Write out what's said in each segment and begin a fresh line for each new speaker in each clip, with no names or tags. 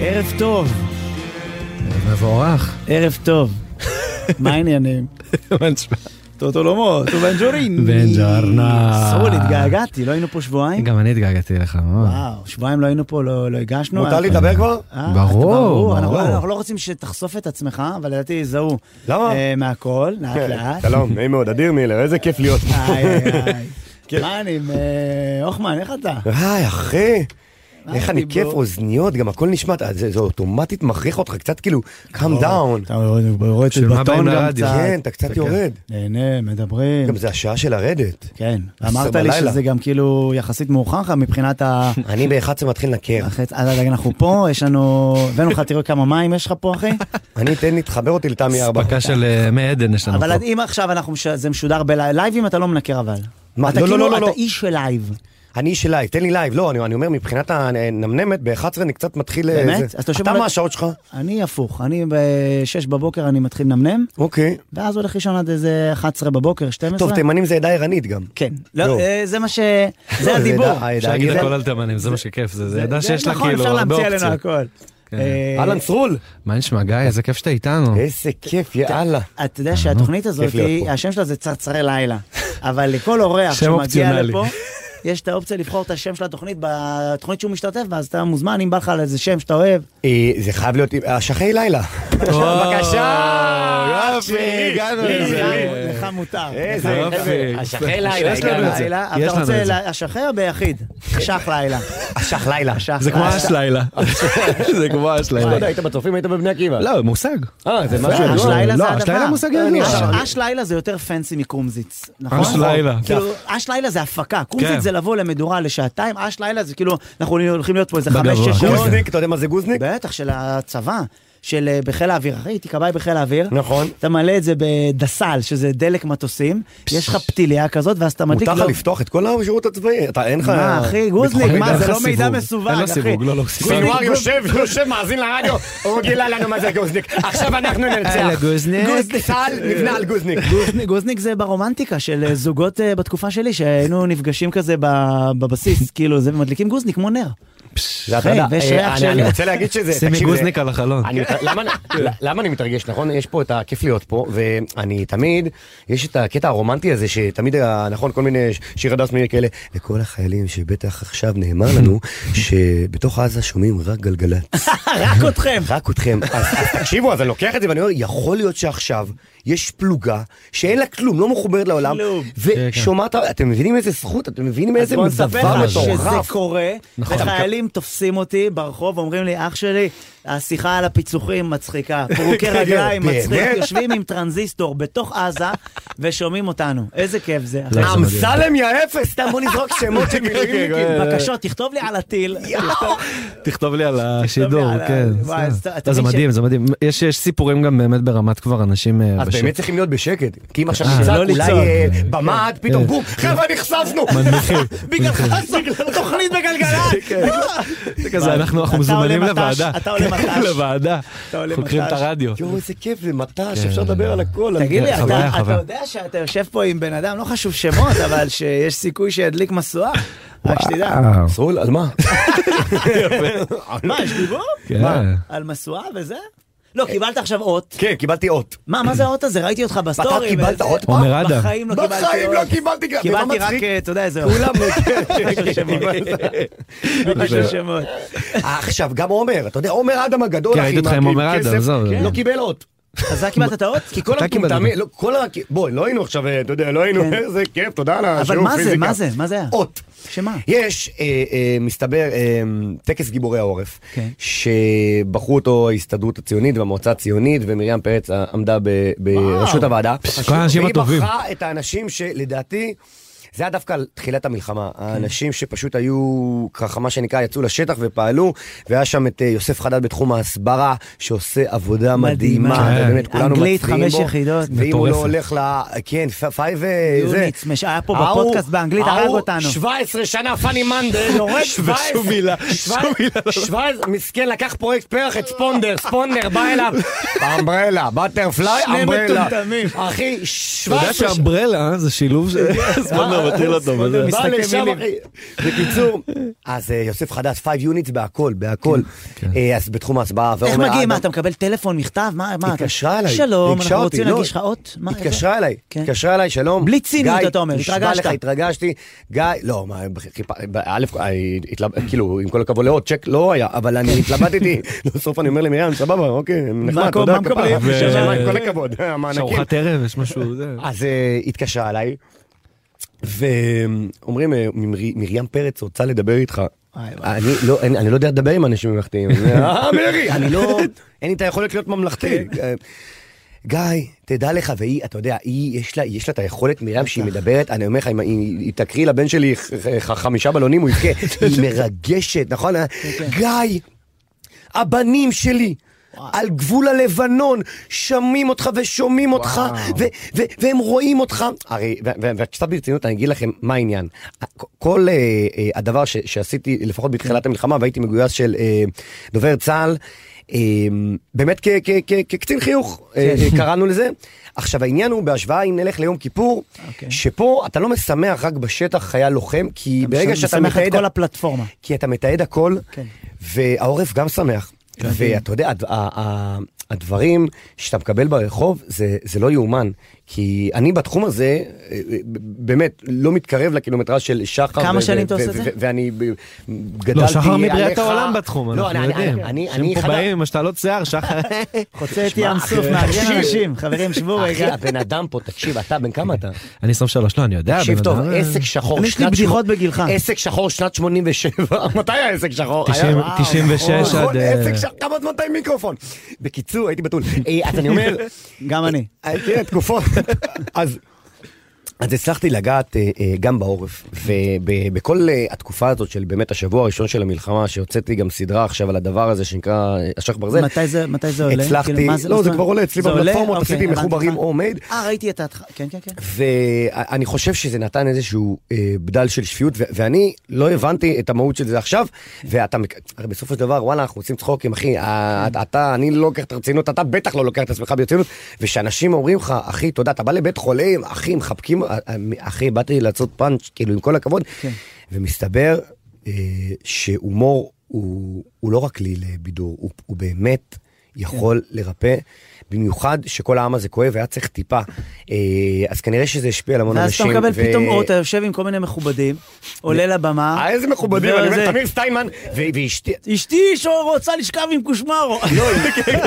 ערב טוב,
מבורך.
ערב טוב. מה העניינים?
מה נשמע?
טוטו לומו, טו בנג'ורין.
בנג'ורנה.
סול, התגעגעתי, לא היינו פה שבועיים?
גם אני התגעגעתי לך מאוד.
וואו, שבועיים לא היינו פה, לא לא הגשנו.
מותר
אה,
לי לדבר כבר?
אה, אתה
ברור,
אנחנו-
ברור.
אנחנו לא רוצים שתחשוף את עצמך, אבל לדעתי יזהו.
למה?
אה, מהכל, לאט
כן.
לאט.
שלום, נעים מאוד, אדיר מילר, איזה כיף להיות פה.
היי, היי,
כן.
היי. מה אני, אה, הוחמן, איך אתה?
היי, אחי.
מה
איך אני
הדיבור?
כיף, אוזניות, גם הכל נשמע, אה, זה זה אוטומטית מכריח אותך קצת כאילו, calm down.
לא, אתה רואה את
של מה באים
הבטון גם
לרדיו.
קצת.
כן, אתה קצת יורד.
נהנה, מדברים.
גם זה השעה של לרדת.
כן,
עשר
אמרת לי
בלילה.
שזה גם כאילו יחסית מאוחר לך מבחינת ה...
אני ב-11 מתחיל לנקר.
אחרי- אז אנחנו פה, יש לנו... הבאנו לך, תראה כמה מים יש לך פה, אחי.
אני, תן לי, תחבר אותי לתמי 4.
אספקה של אה, מי עדן יש לנו פה.
אבל אם עכשיו אנחנו... מש- זה משודר בלייבים, אתה לא מנקר אבל.
מה?
אתה
לא, לא,
כאילו-
לא, לא, לא.
אתה איש של לייב.
אני איש של לייב, תן לי לייב. לא, אני אני אומר, מבחינת הנמנמת, ב-11 אני קצת מתחיל... אה,
באמת?
זה.
אז אתה יושב
אתה
על-
מה השעות שלך?
אני הפוך, אני ב-6 בבוקר אני מתחיל לנמנם,
אוקיי.
ואז הולך לישון עד איזה 11 בבוקר, 12.
טוב, תימנים זה עדה ערנית גם.
כן. לא,
לא.
אה, זה מה ש...
זה
זה הדיבור.
עדה- העדה-
אפשר להגיד
זה-
הכל על תימנים, זה מה שכיף, זה זה ידע
זה-
שיש לה
נכון,
כאילו
אפשר
הרבה
להמציא עלינו
אופציות.
הכל.
כן.
אה,
אהלן סרול.
מה נשמע גיא, איזה כיף שאתה איתנו.
איזה כיף, יאללה.
אתה יודע שהתוכנית הזאת,
כיף להיות
היא-
פה.
השם שלה זה צרצרי לילה, אבל לכל אורח
שם
שמגיע
אופציונלי.
לפה, יש את האופציה לבחור את השם של התוכנית בתוכנית שהוא משתתף, ואז אתה מוזמן, אם בא לך על איזה שם שאתה אוהב.
אה, זה חייב להיות, אה, שחי לילה.
בבקשה! יופי, הגענו
לי-
לזה.
לך מותר.
איזה
לך-
יופי.
השחי לילה,
יש לנו את זה.
לילה,
יש
אתה
לנו
רוצה
את זה.
השחר ביחיד? שח לילה.
השח לילה.
שח
זה כמו
לילה.
אשלילה.
אה,
זה כמו
לא יודע,
אשלילה.
היית בצופים, היית בבני עקיבא.
לא, מושג.
אה, זה משהו
אש
ידוע.
לילה זה
לא,
הדבר.
אש לילה מושג ידוע.
אש- אש לילה זה יותר פנסי מקרומזיץ, נכון?
אש לילה.
כאילו, אש לילה זה הפקה, קרומזיץ
כן.
זה לבוא למדורה לשעתיים, אש לילה זה כאילו, אנחנו הולכים להיות פה איזה חמש,
בגבוה.
שש שעות.
גוזניק, אתה יודע מה זה גוזניק?
בטח, של הצבא, של אה, בחיל האוויר. אחי, הייתי כבאי בחיל האוויר.
נכון.
אתה מלא את זה בדסל, שזה דלק מטוסים, יש לך פתיליה כזאת, ואז אתה מדליק...
מותר לך
גלוב.
לפתוח את כל השירות הצבאי. אתה אין לך...
מה, אחי, גוזליק,
ביטחוני
מה,
דרך
זה לא
אין לך
מידע
סיווג.
מסווג,
אין לו
אחי.
סיווג, לא, לא, סיווג.
גוזניק,
יושב, יושב, מאזין לרדיו, הוא גילה לנו מה זה גוזניק. עכשיו אנחנו
אה,
יאללה, גוזניק.
צה"ל נבנה על גוזניק.
גוזניק- גוזניק זה ברומנטיקה של אה, זוגות אה, בתקופה שלי, שהיינו נפגשים כזה ב- בבסיס, כאילו, זה מדליקים גוזניק כמו נר.
זה אתה
אחי,
יודע,
ויש
אה,
ריח
אני-
של-
אני רוצה להגיד שזה...
שימי
תקשיב, זה-
גוזניק על החלון.
אני, מת- למה, למה אני מתרגש, נכון? יש פה את הכיף להיות פה, ואני תמיד, יש את הקטע הרומנטי הזה, שתמיד, היה, נכון, כל מיני ש- שיר הדס מאיר כאלה, לכל החיילים שבטח עכשיו נאמר לנו, שבתוך עזה שומעים רק גלגלצ,
רק אתכם.
רק אתכם. אז אז תקשיבו, אז אני לוקח את זה ואני אומר, יכול להיות שעכשיו יש פלוגה שאין לה כלום, לא מחוברת לעולם,
כלום.
ושומעת, אתם מבינים איזה זכות, אתם מבינים איזה
בוא נספר
דבר
לך שזה
מטורף.
קורה, וחיילים תופסים אותי ברחוב, אומרים לי, אח שלי, השיחה על הפיצוחים מצחיקה, פרוקי
כן,
רגליים
באמת?
מצחיק, יושבים עם טרנזיסטור בתוך עזה ושומעים אותנו. איזה כיף זה. אחי.
אמסלם יא אפס, סתם בוא נזרוק שמות של מילואימניקים.
בבקשה, תכתוב לי על הטיל.
תכתוב לי על השידור,
לי על ה-
כן.
וואי,
בסדר.
אז אתה- אתה
לא, זה
מבין ש-
מדהים, זה מדהים. יש יש סיפורים גם באמת ברמת כבר אנשים אה,
אז
בשטח.
באמת צריכים להיות בשקט, כי אם עכשיו
אה,
נצעק
לא
אולי
לצעוק. כן,
אה, במעט, פתאום בום, חבר'ה נחשפנו!
בגללך תוכנית בגלגלת.
זה כזה, אנחנו אנחנו
אתה
מזומנים
עולה מט"ש,
לוועדה. כן,
אתה עולה מט"ש.
לוועדה.
אתה עולה
חוקרים את
מט"ש.
הרדיו.
יואו, איזה כיף, זה מט"ש, אפשר לדבר על הכל.
תגיד לי,
כן, חוויה,
אתה אתה
חוויה.
יודע שאתה יושב פה עם בן אדם, לא חשוב שמות, אבל שיש סיכוי שידליק משואה? רק שתדע.
סרול, על מה?
מה, יש דיבור?
כן.
מה, על משואה וזה? לא, קיבלת עכשיו אות.
כן, קיבלתי אות.
מה, מה זה האות הזה? ראיתי אותך בסטורי.
ואתה קיבלת
וזה-
אות פעם?
עומר אדם.
בחיים לא קיבלתי אות.
בחיים לא קיבלתי גם,
קיבלתי
ומה
רק,
מצחיק?
אה, אתה יודע איזה אות.
כולם, כן,
רק של
כן,
אה,
שמות. רק של שמות.
אה, עכשיו, גם עומר, אתה יודע, עומר אדם הגדול,
כן,
אחי,
ראיתי אותך עם עומר
כסף,
אדם, עזוב.
לא קיבל אות.
אז אתה קיבלת את האות?
כי כל
אתה קיבלת.
המטומטמים, לא, כל ה... בוא, לא היינו עכשיו, אה, אתה יודע, לא היינו,
כן.
איזה כיף, תודה על השיעור
אבל
פיזיקה.
מה זה, מה זה, מה זה היה?
אות.
שמה?
יש, אה, אה, מסתבר, אה, טקס גיבורי העורף,
כן.
שבחרו אותו ההסתדרות הציונית והמועצה הציונית, ומרים פרץ אה, עמדה ב- בראשות הוועדה.
כל האנשים הטובים.
והיא בחרה את האנשים שלדעתי... זה היה דווקא על תחילת המלחמה,
כן.
האנשים שפשוט היו, ככה מה שנקרא, יצאו לשטח ופעלו, והיה שם את אה, יוסף חדד בתחום ההסברה, שעושה עבודה
מדהימה.
מדהימה,
כן.
ובאמת כולנו מצביעים
אנגלית,
בו.
חמש יחידות.
ואם הוא לא
מטורפת.
הולך ל... כן, פייב...
יוניץ, מש- היה פה בפודקאסט באנגלית, הרג אותנו.
17 שנה פאני מנדל, יורד 17,
ושום מילה,
17, מסכן לקח פרויקט פרח את ספונדר, ספונדר בא אליו, אמברלה, בטרפליי,
שני
אמברלה,
מטומטמים.
אחי,
אתה יודע
17 שנה,
כן.
שאמברלה זה שילוב של... אז בוא נראה,
אותו, מטיל אותו. וזה-
בא
משחקי
לשם,
אה, מילים.
אחי. בקיצור, אז אה, יוסף חדש, 5 יוניטס בהכל, בהכל.
כן,
אה, אז בתחום ההסבעה,
איך
ועומר
מגיעים? מה,
אדם-
אתה מקבל טלפון, מכתב? מה, מה? אתה-
התקשרה אליי,
שלום,
ריגשה
אנחנו
אותי,
רוצים
לא,
להגיש לך אות? מה, איזה-
התקשרה אליי,
כן.
התקשרה אליי, שלום.
בלי ציניות,
גיא,
אתה אומר,
נשבע
התרגשת.
לך, התרגשתי. גיא, לא, מה, חיפ- ב- א', אה, התלב- כאילו, עם כל הכבוד לאות, צ'ק לא היה, אבל אני התלבטתי. בסוף אני אומר למרים, סבבה, אוקיי, נחמד,
הכל-
תודה,
כן. מה מקבלים?
כפרה."
אה,
ו-
שמע, עם כל הכבוד,
אה,
המענקים.
ארוחת ערב, יש משהו, זה...
אז אה, התקשרה אליי, ואומרים, אה, מר- מרים פרץ רוצה לדבר איתך.
וואי, וואי.
אני לא, אני, אני לא יודע לדבר עם אנשים ממלכתיים. אה, מירי, אני לא, אין לי את היכולת להיות ממלכתי.
כן.
אה, גיא, תדע לך, והיא, אתה יודע, היא, יש לה, יש לה את היכולת, מרים, שהיא מדברת, אני אומר לך, אם היא, היא תקריא לבן שלי ח- ח- חמישה בלונים, הוא יבכה. היא מרגשת, נכון?
כן,
גיא, הבנים שלי. על גבול הלבנון, שמים אותך ושומעים אותך, ו- ו- והם רואים אותך. הרי, ו- ו- וקצת ברצינות, אני אגיד לכם מה העניין. כל אה, אה, הדבר ש- שעשיתי, לפחות בתחילת המלחמה, והייתי מגויס של אה, דובר צה"ל, אה, באמת כ- כ- כ- כקצין חיוך אה, אה, קראנו לזה. עכשיו העניין הוא בהשוואה אם נלך ליום כיפור,
אוקיי.
שפה אתה לא משמח רק בשטח חייל לוחם, כי ברגע שאתה
משמח את
מתעד
כל הפלטפורמה.
כי אתה מתעד הכל,
כן.
והעורף גם שמח. ואתה יודע, הד- ה- ה- הדברים שאתה מקבל ברחוב, זה, זה לא יאומן. כי אני בתחום הזה, אה, אה, ב- באמת, לא מתקרב לקילומטרז של שחר.
כמה
ו-
שנים
ו-
אתה עושה את
ו-
זה?
ו- ואני ב- גדלתי
לא, שחר מבריאת
עליך-
העולם בתחום,
לא,
אנחנו
אני- אני-
יודעים.
אני- אני
שהם פה
חדש-
באים עם השתלות שיער, שחר.
חוצה את ים סוף, מארגן
תקשיב.
אנשים. חברים, שבו
אחי,
רגע.
הבן אדם פה, תקשיב, אתה בן כמה אתה?
אני 23, לא, אני יודע,
תקשיב
בן
טוב,
אדם,
עסק שחור,
אני, יש לי
שנת
בדיחות
שמונים-
בגילך.
עסק שחור שנת 87, מתי היה עסק שחור? היה-
90,
וואו,
96
נכון,
עד, אה,
עסק שחור, כמה זמן אתה עם מיקרופון? בקיצור, הייתי בתול. אה, אז אני אומר,
גם אני.
אה, תראה, תקופות. אז... אז הצלחתי לגעת אה, אה, גם בעורף, ובכל אה, התקופה הזאת של באמת השבוע הראשון של המלחמה, שהוצאתי גם סדרה עכשיו על הדבר הזה שנקרא אה, אשך ברזל.
מתי זה- מתי זה עולה?
הצלחתי,
כאילו, מה זה-
לא,
מה
זה
זאת
כבר עולה אצלי
זה עולה?
בפלטפורמות,
אוקיי,
עשיתי
הבנתי
מחוברים
אותך.
homemade.
אה, ראיתי את ההתחלה. כן, כן, כן.
ואני חושב שזה נתן איזשהו אה, בדל של שפיות, ו- ואני לא הבנתי את המהות של זה עכשיו, ואתה, מק- הרי בסופו של דבר, וואלה, אנחנו עושים צחוקים, אחי, אה, אתה- אתה, אני לא לוקח את הרצינות, אתה בטח לא לוקח את עצמך ברצינות, ושאנשים אומרים לך, אחי, תודה, אתה בא לבית חולים, אחי, מחבקים, אה, אה, אחי, באתי לעשות פאנץ', כאילו, עם כל הכבוד,
כן.
ומסתבר אה, שהומור הוא, הוא לא רק כלי לבידור, הוא, הוא באמת יכול לרפא. במיוחד שכל העם הזה כואב והיה צריך טיפה. אה, אז כנראה שזה השפיע על המון
ואז אתה
אנשים.
מקבל
ו-
פתאום, או אתה יושב עם כל מיני מכובדים, עולה לבמה.
אה, איזה מכובדים, אני
וזה-
אומר, תמיר סטיינמן, ו- ואשתי...
אשתי שור רוצה לשכב עם קושמרו.
לא,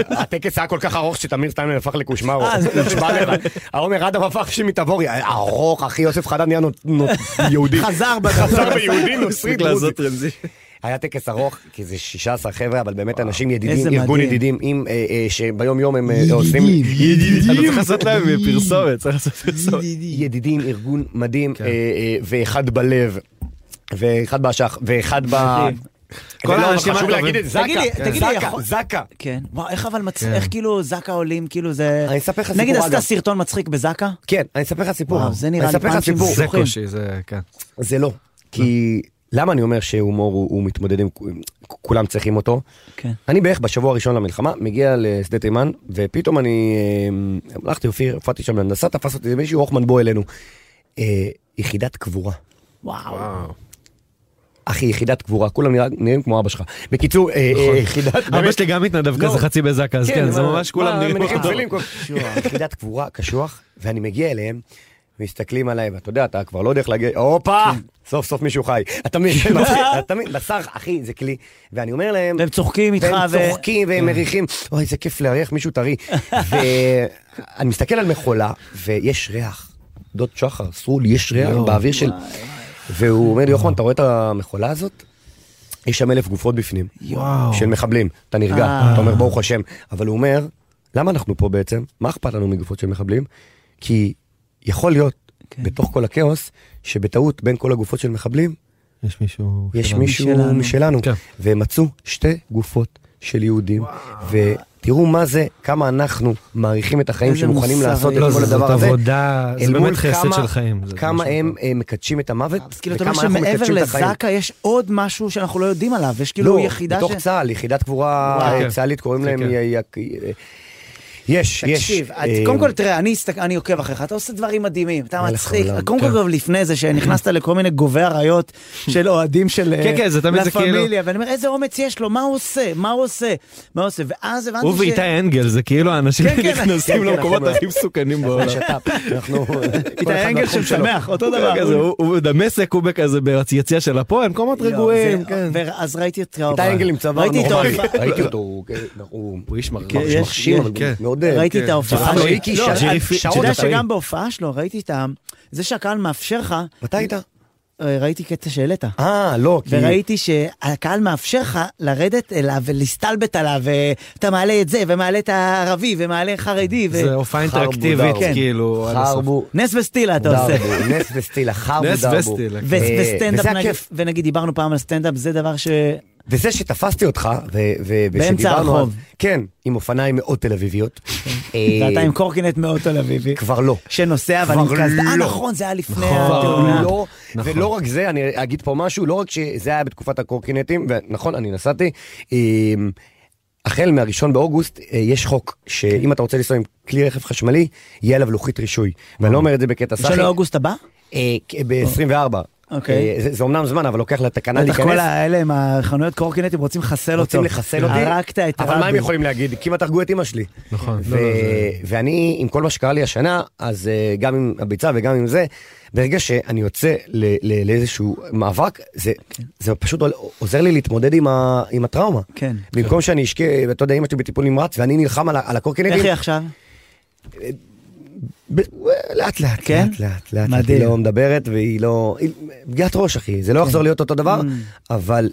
הטקס היה כל כך ארוך שתמיר סטיינמן הפך לקושמרו.
אה, זה תמיר
נשבע לך. העומר אדם הפך שמתעבורי, ארוך, אחי, יוסף חדד נהיה נות- נות- יהודי.
חזר בדף.
חזר ביהודי נוצרי
מספיק
דרוזי.
לעשות טרנזישן.
היה טקס ארוך, כי זה 16 חבר'ה, אבל באמת אנשים
איזה
ידידים, ארגון
מדהים.
ידידים, עם, אה, אה, שביום יום הם אה, עושים...
ידידים. צריך לעשות להם פרסומת, צריך לעשות פרסומת.
ידידים, ארגון מדהים,
כן.
אה, אה, ואחד בלב, ואחד באשך, ואחד ב...
מדהים.
כל
ולא, אבל
האנשים
חשוב
הטובים.
להגיד את זקה,
תגיד לי, תגיד לי,
זקה,
יכול-
זקה.
כן. וואו, איך אבל מצ...
כן.
איך כאילו זקה עולים, כאילו זה...
אני אספר לך סיפור,
נגיד עשית
אגב.
סרטון מצחיק בזקה?
כן, אני אספר לך סיפור.
וואו, זה נראה לי
אני אספר לך
פאנצ'ים.
סיפור.
זה
זוכים.
קושי, זה כן.
זה לא. כי למה אני אומר שהומור הוא הוא מתמודד עם... כולם צריכים אותו?
כן.
אני בערך בשבוע הראשון למלחמה, מגיע לשדה תימן, ופתאום אני... אה, הלכתי, אופיר, הופעתי שם להנדסה, תפס אותי איזה מישהו, הוחמן בוא אלינו. אה, יחידת קבורה.
וואו.
אחי, יחידת קבורה, כולם נראה- נראים כמו אבא שלך. בקיצור, אה, אה, יחידת...
נכון. אבא שלי גם מתנדב
לא.
כזה חצי בזקה, אז כן, זה
מה-
ממש כולם
מה,
נראים
מניחים
אותו.
תפילין, כל- יחידת קבורה, קשוח, ואני מגיע אליהם, מסתכלים עליי, ואתה יודע, אתה כבר לא יודע איך להגיד, הופה!
כן.
סוף סוף מישהו חי. אתה מבין, אתה מבין, בשר, אחי, זה כלי. ואני אומר להם...
והם צוחקים איתך
והם
ו- אה.
צוחקים והם מריחים, אוי, איזה כיף להריח מישהו טרי. ואני מסתכל על מכולה, ויש ריח. דוד שחר, סרול, יש ריח באוויר של... והוא אומר לי, יוחמן, אתה רואה את המכולה הזאת? יש שם אלף גופות בפנים.
וואו.
של מחבלים. אתה נרגע,
אה.
אתה אומר ברוך השם. אבל הוא אומר, למה אנחנו פה בעצם? מה אכפת לנו מגופות של מחבלים? כי יכול להיות,
כן.
בתוך כל הכאוס, שבטעות בין כל הגופות של מחבלים,
יש מישהו...
יש
שלנו.
מישהו
משלנו.
משלנו.
כן.
והם מצאו שתי גופות של יהודים. ותראו מה זה, כמה אנחנו מעריכים את החיים
איזה
שמוכנים
מוסרי.
לעשות את
לא,
כל
זאת
הדבר הזה.
עבודה, זה
אל מול
באמת חסד
כמה-
של חיים. זה
כמה
משהו
הם אה, מקדשים את המוות,
אז כאילו, אתה אומר
וכמה אנחנו
שמעבר
מקדשים את החיים.
לזקה יש עוד משהו שאנחנו לא יודעים עליו, יש כאילו יחידה
בתוך
ש...
צה"ל, יחידת קבורה
וואו.
אה, צה"לית, קוראים
כן,
להם
כן.
י- י- יש, יש.
תקשיב, את-
אה,
קודם כל, תראה, אני הסתכל- אני עוקב אחריך, אתה עושה דברים מדהימים, אתה
מלך
מצחיק.
העולם,
קודם כל,
כן.
גם לפני זה, שנכנסת לכל מיני גובי אריות של אוהדים של אה,
כן, כן, זה תמיד
לה
זה כאילו-
פמיליה, ואני אומר, איזה אומץ יש לו, מה הוא עושה? מה הוא עושה? מה הוא עושה? ואז הבנתי ש...
הוא ואיתי אנגל, זה כאילו האנשים
כן, כן,
נכנסים
כן, כן,
למקומות
אנחנו-
הכי מסוכנים
אה,
בעולם.
שת"פ, אנחנו... כל אחד
איתי אנגל
בתחום שלו.
שמשמח, אותו
הוא
דבר.
כזה, הוא- הוא בדמשק, הוא בכזה ביציע של הפועל, מקומות
לא,
רגועים,
זה-
כן.
ואז ראיתי את ההופעה.
איתי אנגל עם צוואר
ראיתי את
נורמלי.
ההופעה-
ראיתי אותו, הוא- כן, הוא
הוא איש מרגיש.
יש-
מרשים, אבל
כן.
הוא מאוד... אה,
ראיתי את ההופעה
צוואר לא
של-
איקי,
לא,
שג'ירי
את-
פי-
אתה יודע
שג'ירי פי-
שגם בהופעה שלו ראיתי את ה... זה שהקהל מאפשר לך,
מתי היית?
אה, ראיתי קטע שהעלית.
אה, לא, כי...
וראיתי שהקהל מאפשר לך לרדת אליו ולהסתלבט עליו, ואתה מעלה את זה, ומעלה את הערבי, ומעלה חרדי, ו...
זה הופעה אינטראקטיבית,
כן.
כאילו. על הסוף.
חרבו.
נס וסטילה אתה עושה.
דרבו, נס וסטילה, חרבו
נס
דרבו.
וסטילה, כן.
ו-
אה,
וסטנדאפ,
וזה
נגיד-
הכיף.
ונגיד דיברנו פעם על סטנדאפ, זה דבר ש...
וזה שתפסתי אותך, ו- ו-
באמצע
ושדיברנו
הרחוב. כן.
אז- כן, עם אופניים מאוד תל אביביות. אה,
ואתה עם קורקינט מאוד תל אביבי.
כבר לא.
שנוסע,
כבר
ואני כזה, אה
לא.
נכון, זה היה לפני
כבר
התאונה.
לא,
נכון.
ולא רק זה, אני אגיד פה משהו, לא רק שזה היה בתקופת הקורקינטים, ונכון, אני נסעתי, אה, החל מהראשון באוגוסט אה, יש חוק, שאם אתה רוצה לנסוע עם כלי רכב חשמלי, יהיה עליו לוחית רישוי. ואני לא אומר את זה בקטע סאחי, אה,
של אוגוסט הבא?
ב-24.
אוקיי.
אה, זה אומנם זמן, אבל לוקח לתקנה
בטח
להיכנס.
כל האלה עם החנויות קורקינטים רוצים לחסל אותו.
רוצים לחסל אותי,
הרגת את
אבל מה הם
רבין.
יכולים להגיד? כמעט הרגו את אימא שלי.
נכון,
ו-
לא, לא, זה-
ואני, עם כל מה שקרה לי השנה, אז אה, גם עם הביצה וגם עם זה, ברגע שאני יוצא ל- ל- לאיזשהו מאבק, זה- זה פשוט עול- עוזר לי להתמודד עם ה- עם הטראומה.
כן.
במקום שאני אשקה, אתה יודע, אימא שלי בטיפול נמרץ, ואני נלחם על ה- על הקורקינטים.
איך היא עכשיו?
ב- לאט לאט,
כן?
לאט לאט, לאט לאט,
מדהים.
היא לא מדברת והיא לא... היא- פגיעת ראש אחי, זה לא
כן.
יחזור להיות אותו דבר,
Mm.
אבל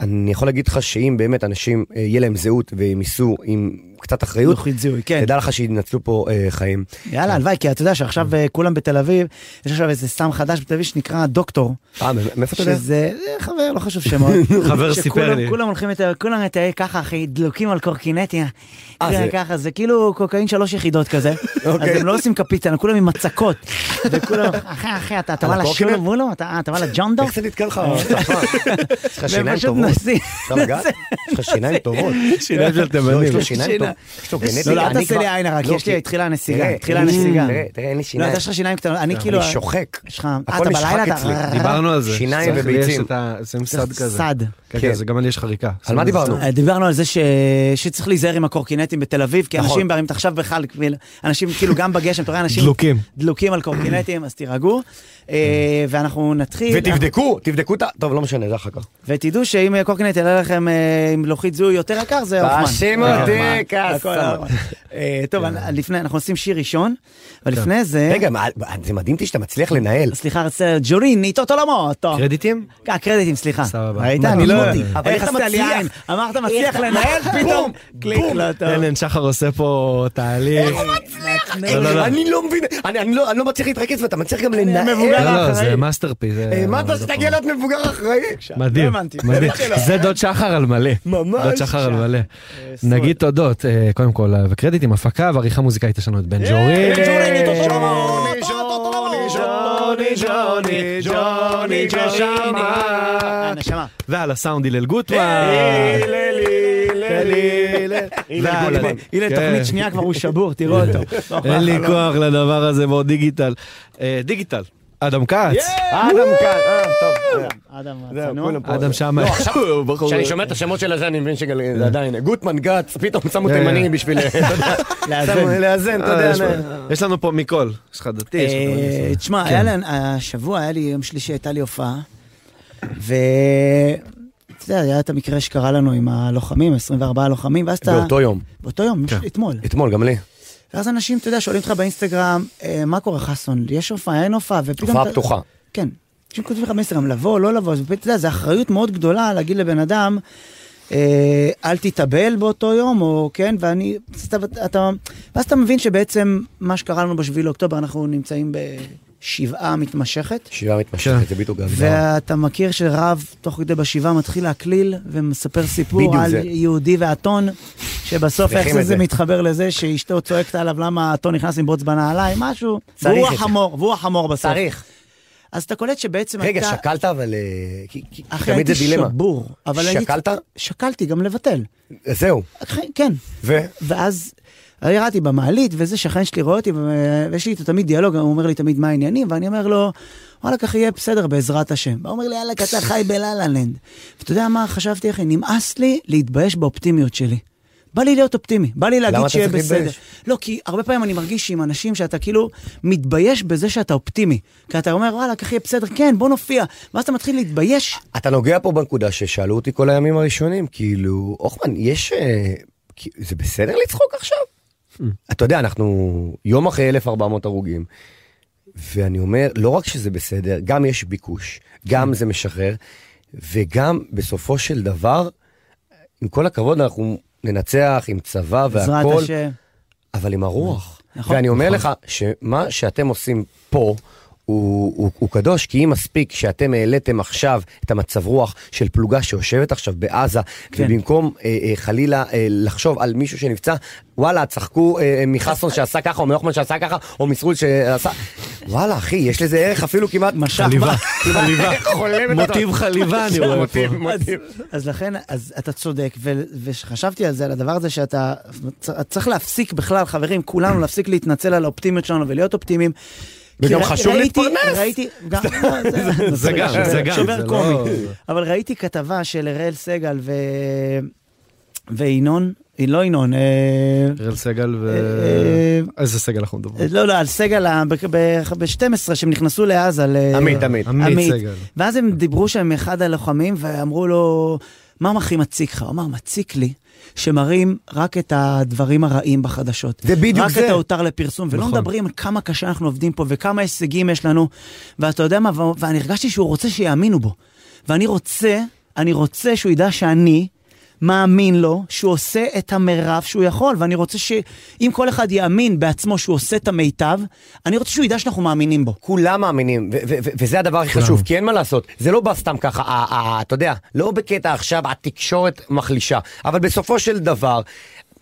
אני יכול להגיד לך שאם באמת אנשים אה, יהיה להם זהות והם ייסעו עם קצת אחריות,
לוחית זיהוי, כן.
תדע לך שינצלו פה אה, חיים.
יאללה, הלוואי, כי אתה יודע שעכשיו אה, כולם בתל אביב, יש עכשיו איזה סם חדש בתל אביב שנקרא דוקטור.
אה, מ- מאיפה אתה יודע?
שזה אה, חבר, לא חשוב שמות.
חבר
שכולם-
סיפר לי.
כולם הולכים, את- כולם את ה- ככה, אחי, דלוקים על קורקינטיה.
אה,
כולם
זה-
ככה, זה כאילו קוקאין שלוש יחידות כזה. אז
אוקיי.
הם לא עושים קפיטן, כולם עם מצקות. וכולם, אחי, אחי, אתה אתה
על
בא לשול
הקורקינט?
בולו? אתה אתה בא לג'ונדו?
איך זה נתקע לך? צרפת? יש לך שיניים
פשוט
טובות?
נוסעים.
אפשר לגעת? יש לך שיניים טובות.
שיניים של
לא,
תימנים.
יש לו שיניים
שינה.
טובות. יש לו
לא,
גנטיקה.
לא, אל
אני
תעשה
כבר-
לי עין הרע, כי
לא,
יש לי,
כי-
התחילה הנסיגה,
תראה,
התחילה
אין לי-
הנסיגה.
תראה, תראה, אין לי
לא,
שיניים.
אתה יש לך שיניים קטנות, אני כאילו...
אני שוחק.
יש לך... אה,
הכל
אתה בלילה
נשחק
אתה...
אצלי.
דיברנו על זה.
שיניים
צריך-
וביצים.
יש את ה- שמים סד כזה.
סד.
כן,
כן.
כן, זה גם לי יש חריקה.
על מה דיברנו?
אה, דיברנו על זה ש... שצריך להיזהר עם הקורקינטים בתל אביב, כי
נכון.
אנשים, אם אתה עכשיו בכלל, כאילו, אנשים כאילו גם בגשם, אתה רואה אנשים
דלוקים.
דלוקים על קורקינטים, אז תירגעו. אה, ואנחנו נתחיל.
ותבדקו, תבדקו את ה... טוב, לא משנה, זה אחר כך.
ותדעו שאם אה, קורקינט יעלה לכם אה, עם לוחית זיהוי יותר יקר, זה הופמן.
תאשים אותי, קאסה.
נכון. אה, טוב, אני- לפני, אנחנו עושים שיר ראשון, אבל לפני זה...
כן. רגע, מה- זה מדהים אותי שאתה מצליח לנהל.
סליחה, אה, רצה ג'וריני, טוטו למוטו.
קרדיטים?
הקרדיטים, אה, סליחה.
סבבה.
ראית?
נכון.
מדהים
אני לא...
אותי.
אבל
איך
איך אתה
אתה לי
מצליח?
עין? אמרת מצליח לנהל, פתאום קליק לא טוב.
אלן אה, שחר עושה פה תהליך.
אה,
לא, לא, לא.
אני לא מבין, אני- אני לא- אני לא מצליח להתרכז ואתה מצליח גם
לא,
לנהל.
אה, מבוגר.
לא,
אחראי.
זה מאסטרפיס. זה-
אה, מה אתה
זה
שתגיע להיות מבוגר אחראי?
מדהים,
לא הבנתי.
מדהים. זה דוד שחר על מלא.
ממש.
דוד שחר על מלא.
סוד.
נגיד תודות, אה, קודם כל, אה, וקרדיטים, הפקה ועריכה מוזיקאית יש לנו את בן ג'ורי.
אה, בן ג'ורי,
ג'וני,
טוטו
ג'וני, ג'וני, ג'וני, ג'וני,
Ah,
נשמה.
הנשמה.
ועל הסאונד הלל גוטמן.
אה,
ועל-
הנה, הנה,
כן.
תוכנית שנייה כבר הוא שבור, תראאה אותו. לא אכפת
אין לי
לך, לא.
כוח לדבר הזה, בואו דיגיטל. אה, דיגיטל, אדם כץ.
אדם כאן, אה,
ah.
טוב. אה.
אדם
זהו,
הצנוע.
כולם פה.
אדם שמה.
לא, עכשיו, אה.
הוא בחור-
כשאני שומע את השמות של הזה, אני מבין שזה עדיין. גוטמן גץ, פתאום שמו
כן,
תימנים
כן.
בשביל... אתה יודע,
לאזן.
שמו- אה. לאזן, אתה יודע.
אה, יש לנו-
נה.
יש לנו פה מכל. יש לך דתי, יש לך כן.
אה,
דתי.
תשמע, היה לנו- השבוע היה לי, יום שלישי הייתה לי הופעה, ואתה יודע, היה את המקרה שקרה לנו עם הלוחמים, 24 הלוחמים, ואז אתה...
באותו יום.
באותו יום, לא, אתמול.
כן. אתמול, גם לי.
ואז אנשים, אתה יודע, שואלים אותך באינסטגרם, אה, מה קורה חסון, יש הופעה, אין הופעה, ופתאום...
הופעה
אתה-
פתוחה.
כן. אנשים כותבים לך מסרם, לבוא, לא לבוא, אז באמת, אתה יודע, זו אחריות מאוד גדולה להגיד לבן אדם, אה, אל תתאבל באותו יום, או כן, ואני... אז אתה, אתה, ואז אתה מבין שבעצם מה שקרה לנו בשביעי לאוקטובר, אנחנו נמצאים בשבעה מתמשכת,
שבעה כן. מתמשכת, זה בדיוק ההגדרה.
ואתה מכיר שרב, תוך כדי בשבעה, מתחיל להקליל ומספר סיפור
בדיוק
על
זה.
יהודי ואתון, שבסוף
צריכים
איך זה,
את
זה
זה.
מתחבר לזה שאשתו צועקת עליו למה האתון נכנס עם בוץ בנעליים, משהו,
צריך
והוא
את זה.
החמור, והוא החמור בסוף.
צריך.
Ah,
אז אתה קולט שבעצם
רגע,
אתה...
שקלת אבל... אה, כי- כי- כי
אחי,
תמיד זה
הייתי
דילמה.
שבור. אבל הייתי-
שקלת?
שקלתי גם לבטל.
זהו.
אחי, כן.
ו?
ואז ירדתי במעלית, וזה שכן שלי רואה אותי, ו- ויש לי איתו תמיד דיאלוג, הוא אומר לי תמיד מה העניינים, ואני אומר לו, וואלכ אחי, יהיה בסדר בעזרת השם. והוא אומר לי, יאללה, אתה חי בלה-לה-לנד. ואתה יודע מה חשבתי, אחי? נמאס לי להתבייש באופטימיות שלי. בא לי להיות אופטימי, בא לי
למה
להגיד
אתה
שיהיה
צריך
בסדר.
להתבייש?
לא, כי הרבה פעמים אני מרגיש עם אנשים שאתה כאילו מתבייש בזה שאתה אופטימי. כי אתה אומר, וואלכ אחי, יהיה בסדר, כן, בוא נופיע. ואז אתה מתחיל להתבייש.
אתה נוגע פה בנקודה ששאלו אותי כל הימים הראשונים, כאילו, הוחמן, יש... אה, כי- זה בסדר לצחוק עכשיו?
Hmm.
אתה יודע, אנחנו יום אחרי 1400 הרוגים, ואני אומר, לא רק שזה בסדר, גם יש ביקוש,
Hmm.
גם זה משחרר, וגם בסופו של דבר, עם כל הכבוד, אנחנו ננצח עם צבא
בעזרת
והכול,
השם.
אבל עם הרוח.
נכון,
ואני אומר
נכון.
לך שמה שאתם עושים פה הוא, הוא, הוא קדוש, כי אם מספיק שאתם העליתם עכשיו את המצב רוח של פלוגה שיושבת עכשיו בעזה,
כן.
ובמקום אה, אה, חלילה אה, לחשוב על מישהו שנפצע, וואלה, צחקו אה, אה, מחסון שעשה ככה, או מנחמן שעשה ככה, או מסרול שעשה... וואלה, אחי, יש לזה ערך אפילו כמעט...
משך
חליבה,
כמעט
חליבה.
חולם את
מוטיב חליבה אני רואה פה.
מוטיב, מוטיב.
אז, אז לכן, אז אתה צודק, ו- וחשבתי על זה, על הדבר הזה שאתה צ- צריך להפסיק בכלל, חברים, כולנו להפסיק להתנצל על האופטימיות שלנו ולהיות אופטימיים. כי
וגם
ר-
חשוב
ראיתי-
להתפרנס.
ראיתי, גם, לא, זה-
זה גם,
שובר-
זה גם, זה
שובר
לא-
קומי. אבל ראיתי כתבה של אראל סגל ו... וינון, לא ינון, אה,
אראל סגל ו...
Eh,
אה,
איזה סגל אנחנו מדברים?
לא, לא, על סגל ב-12 שהם נכנסו לעזה. ל-
עמית, עמית.
עמית סגל.
ואז הם דיברו שם עם אחד הלוחמים ואמרו לו, מה הכי מציק לך? הוא אמר, מציק לי שמראים רק את הדברים הרעים בחדשות.
זה בדיוק
רק
זה.
רק את ההותר לפרסום, ולא
נכון.
מדברים על כמה קשה אנחנו עובדים פה וכמה הישגים יש לנו. ואתה יודע מה, ו- ואני הרגשתי שהוא רוצה שיאמינו בו. ואני רוצה, אני רוצה שהוא ידע שאני... מאמין לו שהוא עושה את המרב שהוא יכול, ואני רוצה שאם כל אחד יאמין בעצמו שהוא עושה את המיטב, אני רוצה שהוא ידע שאנחנו מאמינים בו.
כולם מאמינים, ו- ו- ו- וזה הדבר הכי חשוב, כי אין מה לעשות, זה לא בא סתם ככה, ה- ה- אתה יודע, לא בקטע עכשיו התקשורת מחלישה, אבל בסופו של דבר,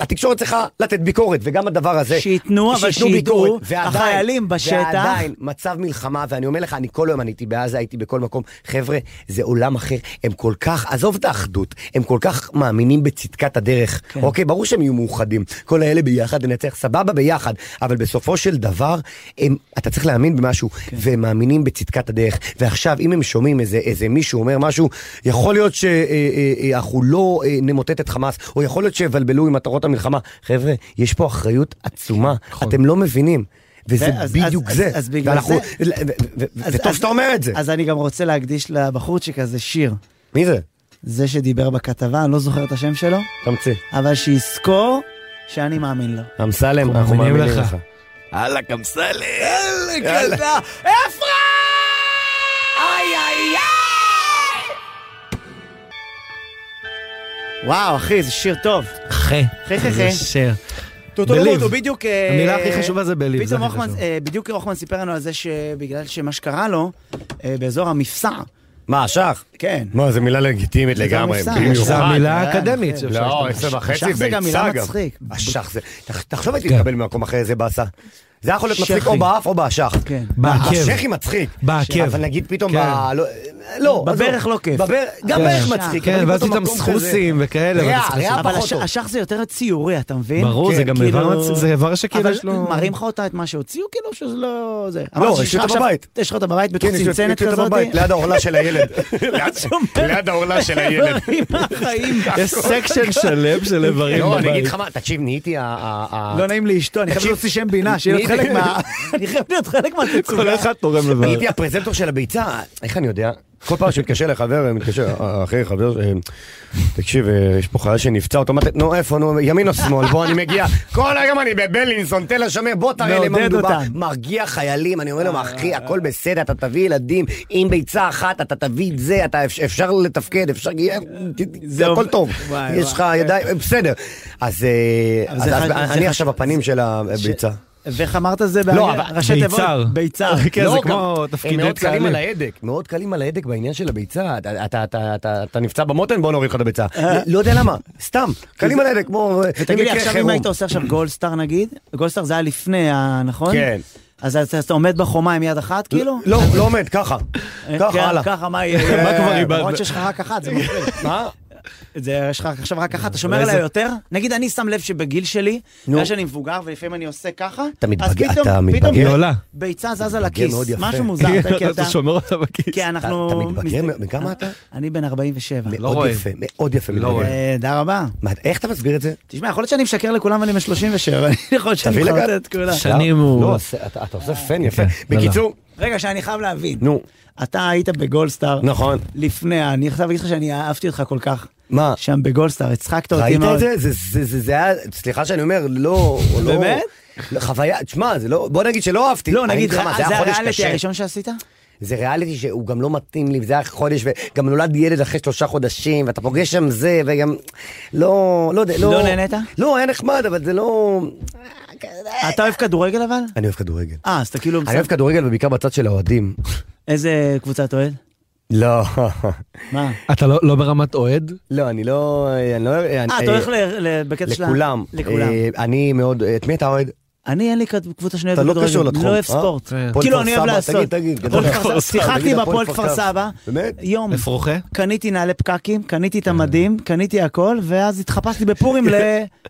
התקשורת צריכה לתת ביקורת, וגם הדבר הזה,
שייתנו, אבל
שייתנו
שידעו,
ביקורת, ועדיין-
החיילים בשטח.
ועדיין, מצב מלחמה, ואני אומר לך, אני כל היום, אני הייתי בעזה, הייתי בכל מקום, חבר'ה, זה עולם אחר, הם כל כך, עזוב את האחדות, הם כל כך מאמינים בצדקת הדרך,
כן.
אוקיי? אוקיי, ברור שהם יהיו מאוחדים. כל האלה ביחד, ננצח סבבה ביחד, אבל בסופו של דבר, הם, אתה צריך להאמין במשהו, כן. והם מאמינים בצדקת הדרך. ועכשיו, אם הם שומעים איזה, איזה מישהו אומר משהו, יכול להיות שאנחנו אה, אה, אנחנו לא אה, נמוטט את חמאס, או יכול להיות שיבלבלו עם מטרות המלחמה. חבר'ה, יש פה אחריות עצומה,
נכון.
אתם לא מבינים. וזה
ואז-
בדיוק
אז-
זה.
אז- אז בגלל
ואנחנו-
זה-
ו- ו- ו-
אז-
וטוב
אז-
שאתה אומר את זה.
אז אני גם רוצה להקדיש לבחורצ'יק הזה שיר.
מי זה?
זה שדיבר בכתבה, אני לא זוכר את השם שלו,
תמציא.
אבל שיזכור שאני מאמין לו.
אמסלם, אנחנו
מאמינים
מאמינים
לך.
לך.
אהלן, אמסלם.
יאללה.
וואו, אחי, זה שיר טוב.
אחי.
אחי, אחי, אחי.
איזה שיר.
בליב.
בליב.
הוא בדיוק... אה,
המילה הכי חשובה זה בליב, זה
פתאום
הכי
הוחמן,
חשוב.
אה, בדיוק הוחמן סיפר לנו על זה שבגלל שמה שקרה לו, אה, באזור המפסע,
מה, שח?
כן.
מה, זו מילה לגיטימית
זה
לגמרי.
המפסע.
במיוחד.
זו המילה
אה,
האקדמית
כן.
שאפשר
לא,
להשתמש.
עשר וחצי,
אשך זה גם מילה
ביצה גם.
מצחיק.
אשך זה, תח- תחשוב הייתי
כן.
מקבל ממקום אחר זה באסה. זה יכול להיות מצחיק
שחי.
או באף או באשך.
כן.
בעקב.
השחי מצחיק.
בעקב.
אבל נגיד פתאום ב...
כן.
לא, לא. עזוב.
בברך לא כיף.
בבר- גם
כן.
בערך מצחיק.
כן,
אבל
ואז
פתאום
פתאום
מקום
סחוסים וכאלה.
ריאה,
ואז
ריאה.
אבל
פחות
הש-
טוב.
השח זה יותר ציורי, אתה מבין?
ברור, זה
כן,
גם
כאילו-
איבר מצ- זה איבר שכאילו יש לו-
אבל מראים לך אותה את מה שהוציאו, כאילו שזה לא... זה.
לא,
אמרת
יש
שיש לך
אותה
עכשיו-
בבית.
יש לך אותה בבית
כזה.
בתוך
כן, יש לי-
צנצנת
יש לי אותה
כזאת?
בבית, ליד העורלה של הילד. ליד-
שומר.
ליד העורלה של הילד.
בחיים.
יש סקשן שלם של איברים
לא, אני אגיד
בבית.
לך מה, תקשיב, נהייתי ה- ה... ה-
לא נעים לאשתו, אני חייב
תקשיב,
להוציא שם בינה, שיהיה להיות
מי-
חלק מה... אני חייב להיות חלק
כל
מהתצוגה.
אחד תורם לבר.
הייתי הפרזנטור של הביצה, איך אני יודע? כל פעם שמתקשר לחבר, מתקשר, אחי, חבר, אה, תקשיב, אה, יש פה חייל שנפצע אוטומטית, נו, איפה, נו, ימין או שמאל, בוא, אני מגיע. כל היום אני בבלינסון, תל השומר, בוא תראה לי מה
מעודד
מדובר.
אותם.
מרגיע חיילים, אני אומר לו, אחי, הכל בסדר, אתה תביא ילדים, עם ביצה אחת, אתה תביא את זה, אתה אפ- אפשר לתפקד, אפשר, זה הכל
עובד.
טוב.
וואי,
יש לך ידיים, בסדר. אז אה,
אבל זה
אז- אז
אחד- זה
אני
אחד-
עכשיו בפנים של הביצה.
ואיך אמרת זה?
לא,
באנגלית?
אבל-
ראשי תיבות?
ביצהר.
ביצהר.
כן, זה
לא,
כמו
גם-
תפקידי
הם מאוד קלים
צה"לים.
על ההדק, מאוד קלים על ההדק בעניין של הביצה. אתה- אתה- אתה- אתה- אתה נפצע במותן, בוא נוריד לך את הביצה. לא יודע למה, סתם, קלים על ההדק, כמו...
אה. ותגיד לי,
במקרה
עכשיו אם
חירום.
היית עושה עכשיו גולדסטאר נגיד, גולדסטאר זה היה לפני, ה- נכון?
כן.
אז אז אתה עומד בחומה עם יד אחת, כאילו?
לא, לא עומד, ככה.
אה, כן,
ככה, הלאה.
ככה, מה יהיה?
מה כבר איבדת?
למרות שיש לך רק אחת, זה מפריע.
מה? אה,
זה, יש לך עכשיו רק אחת, אתה שומר
איזה-
עליה יותר? נגיד, אני שם לב שבגיל שלי,
נו.
בגלל שאני מבוגר, ולפעמים אני עושה ככה,
אתה מתבגר,
אז פתאום-
אתה
פתאום
מתבגר.
היא עולה.
ביצה זזה
מתבגר
לכיס,
מאוד יפה.
משהו מוזר, אתה- כי אתה...
שומר אותה בכיס.
כי
אתה
אנחנו...
אתה מתבגר?
מסתכל-
מכמה אתה?
אני בן 47.
מאוד
לא רואה.
יפה, מאוד יפה.
לא
מתבגר.
רואה.
אה, תודה רבה.
מה, איך אתה מסביר את זה?
תשמע, יכול להיות שאני משקר לכולם ואני בן 37, יכול להיות שאני
תביא
מחרטט
לגן.
את כולם.
שנים הוא-
לא, אתה אתה עושה פן יפה.
כן, לא, לא.
בקיצור,
רגע, שאני חייב להבין.
נו,
אתה היית בגולדסטאר.
נכון.
לפני, אני חייב להגיד לך שאני אהבתי אותך כל כך.
מה?
שם בגולדסטאר, הצחקת אותי
ראית
מאוד.
את זה? זה- זה- זה זה היה, סליחה שאני אומר, לא... לא-
באמת?
לא, חוויה, תשמע, זה לא, בוא נגיד שלא אהבתי.
לא,
אני
נגיד,
אגיד לך מה,
זה
היה חודש
הריאליטי
קשה.
הראשון שעשית?
זה ריאליטי שהוא גם לא מתאים לי, וזה היה חודש, וגם נולד ילד אחרי שלושה חודשים, ואתה פוגש שם זה, וגם... לא, לא יודע, לא...
לא נהנית?
לא, היה נחמד, אבל זה לא...
אתה אוהב כדורגל אבל?
אני אוהב כדורגל.
אה, אז אתה כאילו...
אני אוהב כדורגל, ובעיקר בצד של האוהדים.
איזה קבוצה אתה אוהד?
לא.
מה?
אתה לא- לא ברמת אוהד?
לא, אני לא... אני לא...
אה, אתה הולך ל- ל- בקטע של... ה-
לכולם.
לכולם.
אה, אני מאוד... את מי אתה אוהד?
אני אין לי כת- קבוצה שאני אוהב
אתה לא
כדורגל.
קשור לתחום,
לא אוהב
אה?
ספורט.
כן.
הפועל
כאילו,
כפר
אני אוהב
סבא,
לעשות.
תגיד, תגיד,
הפועל
גדול.
כפר סבא. שיחקתי
תגיד, הפועל
בהפועל
כפר
כפר
סבא.
סבא.
באמת?
יום.
אפרוחה?
קניתי נעלי פקקים, קניתי את המדים, קניתי הכל, ואז התחפשתי בפורים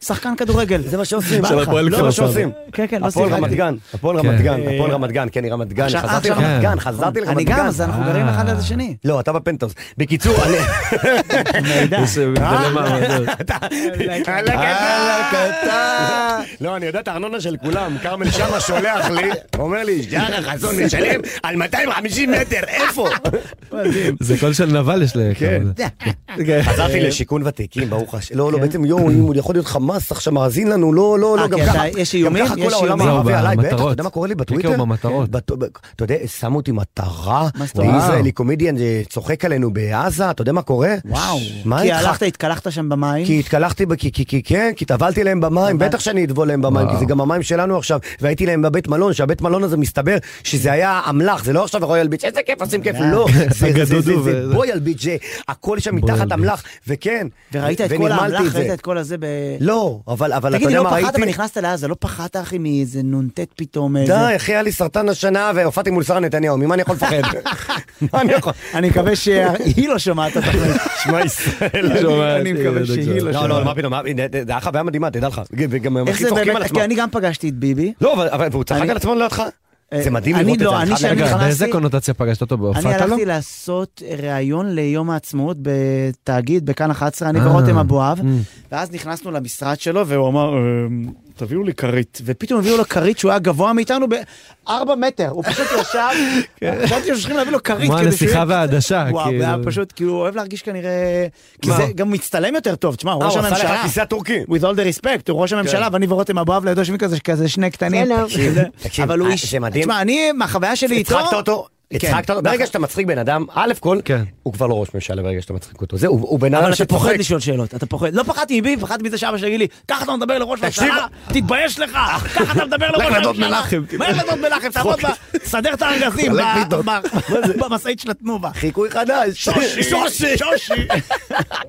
לשחקן כדורגל. זה מה שעושים.
של הפועל
לא,
כפר
מה
סבא.
שעושים. כן, כן, לא
הפועל
שיחקתי.
רמת גן, הפועל
כן.
רמת גן,
אה,
הפועל רמת גן, כן, היא רמת גן,
עכשיו-
חזרתי
עכשיו-
כן.
לרמת גן, חזרתי לרמת גן.
אני גם, אז אנחנו גרים
אה.
אחד ליד השני.
לא, אתה בפנטהאוז. בקיצור, אני... אה?
מידע. אה?
יאללה קטן. לא, אני יודע את הארנונה של כולם. כרמל שאמה שולח לי, אומר לי, יאללה חסון, נשלם על 250 מטר, איפה?
זה קול של נבל יש
כן.
לכאן.
חזרתי
אה,
לשיכון ותיקים, ברוך השם. לא, לא, בעצם יואו, אם הוא יכול להיות חמאס עכשיו מאזין לנו, לא, לא,
כן. אה,
לא, גם
כי אתה-
ככה.
יש איומים?
גם ככה
יש
כל העולם
איומים?
הערבי
לא,
עליי, בטח, אתה
במטרות.
יודע מה קורה לי
כן, כן,
בטוויטר?
במטרות.
בת- ב- אתה יודע, שמו אותי מטרה,
מה זאת אומרת?
וישראלי קומדיאן אה, צוחק עלינו בעזה, אתה יודע מה קורה?
וואו.
מה
כי
איתך?
הלכת, התקלחת שם במים.
כי התקלחתי, ב- כי, כי, כי כן, כי טבלתי להם במים,
טבלת.
בטח שאני אטבול להם במים, כי זה גם המים שלנו עכשיו, והייתי להם בבית מלון, שהבית מלון הזה מסתבר שזה היה אמל"ח, זה לא עכשיו רויאל ביץ', איזה כיף, עושים
אה.
כיף, לא, זה- זה- זה-
הגדודו
זה
ו-
בויאל ביץ', זה הכל שם מתחת
בויאל
אמל"ח, וכן,
וראית את כל
ונרמלתי
האמל"ח,
זה.
ראית את כל הזה ב...
לא, אבל אבל אתה
תגיד לי, לא
יודע מה
פחדת, אבל
ראיתי?
נכנסת לעזה, לא פחדת אחי מאיזה נ"ט פתאום, איזה...
די, אחי, היה לי סרטן השנה והופעתי מול שרה נתניהו, ממה אני יכול לפחד? מה אני יכול?
אני מקווה שהיא לא שומעת אותך.
שמע ישראל.
אני מקווה שהיא לא
לא, לא,
שומעת.
מה פתאום, מה- זה היה חוויה מדהימה, תדע לך. וגם הם
איך
הכי
זה
צוחקים על
באמת,
עצמם.
כי אני גם פגשתי את ביבי.
לא, אבל- אבל והוא צחק
אני-
על עצמו לידך? זה
אה,
מדהים
אני
לראות את זה.
לא, אני
חייב
שאני
רגע,
להגיד.
נכנסתי-
אה, באיזה קונוטציה פגשת אותו?
אני
בהופעת לו?
הלכתי לעשות ראיון ליום העצמאות בתאגיד, בכאן 11, אני
אה.
ורותם אבואב, ואז נכנסנו למשרד שלו, והוא אמר, "אמ, תביאו לי כרית. ופתאום הביאו לו כרית שהוא היה גבוה מאיתנו בארבע מטר, הוא פשוט ישב, חשבתי שצריכים להביא לו כרית.
כן. כמו
כדי שהוא
הנסיכה
יהיה-
והעדשה.
וואו,
כאילו.
היה פשוט, כאילו, הוא אוהב להרגיש כנראה... כי
מה?
זה גם מצטלם יותר טוב, תשמע, הוא
אה,
ראש
הוא עשה לך
הממשלה.
כיסא הטורקי. כן.
With all the respect, הוא ראש הממשלה, ואני ורותם אבואב לידו שווים כזה, כזה שני קטנים.
תקשיב,
כזה.
תקשיב,
אבל הוא
אה,
איש...
זה מדהים.
תשמע, אני, מהחוויה שלי איתו...
הצחקת אותו?
כן.
הצחקת אותו? ברגע שאתה מצחיק בן אדם, א' כל,
כן.
הוא כבר לא ראש ממשלה ברגע שאתה מצחיק אותו. זהו, הוא בן
אבל
אדם
אתה
שפוחד.
פוחד לשאול שאלות, אתה פוחד. לא פחדתי מביבי, פחדתי מזה שאבא שלי יגיד לי, ככה אתה מדבר לראש
תקשיב.
הממשלה, תתבייש לך, ככה אתה מדבר לראש
לך
הממשלה.
לדוד מנחם.
מה לדוד מנחם, תעמוד, ב- סדר את הארגזים
הולך
ב-
אוקיי. לדוד.
ב- במשאית של התנובה.
חיקוי חדש.
שושי, שושי.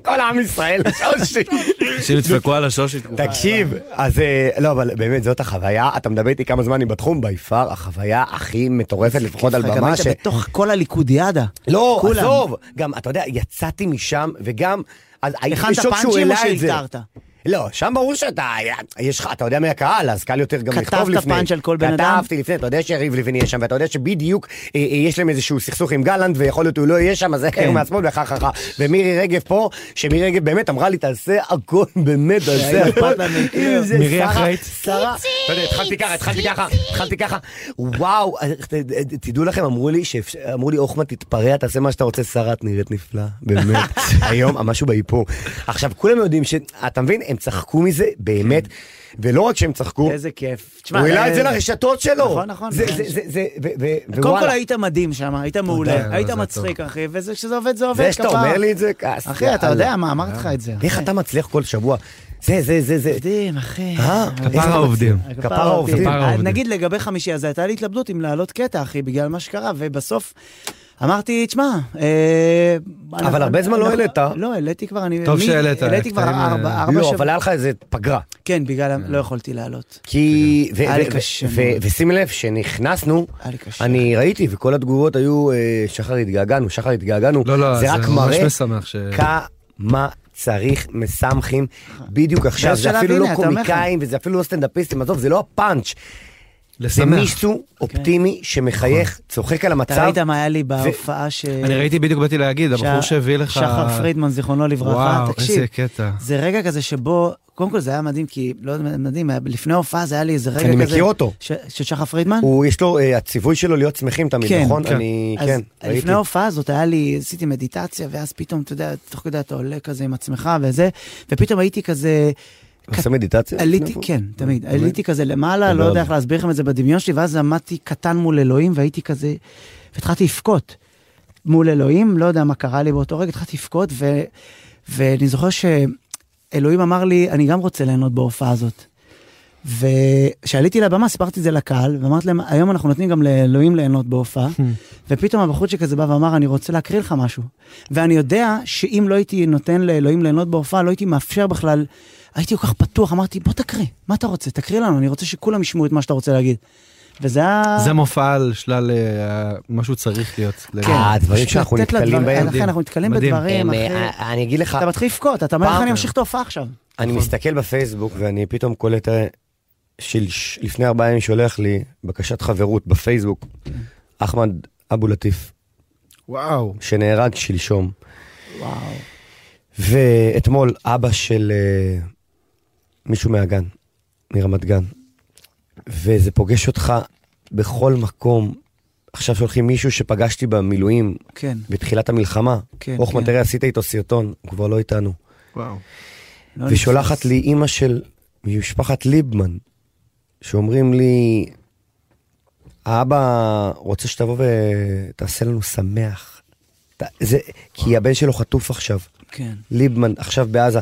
כל עם ישראל, שושי.
אנשים ידפקו על השושי.
תקשיב, אז אה, לא, אבל באמת זאת החוויה, אתה מדבר איתי כמה זמן אני בתחום, בי פאר החוויה הכי מטורפת לפחות על
גם
במה
היית
ש...
בתוך כל הליכודיאדה.
לא,
כולם.
עזוב, גם, אתה יודע, יצאתי משם, וגם, אז הייתי
הכנת
בשוק שהוא
פאנצ'ים או
העלה את זה.
שהלתרת?
לא, שם ברור שאתה, יש לך, אתה יודע מי הקהל, אז קל יותר גם
כתבת
לכתוב לפני.
פאנץ' על כל בן אדם?
כתבתי לפני, אתה יודע שיריב לוין יהיה שם, ואתה יודע שבדיוק אה, אה, יש להם איזשהו סכסוך עם גלנט, ויכול להיות הוא לא יהיה שם, אז איך
כן.
הוא מעצמו, וככה ככה. אה, ומירי רגב פה, שמירי רגב באמת אמרה לי, תעשה הכל, באמת, תעשה
היה
הכל.
אכפת לה מכלום.
אם זה
מירי
שרה-
אחראית.
שרה, אתה יודע, התחלתי ככה, התחלתי ככה, התחלתי ככה. וואו, אה, ת- ת- תדעו לכם, אמרו לי, שאפשר- אמרו לי, אוחמן, תתפרע, תעשה מה שאתה רוצה, שרה, את נראית נפלא, באמת. היום, משהו באיפור. עכשיו, כולם יודעים ש... אה, אתה מבין, הם צחקו מזה, באמת, ולא רק שהם צחקו,
איזה כיף. תשמע,
הוא העלה את זה
אה,
לרשתות שלו.
נכון, נכון,
זה,
נכון.
זה, זה, זה, ו- ו-
קודם כל
ווואלה.
היית מדהים שם, היית מעולה,
זה
היית
טוב.
מצחיק אחי, וכשזה עובד זה עובד.
זה שאתה
כפרה.
אומר לי את זה, כעס.
אחי, אתה יודע מה, אמרתי לך את זה.
איך
אחי.
אתה מצליח כל שבוע? זה, זה, זה, זה.
מדהים, אחי.
אה,
כפרה
איך אתה
עובדים.
מצליח? כפרה עובדים.
כפרה
אה,
עובדים.
נגיד לגבי חמישי, אז הייתה לי התלבטות אם להעלות קטע, אחי, בגלל מה שקרה, ובסוף אמרתי, תשמע, אה, אנחנו-
הרבה זמן לא
אנחנו-
העלית.
לא, העליתי כבר, אני...
טוב
מי-
שהעלית,
העליתי כבר
הקטעים,
ארבע,
אה,
ארבע
לא,
שבועות.
אבל היה לך איזה פגרה.
כן, בגלל... ה- לא יכולתי לעלות.
כי... ו-
כן. היה לי
ו-
קשה
ו-
מאוד.
ו- ושימי לב, שנכנסנו,
היה לי קשה.
אני ראיתי, וכל התגובות היו, אה, שחר התגעגענו, שחר התגעגענו.
לא, לא,
זה
זה
רק
ממש
מראה
משמח ש...
כמה צריך מסמכים בדיוק עכשיו. זה
שלב,
אפילו לא
הנה, אתה אומר לך.
קומיקאים, וזה אפילו לא סטנדאפיסטים, עזוב, זה לא הפאנץ'. זה
לשמח.
מישהו אופטימי שמחייך, צוחק על
אוקיי. נכון. אתה
המצב.
ראית מה היה לי בהופעה ש...
אני ראיתי בדיוק, באתי להגיד, הבחור
שה-
שהביא לך...
שחר פרידמן, זיכרונו לברכה,
וואו,
תקשיב.
איזה קטע.
זה רגע כזה שבו, קודם כל זה היה מדהים, כי לא יודע, מדהים, היה- לפני ההופעה זה היה לי איזה רגע כזה...
אני מכיר אותו.
ש- של שחר פרידמן?
הוא, יש לו, אה, הציווי שלו להיות שמחים תמיד,
כן,
נכון?
כן.
אני,
אז
כן, ראיתי.
לפני ההופעה הזאת היה לי, עשיתי מדיטציה, ואז פתאום, אתה יודע, תוך כדי אתה עולה כזה עם עצמך וזה, ופתאום הייתי כזה...
אתה עושה מדיטציה?
עליתי, כן, תמיד, עליתי כזה למעלה, לא
גדול.
יודע איך להסביר לכם את זה בדמיון שלי, ואז עמדתי קטן מול אלוהים והייתי כזה, והתחלתי לבכות מול אלוהים, לא יודע מה קרה לי באותו רגע, התחלתי לבכות, ו- ואני זוכר שאלוהים אמר לי, אני גם רוצה ליהנות בהופעה הזאת. וכשעליתי לבמה סיפרתי את זה לקהל, ואמרתי להם, היום אנחנו נותנים גם לאלוהים ליהנות בהופעה,
Hmm.
ופתאום הבחור שכזה בא ואמר, אני רוצה להקריא לך משהו. ואני יודע שאם לא הייתי נותן לאלוהים ליהנות בהופעה, לא הייתי מאפשר בכלל, הייתי כל כך פתוח, אמרתי, בוא תקריא, מה אתה רוצה? תקריא לנו, אני רוצה שכולם ישמעו את מה שאתה רוצה להגיד. וזה היה...
זה מופע על שלל אה, מה שהוא צריך להיות.
כן.
לגמרי.
הדברים
פשוט
אה, שאנחנו
לתת
נתקלים
לדברים-
בהם,
לכן אנחנו נתקלים
מדהים.
בדברים,
הם,
אחי.
אה, אני אגיד לך,
אתה מתחיל לבכות, אתה אומר, איך אני
פעם-
אמשיך את ההופעה עכשיו?
אני מסתכל בפייסבוק ואני פתאום קולט, אה, שלש- לפני ארבעה ימים שולח לי בקשת חברות בפייסבוק,
כן.
אחמד אבו לטיף,
וואו.
שנהרג שלשום,
וואו.
ואתמול אבא של אה, מישהו מהגן, מרמת גן, וזה פוגש אותך בכל מקום. עכשיו שולחים מישהו שפגשתי במילואים
כן,
בתחילת המלחמה.
כן,
אוחמן,
כן.
תראה, עשית איתו סרטון, הוא כבר לא איתנו.
וואו.
לא
ושולחת
נתפס.
לי אימא של משפחת ליבמן, שאומרים לי, האבא רוצה שתבוא ותעשה לנו שמח. ת- זה, כי הבן שלו חטוף עכשיו,
כן.
ליבמן עכשיו בעזה.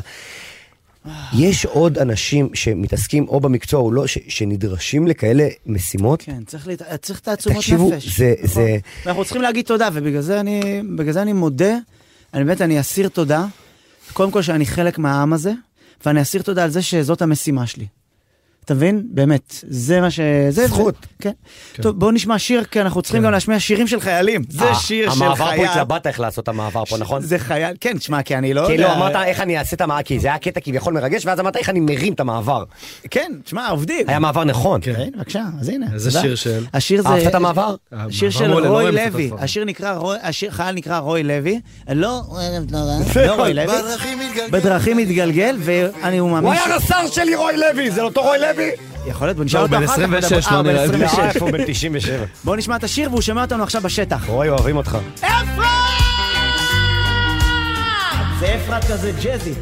יש עוד אנשים שמתעסקים או במקצוע או לא, ש, שנדרשים לכאלה משימות?
כן, צריך, להת... צריך את העצומות נפש.
תקשיבו, זה-
נכון.
זה-
ואנחנו צריכים להגיד תודה, ובגלל זה אני, בגלל זה אני מודה, אני באמת, אני אסיר תודה, קודם כל שאני חלק מהעם הזה, ואני אסיר תודה על זה שזאת המשימה שלי. אתה מבין? באמת, זה מה ש... זה
זכות.
זה, כן. כן. טוב, בואו נשמע שיר, כי אנחנו צריכים גם להשמיע שירים של חיילים. זה
ה-
שיר של חייל.
אה, המעבר פה התלבט איך לעשות את המעבר פה, נכון?
זה חייל, כן, תשמע, כי אני לא
כי
יודע...
לא, אמרת איך אני אעשה את המעבר, כי זה היה קטע כביכול מרגש, ואז אמרת איך אני מרים את המעבר.
כן, תשמע, עובדים.
היה מעבר נכון.
כן, בבקשה, אז הנה.
איזה
תודה.
שיר של?
השיר זה...
אהבת את המעבר?
שיר
המעבר
של
מעולה, לא
רוי
רואים את
לוי,
התופעה.
השיר נקרא, רוי- השיר חייל נקרא רוי לוי, לא לא רוי לוי, בדרכים מתגלגל, ואני הוא
הוא
מאמין,
היה רס"ר שלי רוי לוי, זה לא אותו רוי לוי?
ש- יכול להיות, בוא נשאל
לא,
אותו
בן
אחר כך,
26,
אה,
לא
בן
נראה לי.
26.
לא, איפה הוא בן 97?
בוא נשמע את השיר והוא שומע אותנו עכשיו בשטח.
רוי, אוהבים אותך.
זה אפרת כזה ג'אזי.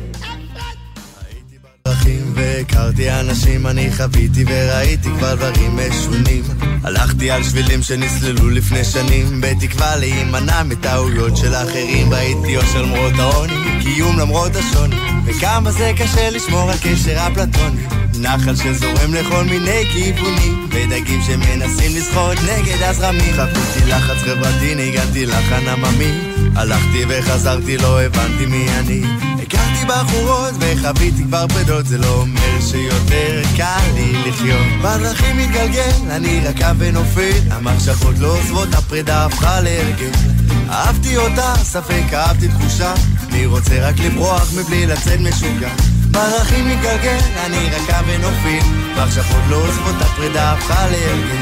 דרכים והכרתי אנשים, אני חוויתי וראיתי כבר דברים משונים. הלכתי על שבילים שנסללו לפני שנים, בתקווה להימנע מטעויות של האחרים. ראיתי יושר למרות העוני, קיום למרות השוני, וכמה זה קשה לשמור על קשר אפלטוני. נחל שזורם לכל מיני כיוונים, ודגים שמנסים לשחות נגד הזרמים. חוויתי לחץ חברתי, ניגנתי לחן עממי, הלכתי וחזרתי, לא הבנתי מי אני. הכרתי בחורות וחוויתי כבר פדות, זה לא אומר שיותר קל לי לחיות. בדרכים מתגלגל, אני רקע ונופל, המחשכות לא עוזבות, הפרידה הפכה להרגל. אהבתי אותה, ספק אהבתי תחושה, אני רוצה רק לברוח מבלי לצאת משוגע. בדרכים מתגלגל, אני רקע ונופל, והמחשכות לא עוזבות, הפרידה הפכה להרגל.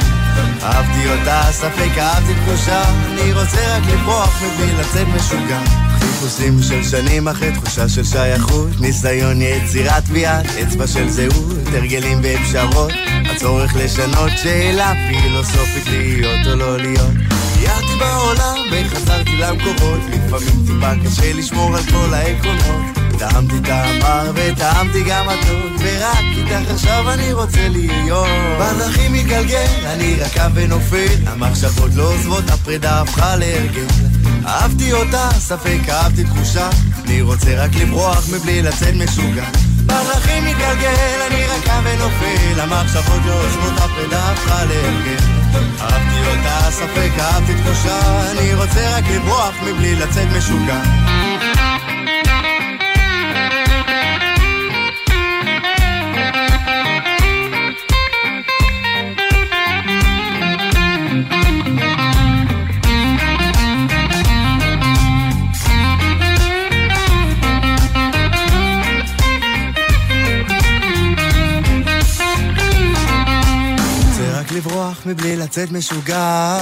אהבתי אותה, ספק אהבתי תחושה, אני רוצה רק לברוח מבלי לצאת משוגע. חיפושים של שנים אחרי תחושה של שייכות, ניסיון יצירת טביעת אצבע של זהות, הרגלים ואפשרות, הצורך לשנות שאלה פילוסופית להיות או לא להיות. סיירתי בעולם וחזרתי למקורות, לפעמים טיפה קשה לשמור על כל העקרונות. טעמתי את המר וטעמתי גם הטוב, ורק איתך עכשיו אני רוצה להיות. בדרכים מתגלגל, אני רקע ונופל, המחשבות לא עוזבות, הפרידה הפכה להרגל. אהבתי אותה, ספק אהבתי תחושה, אני רוצה רק לברוח מבלי לצאת משוגע. בדרכים מתגלגל, אני רקע ונופל, המחשבות לא עוזבות, הפרידה הפכה להרגל. אהבתי אותה, ספק אהבתי תחושה, אני רוצה רק לברוח מבלי לצאת משוגע. רוצה רק לברוח מבלי לצאת משוגע.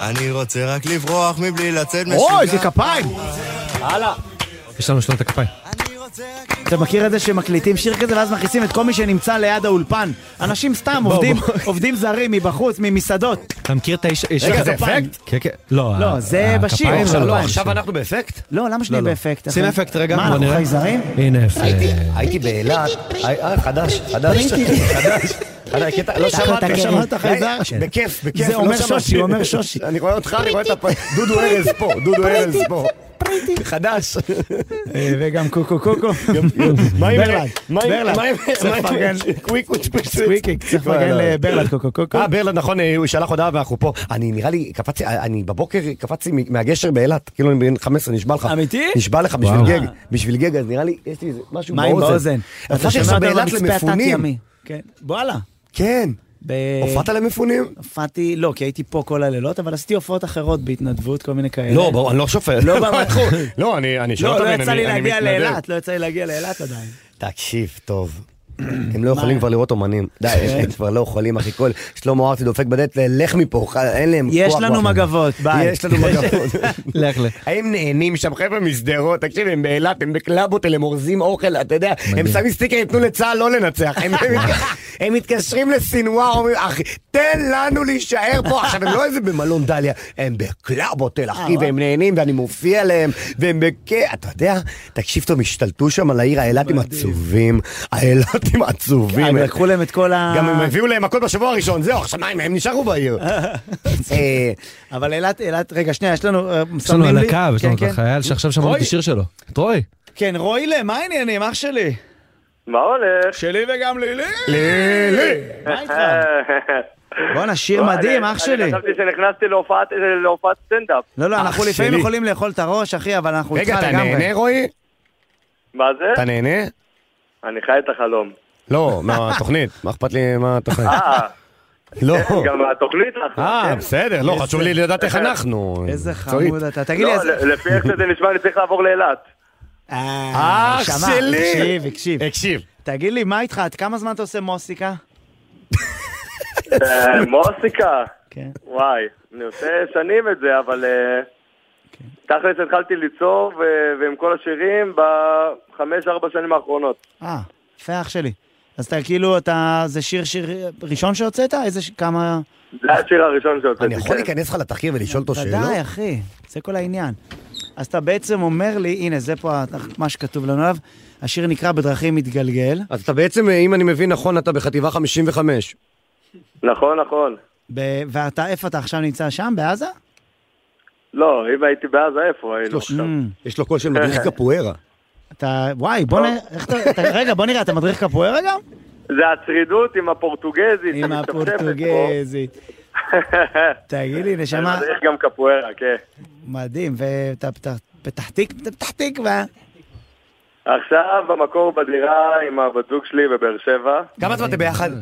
אני רוצה רק לברוח מבלי לצאת משוגע.
אוי, זה כפיים!
הלאה.
יש לנו שלום את הכפיים.
אני רוצה רק
אתה מכיר את זה שמקליטים שיר כזה ואז מכניסים את כל מי שנמצא ליד האולפן? אנשים סתם עובדים, עובדים זרים מבחוץ, ממסעדות.
אתה מכיר את האיש...
רגע, זה
הכפיים.
אפקט?
כן, כן. לא,
לא, זה
הכפיים
בשיר,
שלו.
עכשיו
עכשיו לא,
לא,
עכשיו אנחנו באפקט?
לא, למה שנהיה באפקט?
שים
אחי?
אפקט רגע,
מה,
בוא
אנחנו
נראה.
חייזרים?
הנה, יפה.
הייתי באילת, אה, חדש, חדש, חדש, חדש, קטע, לא שמעת,
אתה שמעת, חייזר?
אה, בכיף, בכיף,
זה
לא
אומר
שמעתי.
שושי, אומר שושי.
אני רואה אותך, אני רואה את הפ... דודו ארז פה, דודו ארז פה. חדש.
אה, וגם קוקו קוקו.
מה עם-
ברלנד,
מה עם-
ברלנד.
מה עם- מה
צריך
עם-
לפרגן
קוויקו צ'פצ'פ.
סוויקיק, צריך
כבר
לפרגן
לא.
לברלנד קוקו קוקו.
אה, ברלנד, נכון, אה, הוא שלח הודעה ואנחנו פה. אני נראה לי, קפצתי, אה, אני בבוקר קפצתי מ- מהגשר באילת, כאילו אני בן 15, נשבע לך.
אמיתי?
נשבע לך בשביל
וואו.
גג, בשביל גג, אז נראה לי, יש לי איזה משהו
מים
באוזן.
באוזן.
אתה שומע באילת למפונים.
התת-ימי. כן, וואלה.
כן.
ב-
הופעת למפונים?
הופעתי, לא, כי הייתי פה כל הלילות, אבל עשיתי הופעות אחרות בהתנדבות, כל מיני כאלה.
לא, ברור, אני לא שופט.
לא, ברור.
לא, אני, אני
לא,
שלא
לא
תבין,
יצא לי
אני, אני
להגיע
מתנדב.
לאילת, לא יצא לי להגיע לאילת עדיין.
תקשיב, טוב. הם לא יכולים כבר לראות אומנים. די, הם כבר לא יכולים, אחי. כל שלמה ארצי דופק בדלת, לך מפה, ח- אין להם כוח.
יש לנו
כבר.
מגבות, ביי.
יש לנו מגבות.
לך ל...
הם נהנים שם, חבר'ה משדרות, תקשיב, הם באילת, הם בקלאבות, הם אורזים אוכל, אתה יודע, הם שמים סטיקר, יתנו לצה"ל לא לנצח. הם- הם מת- הם מתקשרים לסינואר, אומרים, אחי, תן לנו להישאר פה. עכשיו, הם לא איזה במלון דליה, הם בקלאבות, אחי, והם נהנים, ואני מופיע להם, והם בכ... אתה יודע, תקשיב טוב, השתלטו שם על העיר, האילתים עצובים, האילתים עצובים.
אה, כן, הם לקחו להם את כל ה...
גם הם הביאו להם הכל בשבוע הראשון, זהו, עכשיו מה, הם- הם נשארו בעיר. אה,
אבל אילת, אילת, רגע, שנייה, יש לנו... אה,
יש לנו
מסמנים
על
לי-
הקו, יש
כן,
לנו את
כן.
החייל שעכשיו שמענו את
רועי.
השיר שלו. את רועי.
כן, רוילה, מה העניינים, אח שלי?
מה הולך?
שלי וגם לילי!
לילי.
מה איתך? בואנה, שיר מדהים, אח שלי.
לא, אני חשבתי שנכנסתי להופעת- להופעת סטנדאפ.
לא, לא,
אח
אנחנו לפעמים
שלי.
יכולים לאכול את הראש, אחי, אבל אנחנו איתך
רגע, אתה
לגמרי.
נהנה, רועי?
מה זה?
אתה נהנה?
אני חי את החלום.
לא, מהתוכנית, מה אכפת לי מה התוכנית?
אה,
לא.
כן, גם התוכנית לך.
אה,
כן.
בסדר, לא, חשוב לי לדעת איך אנחנו.
איזה
מקצועית.
חמוד אתה. תגיד
לא,
לי, איזה...
ל- לפי איך שזה נשמע, אני צריך לעבור לאילת.
אה,
אח
שמע,
שלי!
הקשיב, הקשיב.
תקשיב,
תגיד לי, מה איתך? עד כמה זמן אתה עושה מוסיקה?
אה, מוסיקה.
כן.
וואי, אני עושה שנים את זה, אבל... אה,
כן.
תכלס התחלתי ליצור, ו- ועם כל השירים, בחמש-ארבע שנים האחרונות.
אה, יפה, אח שלי. אז אתה כאילו, אתה... זה שיר שיר ראשון שהוצאת? איזה... ש- כמה...
זה השיר הראשון שהוצאתי.
אה, אני יכול
כן.
להיכנס לך לתחקיר ולשאול אותו שאלות?
ודאי, אחי, זה כל העניין. אז אתה בעצם אומר לי, הנה, זה פה ה- מה שכתוב לנו עליו, השיר נקרא בדרכים מתגלגל.
אז אתה בעצם, אם אני מבין נכון, אתה בחטיבה 55.
נכון, נכון.
ב- ואתה, איפה אתה עכשיו נמצא שם? בעזה?
לא, אם הייתי בעזה, איפה היינו?
שלוש.
עכשיו?
Mm,
יש לו קול של מדריך קפוארה.
אתה, וואי, בוא נראה, איך אתה, אתה- רגע, בוא נראה, אתה מדריך קפוארה גם?
זה הצרידות עם הפורטוגזית.
עם
שמשתפשפת פה.
הפורטוגזית. תגיד לי,
אני
נשמה,
מדריך גם קפוארה, כן.
מדהים, ואתה פתח- פתח תקווה, אתה פתח תקווה.
עכשיו במקור בדירה עם הבת זוג שלי בבאר שבע.
כמה זמן אתם ביחד? אה,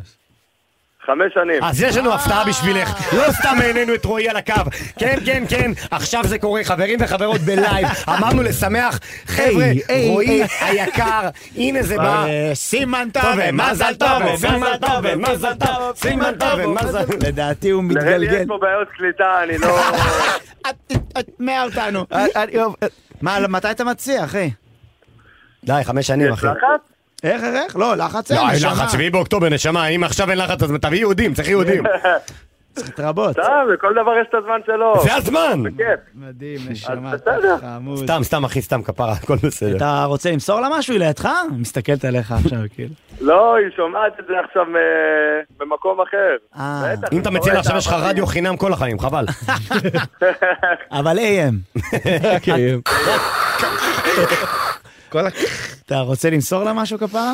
חמש שנים.
אז יש לנו הפתעה בשבילך, לא סתם העלינו את רועי על הקו. כן, כן, כן, עכשיו זה קורה, חברים וחברות בלייב. אמרנו לשמח, חבר'ה,
היי.
רועי היקר, הנה זה בא.
סימן
ומזל אה, טוב, ומזל טוב, ומזל טוב, סימן טוב, ומזל טוב.
לדעתי הוא
נראה לי
מתגלגל.
יש פה בעיות קליטה, אני לא...
את- את- את מאה אותנו. מה, מתי אתה מציע, אחי?
די, חמש שנים, אחי.
לחץ?
איך, איך, איך? לא, לחץ אין,
לא, אין
נשמה.
לחץ, 7 באוקטובר, נשמה, אם עכשיו אין לחץ, אז תביא יהודים, צריך יהודים.
צריך רבות.
סתם, לכל לא, דבר יש את הזמן שלו.
זה הזמן!
כן.
מדהים, נשמה.
אז בסדר.
חמוד.
סתם, סתם, אחי, סתם, כפרה, הכל בסדר.
אתה רוצה למסור לה משהו? היא לידך? היא מסתכלת עליך עכשיו, כאילו.
לא, היא שומעת את זה עכשיו אה, במקום אחר.
אה,
בטח,
אם אתה מציע לה עכשיו, יש לך
אהבתי.
רדיו חינם כל החיים, חבל.
אבל AM. כן. אתה רוצה למסור לה משהו כפרה?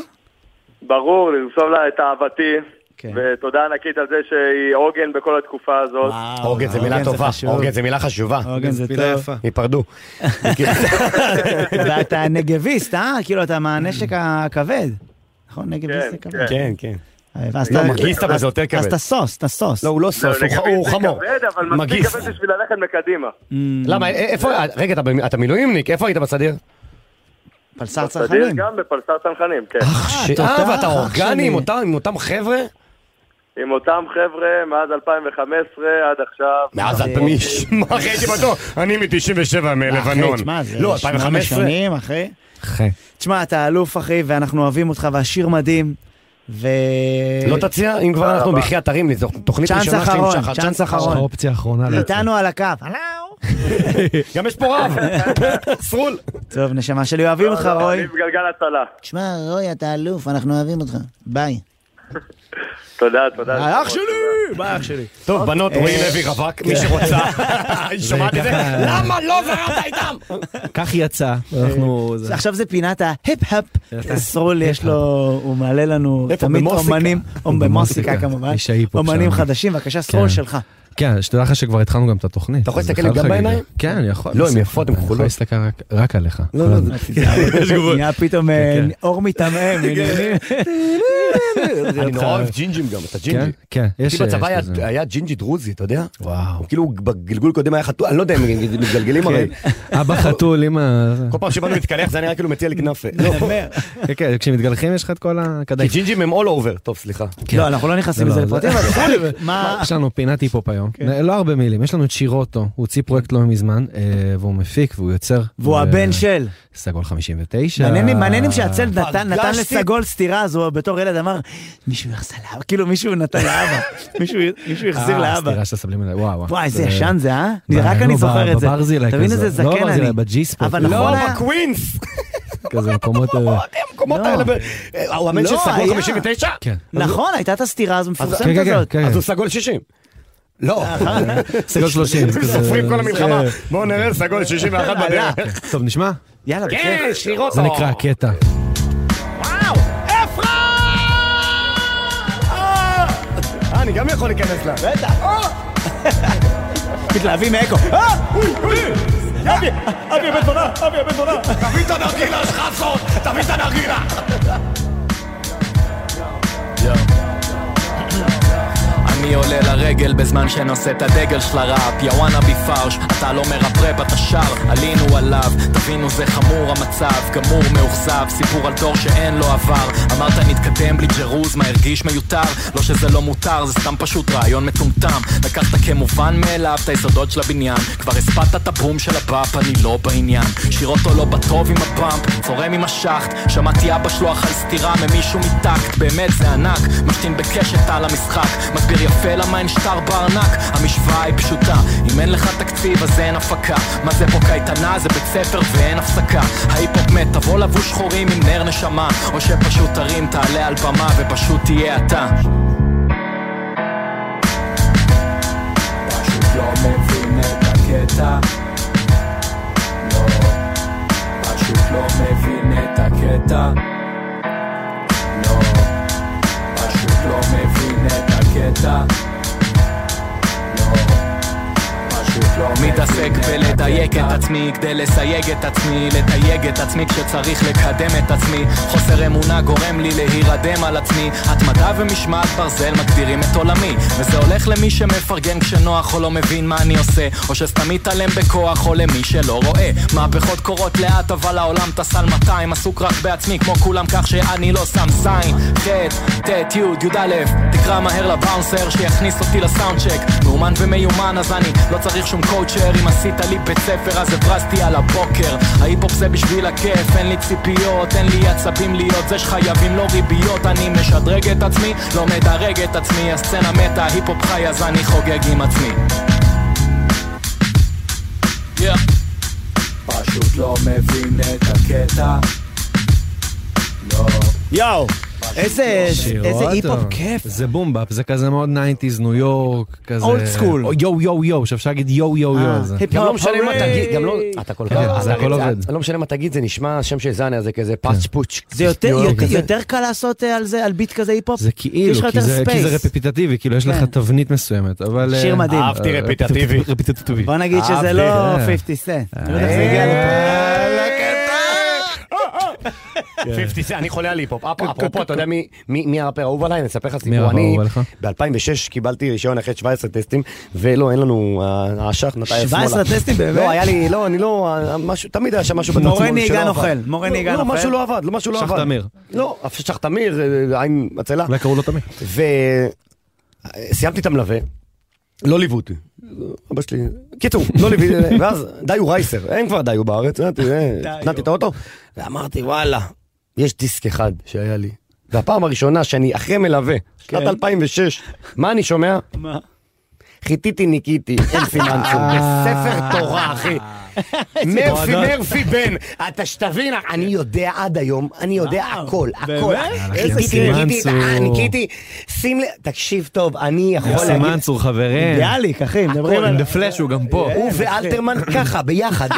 ברור, לרשום לה את אהבתי.
כן.
ותודה ענקית על זה שהיא עוגן בכל התקופה הזאת.
וואו,
עוגן זה אוקיי, מילה טובה,
אוקיי, חשוב.
עוגן זה מילה חשובה.
עוגן זה
מילה
טוב.
יפה.
ייפרדו.
ואתה נגביסט, אה? כאילו, אתה מהנשק הכבד. נכון? נגביסט זה כבד.
כן, כן.
אה, ואז
לא,
אתה-
מגיסט אבל זה יותר כבד.
אז אתה סוס, אתה סוס.
לא, הוא לא סוס, הוא ח-
לגבי
הוא
זה
חמור.
כבד, אבל מספיק
מגיס.
כבד בשביל ללכת מקדימה.
Mm.
למה, א- איפה, אה, רגע, אתה במ- אתה מילואימניק, איפה היית בסדיר?
פלסר
בסדיר
צנחנים.
גם בפלסר צנחנים, כן.
אה,
ש-
תותח,
אה, ואתה
אח
אורגני
שלי.
עם אותם- אה, עם אותם חבר'ה?
עם אותם חבר'ה מאז 2015 עד עכשיו.
מאז את מיש. אחי, הייתי בטוח, לא, אני מ-97 מלבנון.
אחי, תשמע, זה
לא,
שמונה
2015.
שנים, אחי.
אחי.
תשמע, אתה אלוף, אחי, ואנחנו אוהבים אותך, והשיר מדהים. ו...
לא תציע, אם כבר אנחנו בחייאת תרים לי, זו תוכנית
אה, צ'אנס
ראשונה שלי עם
אחרון,
שחר.
צ'אנס
יש
אחרון.
לך אופציה אחרונה. להצליח.
איתנו על הקו. הלו.
גם יש פה
אה,
רב. סרול.
טוב, נשמה שלי, אוהבים אותך, רוי.
לא, אני בגלגל הצלה.
תשמע, רוי, אתה אלוף, אנחנו אוהבים אותך. ביי.
תודה, תודה.
האח אה, שלי! אה, ביי, אח שלי.
טוב, בנות, רועי לוי רווק, מי שרוצה.
אה,
היא שומעת את זה?
ככה-
למה לא זרמת איתם?
כך יצא. אנחנו... זה-
עכשיו זה פינת ההיפ-הפ. סרול, יש לו, הוא מעלה לנו
איפה?
תמיד
במוסיקה.
אומנים, או במוסיקה
במוסיקה.
כמובן,
איש ההיפ-הופ
אומנים
שם.
חדשים, בבקשה, סרול
כן.
שלך.
כן, שתדע לך שכבר התחלנו גם את התוכנית.
אתה יכול
אז
להסתכל
בכלל
לי גם
חגיגה.
בעיניים?
כן, אני יכול.
לא, הן
בסדר.
יפות, הן
אני
כחולות. לא,
יכול להסתכל רק- רק עליך. כן. כל הזמן.
נהיה
כן,
פתאום אה, אור מיתמם, עניינים.
אני נורא אוהב ג'ינג'ים גם, אתה
כן,
ג'ינג'י.
כן, יש...
כי בצבא
יש
היה-
כזה.
היה ג'ינג'י דרוזי, אתה יודע?
וואו. כן.
כאילו בגלגול קודם היה חתול, אני לא יודע אם הם מתגלגלים הרי.
אבא חתול, אמא... זה.
כל פעם שבאנו להתקלח זה נראה כאילו מציע לי כנאפה. לא,
כן, כן, כשמתגלחים יש לך את כל
כי
הכדאי.
ג'ינג'ים הם all over. טוב, סליחה.
לא, אנחנו לא נכנסים
לא,
לזה
לא,
לפרטים, אבל סרוליק, מה...
יש לנו פינת היפ-הופ היום.
כן.
לא הרבה מילים, יש לנו את שירוטו, הוא הוציא פרויקט לא מזמן, אה, והוא מפיק והוא יוצר.
והוא
ו-
הבן של.
סגול אה, 59.
מעניין לי- מעניין אם שהצל נתן נתן
פגשתי-
לסגול סטירה, אז הוא בתור ילד אמר, מישהו יחזיר לאבא, כאילו מישהו נתן לאבא, מישהו מישהו החזיר
אה,
לאבא.
סטירה של הסבלימינל, וואו. וואו.
וואי, איזה
זה-
ישן זה, אה? רק אני
לא,
זוכר את זה.
בברזילי
אתה מבין
כזה.
איזה
לא
זקן
בברזילי,
אני.
בג'יספוט.
אבל
לא,
נכון
לא,
היה...
בקווינס.
כזה מקומות... אה,
המקומות
לא.
האלה. ב- אה, הוא המנט של
לא,
סגול
היה.
59?
כן.
נכון, הייתה את הסטירה הזו
כן,
מפורסמת
כן, כן,
הזאת.
כן.
אז הוא סגול 60. לא.
אה,
סגול 30. זה
הם
כזה-
סופרים כל המלחמה.
אה,
בואו נראה סגול 61 בדרך.
כן. טוב, נשמע?
יאללה,
כן,
כן,
בסדר.
שירות.
זה נקרא הקטע.
אה, אני גם יכול להיכנס לה.
מתלהבים מאקו. אה, אוי, אוי. אבי, אבי הבן תורה, אבי הבן תורה.
תביא את הנרגילה שלך סוד, תביא את הנרגילה.
אה,
אני עולה לרגל בזמן שנושא את הדגל של הראפ יא וואנה בי פרש, אתה לא מרפרפ, אתה שר, עלינו עליו תבינו זה חמור המצב, גמור מאוכזב, סיפור על תור שאין לו עבר אמרת נתקדם בלי ג'רוז, מה הרגיש מיותר? לא שזה לא מותר, זה סתם פשוט רעיון מטומטם לקחת כמובן מאליו את היסודות של הבניין כבר הספדת את הבום של הבאפ, אני לא בעניין שיר אותו לא בטוב עם הפאמפ, צורם עם השחט שמעתי אבא שלו אכל סטירה ממישהו מטקט באמת זה ענק, משתין בקשת על המשחק מסביר יפה למה אין שטר בארנק המשוואה היא פשוטה, אם אין לך תקציב אז אין הפקה מה זה פה קייטנה? זה בית ספר ואין הפסקה ההיפ-הופ מת, תבוא לבוש חורים עם נר נשמה או שפשוט תרים, תעלה על במה ופשוט תהיה אתה פשוט לא מבין את הקטע לא, פשוט לא מבין את הקטע לא, פשוט לא מבין את הקטע לא, פשוט לא מתעסק בלדייק את עצמי כדי לסייג את עצמי לתייג את עצמי כשצריך לקדם את עצמי חוסר אמונה גורם לי להירדם על עצמי התמדה ומשמעת ברזל מגדירים את עולמי וזה הולך למי שמפרגן כשנוח או לא מבין מה אני עושה או שסתם מתעלם בכוח או למי שלא רואה מהפכות קורות לאט אבל העולם טס על 200 עסוק רק בעצמי כמו כולם כך שאני לא שם זין ח' ט' י' י"א תקרא מהר לבאונסר שיכניס אותי לסאונד צ'ק מאומן ומיומן אז אני לא צריך שום קואוצ'ר אם עשית לי בית ספר אז הברזתי על הבוקר ההיפ-הופ זה בשביל הכיף אין לי ציפיות אין לי עצבים להיות זה שחייבים לא ריביות אני משדרג את עצמי לא מדרג את עצמי הסצנה מתה ההיפ-הופ חי אז אני חוגג עם עצמי Yeah. פשוט לא מבין את הקטע לא
יואו, איזה
שיר,
איזה
רואה
היפ-הופ
אותו.
כיף.
אה, זה בומבאפ, זה כזה מאוד 90's, ניו יורק, כזה...
Old school.
או יו יו יו, שאפשר להגיד יו יו יו.
אה,
זה.
היפ-הופ,
גם לא משנה מה
הורי!
תגיד, גם לא... אתה כל
כן,
כך...
זה
אתה-
הכל
אתה-
עובד. כן.
לא משנה מה תגיד, זה נשמע שם של זאנה, זה כזה פאץ' פוץ'.
זה יותר- יותר-
כזה.
יותר קל לעשות אה, על זה, על ביט כזה היפ-הופ?
זה כאילו,
יש לך
כי
יותר
זה- כי זה
ספייס.
רפפיטטיבי, כאילו יש לך
כן.
תבנית מסוימת, אבל...
שיר
אה,
מדהים.
אהבתי רפיטטיבי.
רפפיטטיבי.
בוא נגיד שזה
אהבתי.
לא
אה.
50 סנט. אני לא יודע איך זה הגיע לפה.
כן.
50 סנט, אני חולה על היפ-הופ.
כן,
אפ- אפרופו, אתה יודע מי- מי מי הראפר האהוב עליי? אני אספר לך סיפור.
הראפר
אני
האהוב עליך?
ב-2006 קיבלתי רישיון אחרי 17 טסטים, ולא, אין לנו, ה- האשך נטע שמאלה.
17 אה, טסטים, באמת?
לא, היה לי, לא, אני לא, משהו, תמיד היה שם משהו בתצמון.
מורה נהיגה
שלא עבד.
נוכל, מורה
לא,
נהיגה
לא,
נוכל.
משהו לא עבד, לא, משהו לא
שח
עבד.
תמיר.
לא, אף שח תמיר, אה, עין עצלה.
אולי קראו לו תמיד.
וסיימתי את המלווה, לא ליוו אותי. אבא שלי, קיצור, לא ליווי, ואז דיו רייסר, אין כבר דיו בארץ, נתתי אה, נתתי את האוטו, ואמרתי וואלה, יש דיסק אחד שהיה לי. והפעם הראשונה שאני אחרי מלווה, שנת 2006, מה אני שומע?
כן. מה?
חיטיתי ניקיתי, אין סימן צור, אה,
אה.
בספר תורה אחי. מרפי מרפי בן, אתה שתבין, אני יודע עד היום, אני יודע הכל, הכל.
איזה
חיטיתי ניקיתי,
סימן
אה,
צור.
ניקיתי, שים לב, תקשיב טוב, אני יכול להגיד
סימנצור אה, חברים.
ביאליק, אחי, מדברים על...
In
אה,
the flash הוא גם פה. אה,
הוא ואלתרמן ככה, ביחד.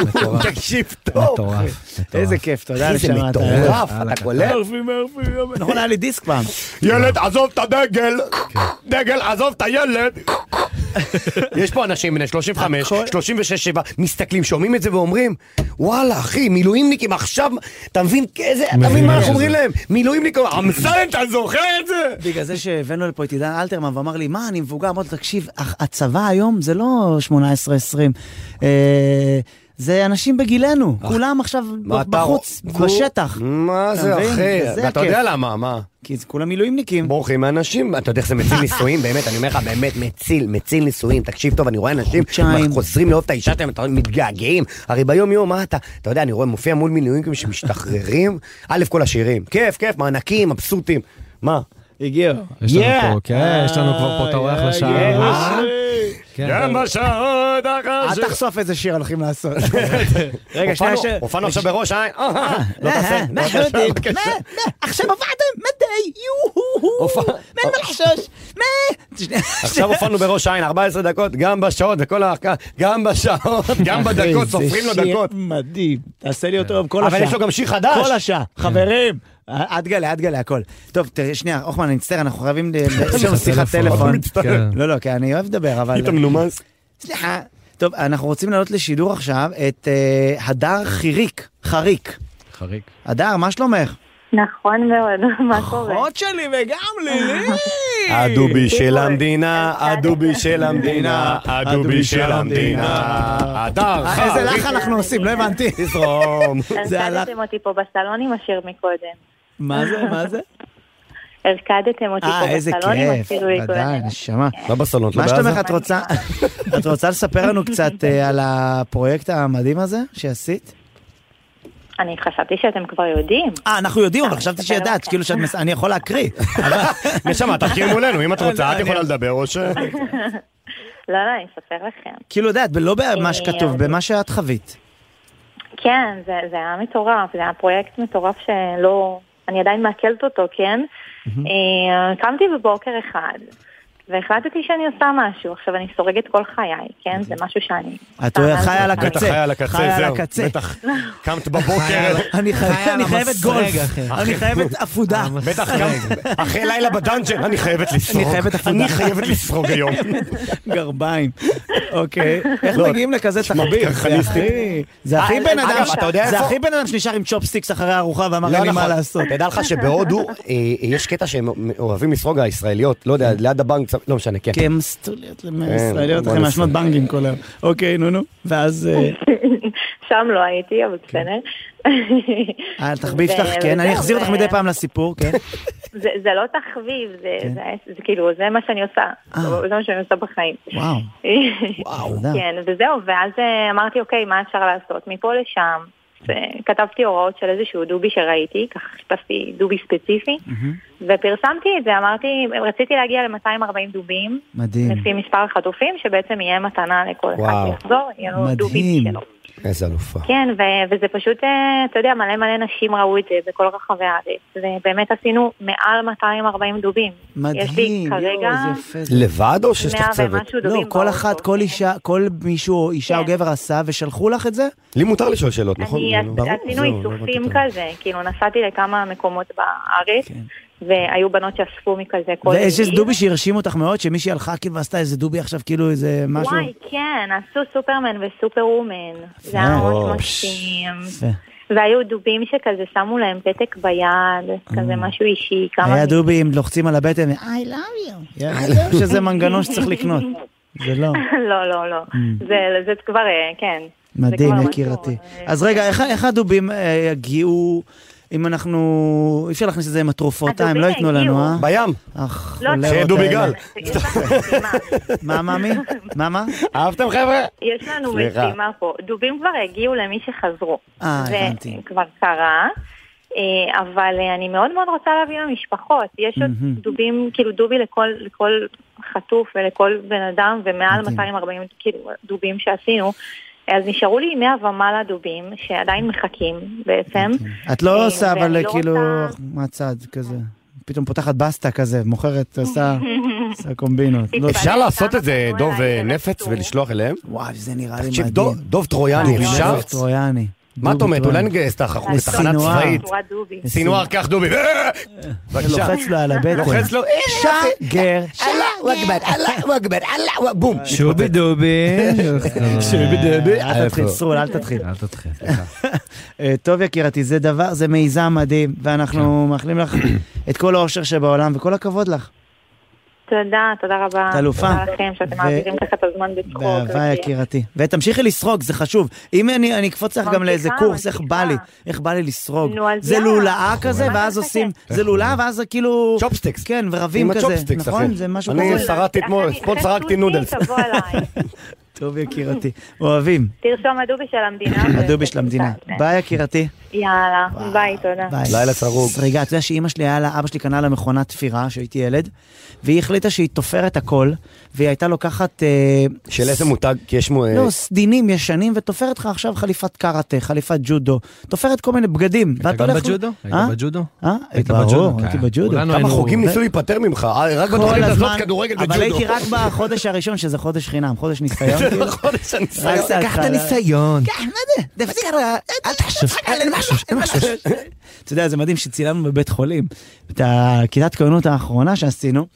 תקשיב טוב.
מטורף.
איזה אה, כיף, תודה
אחי, זה
נשמה. אתה-
מטורף, אתה קולט?
נכון, היה לי דיסק פעם.
ילד, עזוב את הדגל! דגל, עזוב את הילד! יש פה אנשים בני 35, 36, 7, מסתכלים, שומעים את זה ואומרים, וואלה, אחי, מילואימניקים עכשיו, אתה מבין איזה, אתה מבין מה אנחנו אומרים להם? מילואימניקים, אמסלם, אתה זוכר את זה?
בגלל זה שהבאנו לפה את עידן אלתרמן ואמר לי, מה, אני מבוגר, אמרתי, לו, תקשיב, הח- הצבא היום זה לא 18-20. אה, זה אנשים בגילנו, כולם עכשיו
מה אתה-
בחוץ,
כו-
בשטח.
מה
אתה
זה
מבין?
אחי?
זה
ואתה
הכיף.
יודע למה, מה?
כי זה כולם מילואימניקים.
בורחים מהנשים, אתה יודע איך זה מציל נישואים, באמת, אני אומר לך, באמת, מציל, מציל נישואים, תקשיב טוב, אני רואה אנשים,
חודשיים.
כבר חוזרים לאהוב את האישה שלהם, אתה רואה, מתגעגעים, הרי ביום יום, מה אתה, אתה יודע, אני רואה, מופיע מול מילואימניקים שמשתחררים, א' כל השירים, כיף, כיף, מענקים, מבסוטים, מה?
הגיעו.
יש לנו
Yeah.
פה, כן, יש לנו כבר פה את
אה,
האורח לשעה. כן,
בשעות
אל תחשוף איזה שיר הולכים לעשות. רגע, שנייה, ש...
הופענו עכשיו בראש העין, אה, אה, אה, לא תעשה, לא
מה,
תעשה,
מה,
בבקשה.
מה, מה, עכשיו עבדתם? מתי? יוהו.
הופעה-
מה, אין מה לחשוש? מה? שנייה,
עכשיו הופענו בראש העין, 14 דקות, גם בשעות, וכל ה... גם בשעות, גם בדקות,
אחי, זה
סופרים לו
שיר
דקות. אה.
מדהים. תעשה לי אותו יום כל השעה.
אבל יש לו גם שיר חדש. אה.
כל השעה. חברים. עד גלה, עד גלה, הכל. טוב, תראה, שנייה, הוחמן, אני מצטער, אנחנו חייבים... ל- יש לנו שיחת טלפון.
כן.
לא, לא, כי אני אוהב לדבר, אבל... אה,
היית מנומס.
סליחה. טוב, אנחנו רוצים לעלות לשידור עכשיו את אה, הדר חיריק. חריק.
חריק.
הדר, מה שלומך?
נכון מאוד, מה קורה?
אחות שלי וגם לילי!
הדובי של המדינה, הדובי של המדינה, הדובי של המדינה. הדר,
אה, איזה לך אנחנו עושים, לא הבנתי.
תזרום.
זה הלך-
הרקדתם אותי פה בסלון עם השיר מקודם.
מה זה, מה זה?
הרקדתם אותי
אה,
פה
איזה
בסלון עם
כיף.
השיר
ודאי,
מקודם.
נשמה.
לא בסלון,
מה שלומך, את רוצה את רוצה לספר לנו קצת אה, על הפרויקט המדהים הזה שעשית?
אני חשבתי שאתם כבר יודעים.
אה, אנחנו יודעים, אבל חשבתי שידעת, כאילו שאת... מס- אני יכול להקריא.
נשמה, תחקיר מולנו, אם את רוצה, את
אני-
יכולה לדבר או ש...
אה,
לא, לא, אני אספר לכם.
כאילו, יודעת, לא במה שכתוב,
אה,
במה שאת חווית.
כן, זה, זה היה מטורף, זה היה פרויקט מטורף שלא... אני עדיין מעכלת אותו, כן? אה, קמתי בבוקר אחד, והחלטתי שאני עושה משהו. עכשיו, אני סורגת כל חיי, כן? זה משהו שאני...
את
עושה.
חיה על
בטח
הקצה.
חיה על הקצה,
חיה על
זהו.
הקצה.
בטח קמת בבוקר,
אני חי-
חיה על
אני חייבת
המסרג,
גולף,
אחי.
אני חייבת עפודה.
בטח קמת, אחרי לילה בדאנג'ן, אני חייבת לסרוג.
אני חייבת עפודה.
אני חייבת לסרוג היום.
גרביים. אוקיי. איך
לא,
מגיעים לכזה תחביב? זה הכי- זה הכי
אה,
בן
אגב,
אדם
אתה יודע
ש- זה
איפה-
הכי בן אדם שנשאר עם צ'ופסטיקס אחרי הארוחה ואמר
לא
אין לי מה
נכון.
לעשות.
תדע לך שבהודו אה, יש קטע שהם אוהבים לסרוג הישראליות, לא יודע, ליד הבנק, לא משנה, כן.
כי הם סטוליות למאה
כן,
ישראליות,
בוא
אחרי
נסה.
מעשנות בנגים כל היום. אוקיי, נו נו. ואז אה,
שם לא הייתי,
כן.
אבל בסדר.
התחביב
ו-
שלך, כן, אני
וזהו,
אחזיר אותך
ו-
מדי פעם לסיפור, כן.
זה זה לא תחביב, זה-
כן.
זה זה כאילו, זה מה שאני עושה.
אה.
זה מה שאני עושה בחיים.
וואו. וואו. תודה.
כן, וזהו, ואז אה, אמרתי, אוקיי, מה אפשר לעשות? מפה לשם. ו- כתבתי הוראות של איזשהו דובי שראיתי, ככה חיפשתי דובי ספציפי, ופרסמתי את זה, אמרתי, רציתי להגיע ל-240 דובים,
מדהים.
לפי מספר החטופים, שבעצם יהיה מתנה לכל אחד
וואו.
שיחזור, יהיה לו דובי
מדהים.
שלו.
איזה אלופה.
כן, ו- וזה פשוט, אה, אתה יודע, מלא מלא נשים ראו את זה בכל רחבי הארץ, ובאמת עשינו מעל 240 דובים.
מדהים,
יש לי
יואו,
כרגע...
זה יפה. זה-
לבד או שיש לך
מאה
צוות?
ומשהו
לא,
דובים
כל
באוטו. כן.
אחת, כל אישה, כל מישהו, או אישה או גבר עשה, ושלחו לך את זה?
לי מותר לשאול שאלות, נכון?
אני,
ברור,
עשינו
זהו, לא
איסופים
הבנתי את ה-
כזה, כאילו נסעתי לכמה מקומות בארץ,
כן.
והיו בנות שאספו מכזה כל
ואיזה
עיר.
דובי שהרשים אותך מאוד, שמישהי הלכה כאילו ועשתה איזה דובי עכשיו, כאילו איזה משהו?
וואי, כן, עשו סופרמן וסופר וומן. זה היה
וואו,
ממש
פש.
מקסים.
יפה.
והיו דובים שכזה שמו להם פתק ביד, כזה משהו אישי, כמה...
אה. היה
מ-
דובי, אם לוחצים על הבטן, I love you. Yeah, שזה מנגנון שצריך לקנות. זה לא, Mm.
לא, לא, לא. זה זה כבר, אה, כן. זה
מדהים,
כבר
יקירתי.
משהו, אה,
אז רגע, איך- איך הדובים אה, יגיעו, אם אנחנו... אי אפשר להכניס את זה עם התרופות, אה, הם לא
הדובים
ייתנו לנו,
יגיעו.
אה?
בים,
אך,
לא,
חולרות
שיהיה דובי
האלה.
גל.
יש לנו משימה.
מה, מה, מי? מה, מה?
אהבתם חבר'ה?
יש לנו
סליחה.
משימה פה. דובים כבר הגיעו למי שחזרו.
אה, הבנתי.
זה כבר קרה. אה, אבל אה, אני מאוד מאוד רוצה להביא למשפחות. יש עוד
מהמם.
דובים, כאילו דובי לכל, לכל חטוף ולכל בן אדם, ומעל
מדהים.
240 כאילו, דובים שעשינו. אז נשארו לי 100 ומעלה דובים שעדיין מחכים בעצם.
את לא
אה,
עושה,
ואני
אבל
לא
כאילו,
רוצה-
מהצד, כזה. פתאום פותחת בסטה כזה, מוכרת, עושה עושה קומבינות. לא,
תתפלא.
אפשר לעשות את זה
כמה
דוב
פנו אליי,
אה,
זה לא
נפץ
קשור.
ולשלוח אליהם?
וואי, זה נראה לי
תקשיב,
מדהים.
דוב- דוב טרויאני,
אה,
אפשר?
דוב טרויאני.
מה את
דובי
אומרת? אולי
טרויאני.
נגייס את החוק
לעשות
בתחנה
סינואר.
צבאית.
צורת דובי.
סינואר, קח דובי. אה, בבקשה.
לוחץ לו על הבטן.
לוחץ לו.
שגר.
אללה וואגבר, אללה וואגבר, אללה בום.
שובי דובי.
שובי דובי.
אל תתחיל, סרול, אל תתחיל.
אל תתחיל.
אה, טוב, יקירתי, זה דבר, זה מיזם מדהים, ואנחנו
כן.
מאחלים לך את כל האושר שבעולם, וכל הכבוד לך.
תודה, תודה רבה.
את אלופה.
תודה לכם שאתם
ו-
מעבירים ככה את הזמן בצחוק.
באהבה,
וכיף.
יקירתי. ותמשיכי לסרוג, זה חשוב. אם אני אני אקפוץ לך גם
ממשיכה,
לאיזה קורס, איך
ממשיכה.
בא לי, איך בא לי לסרוג.
נו, אז
זה
יאללה.
לולאה כזה,
מה
ואז
אתה
עושים,
מחכה?
זה לולאה, ואז זה כאילו...
צ'ופסטיקס.
כן, ורבים
עם
כזה,
הצ'ופסטיקס,
נכון?
אחי.
זה משהו
אני
כזה.
שרדתי אתמול,
אחרי-
אתמול
אחרי
שרקתי נודלס.
תבוא אליי.
טוב, יקירתי. אוהבים,
תרשום הדובי של המדינה.
הדובי של המדינה. ביי, יקירתי.
יאללה, ביי, תודה.
ביי.
לילה צרוג.
סריגה, אתה יודע שאימא שלי היה לה, אבא שלי קנה לה מכונת תפירה כשהייתי ילד, והיא החליטה שהיא תופרת הכל, והיא הייתה לוקחת... אה,
של איזה מותג? כי יש מו... אה,
לא, סדינים ישנים, ותופרת לך עכשיו חליפת קראטה, חליפת ג'ודו, תופרת כל מיני בגדים. ואת
היית גם
הולכת-
בג'ודו? היית
אה?
בג'ודו?
אה?
היית
ברור,
בג'ודו?
הייתי
כן.
בג'ודו.
כולנו
כמה
היינו-
חוגים ניסו להיפטר ממך, אה, רק בתוכנית
כל
הזאת
הזמן,
כדורגל בג'ודו.
אבל הייתי רק בחודש הראשון, שזה חודש חינם, חודש ניסיון. כאילו.
חודש הניסיון.
רק זה התחלה.
הניסיון.
תפסיק, אל תחשוב, אה,
אה,
אין משהו, אין משהו. אתה יודע, זה מדהים שצילמנו בבית חולים, את הכיתת כהנות האחרונה שעשינו,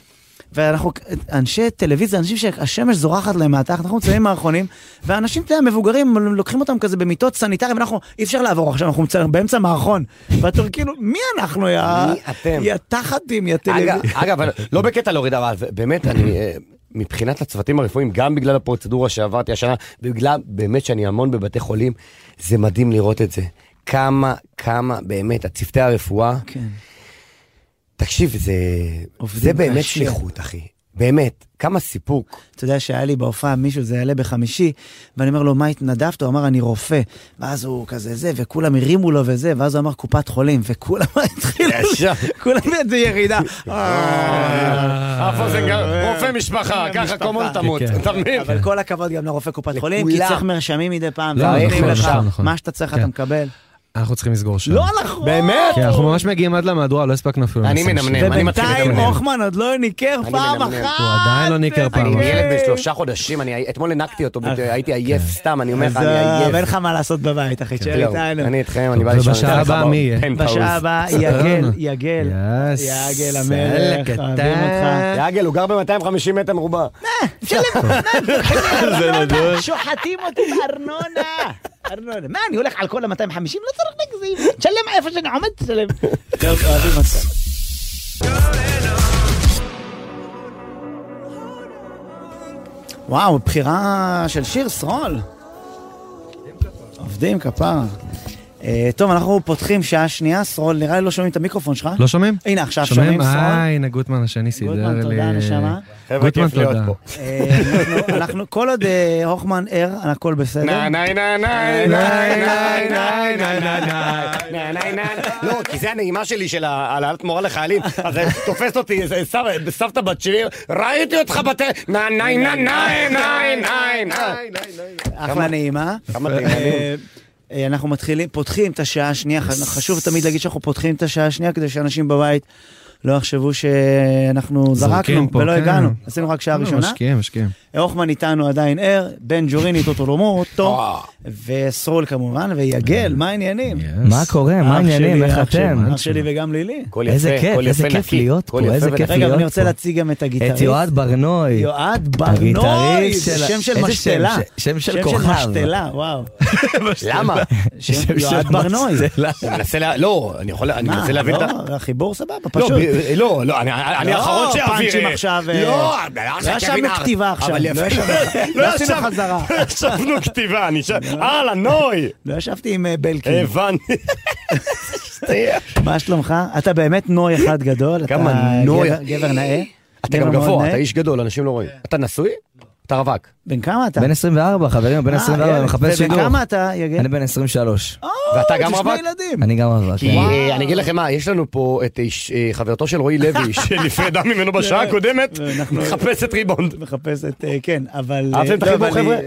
ואנחנו, אנשי טלוויזיה, אנשים שהשמש זורחת להם מהתחת, אנחנו מצלמים מערכונים, ואנשים, אתה יודע, מבוגרים, לוקחים אותם כזה במיטות סניטריים, אנחנו, אי אפשר לעבור עכשיו, אנחנו מצלמים באמצע מערכון, ואתה כאילו, מי אנחנו, יא...
מי אתם?
יא תחתים, יא
אגב-
טלוויזיה.
אגב, אבל לא בקטע להוריד, אבל באמת, אני... אה, מבחינת הצוותים הרפואיים, גם בגלל הפרוצדורה שעברתי השנה, ובגלל באמת שאני המון בבתי חולים, זה מדהים לראות את זה. כמה, כמה באמת, הצוותי הרפואה,
כן.
תקשיב, זה,
עובדים
זה באמת
קשה.
שליחות, אחי. באמת, כמה סיפוק.
אתה יודע שהיה לי בהופעה מישהו, זה יעלה בחמישי, ואני אומר לו, מה התנדבת? הוא אמר, אני רופא. ואז הוא כזה זה, וכולם הרימו לו וזה, ואז הוא אמר, קופת חולים, וכולם התחילו,
ישר.
כולם באיזה ירידה.
אה, אף אוזן גרון, רופא משפחה, ככה כל מול תמות,
כן, כן.
אתה מבין?
אבל כל הכבוד גם לרופא קופת חולים, כי
לכולם.
צריך מרשמים מדי פעם,
לא,
ונותנים
נכון,
לך
נכון, נכון.
מה שאתה צריך אתה
כן.
מקבל.
אנחנו צריכים לסגור שם.
נכון.
באמת?
כן, אנחנו ממש מגיעים עד למהדורה, לא הספקנו אפילו.
אני
לנסות.
מנמנם. אני מתחיל
ובינתיים
לדמיין.
הוכמן עוד לא ניקר
אני
פעם אחת.
מדמיין.
הוא עדיין לא ניקר פעם
אני
אחת.
ילד בן שלושה חודשים, אני אתמול הנקתי אותו, בדיוק, הייתי עייף סתם, אני אומר לך,
אה, אוקיי. אז
אני
אה, אין
עייף.
לך מה לעשות בבית, אחי, תשאר
זהו,
איתנו.
אני איתכם, אני בא
כן. טוב,
לישון.
ובשעה
אני אתן לך
הבאה
ב-
מי יהיה?
פנטהאוז.
בשעה הבאה, יגל, יגל,
יס,
יגל המלך,
יאללה,
אוהבים
אה.
אותך.
קטן.
יעגל, הוא גר ב-250 מטר מרובע.
אה,
זה נדון.
שוחטים אותי בארנונה. ארנונה. מה, אני הולך על כל ה-250? לא צריך להגזים. תשלם איפה שאני עומד, תשלם. טוב, אוהבים אותך. וואו, בחירה של שיר סרול. עובדים כפרה. אה, אה, טוב, אנחנו פותחים שעה שנייה, סרול, נראה לי לא שומעים את המיקרופון שלך.
לא שומעים?
הנה, עכשיו שומעים,
אה,
סרול.
הנה גוטמן השני סידר לי.
גוטמן, תודה, נשמה.
חבר'ה, כיף להיות פה.
אה, אנחנו- אנחנו, כל עוד אה, הוכמן ער, הכל בסדר.
נה נה נה נה נה נה נה נה נה נה נה לא, כי זה הנעימה שלי של העלאת מורה לחיילים. אז תופסת אותי זה סב- סבתא בת שלי, ראיתי אותך בטל... נה נה נה נה נה נה נה
אחלה נעימה.
כמה תימנים.
אה, אה, אנחנו מתחילים, פותחים את השעה השנייה, ח- חשוב תמיד להגיד שאנחנו פותחים את השעה השנייה כדי שאנשים בבית לא יחשבו שאנחנו
זורקים
זרקנו
פה,
ולא
כן.
הגענו, עשינו רק שעה
לא,
ראשונה.
משקיעים, משקיעים.
הוכמן איתנו עדיין ער, בן ג'וריני טוטו לומוטו,
אה.
וסרול כמובן, ויגל, מה העניינים?
מה קורה? מה
אח
העניינים?
שלי,
איך
אח שלי,
אתם?
אה. אח שלי וגם לילי.
קול
איזה
יפה,
כיף,
קול
איזה
יפה
כיף
נקי,
להיות
קול
פה,
יפה
איזה
ונקי.
כיף
רגע, אבל אני
להיות
רוצה
פה.
להציג גם את
את
הגיטריסט.
יועד ברנוי.
יועד ברנוי,
הגיטריסט
זה
של-
שם של
איזה שם?
משתלה.
ש- שם של
שם
כוכב.
של משתלה, וואו.
למה?
שם
של
יועד ברנוי.
מצלע.
אני מנסה לה... לא, אני יכול... אני
מה,
מנסה להבין את ה...
לא, החיבור סבבה,
לא,
פשוט.
ב- לא, לא, אני- אני
לא,
האחרון שאעביר.
פאנצ'ים עכשיו, אה,
לא,
לא ישבנו כתיבה עכשיו, לא ישבנו- לא עשינו חזרה.
לא ישבנו כתיבה, אני שם... הלאה, נוי!
לא ישבתי עם אה, בלקין.
הבנתי.
מה שלומך? אתה באמת נוי אחד גדול.
כמה
אתה
נוי.
אה,
אה,
גבר- גבר נאה.
אתה
גבר
גם
מאוד
גבוה,
נאה.
אתה איש גדול, אנשים לא רואים. אתה נשוי? אתה רווק.
בן כמה אתה?
בן 24, חברים, בן
אה,
24,
לא,
ילד.
אני מחפש שידור.
ובן כמה אתה, יגל?
אני בן 23.
ואתה גם
יש
רווק?
שני ילדים.
אני גם רווק. כן.
כי אה, אני אגיד לכם מה, יש לנו פה את איש- אה, חברתו של רועי לוי, שנפרדה ממנו בשעה הקודמת,
ואנחנו-
מחפשת ריבאונד.
לא, מחפשת, אה, כן, אבל...
אהבתם את
לא,
החיבור,
אבל אני-
חבר'ה?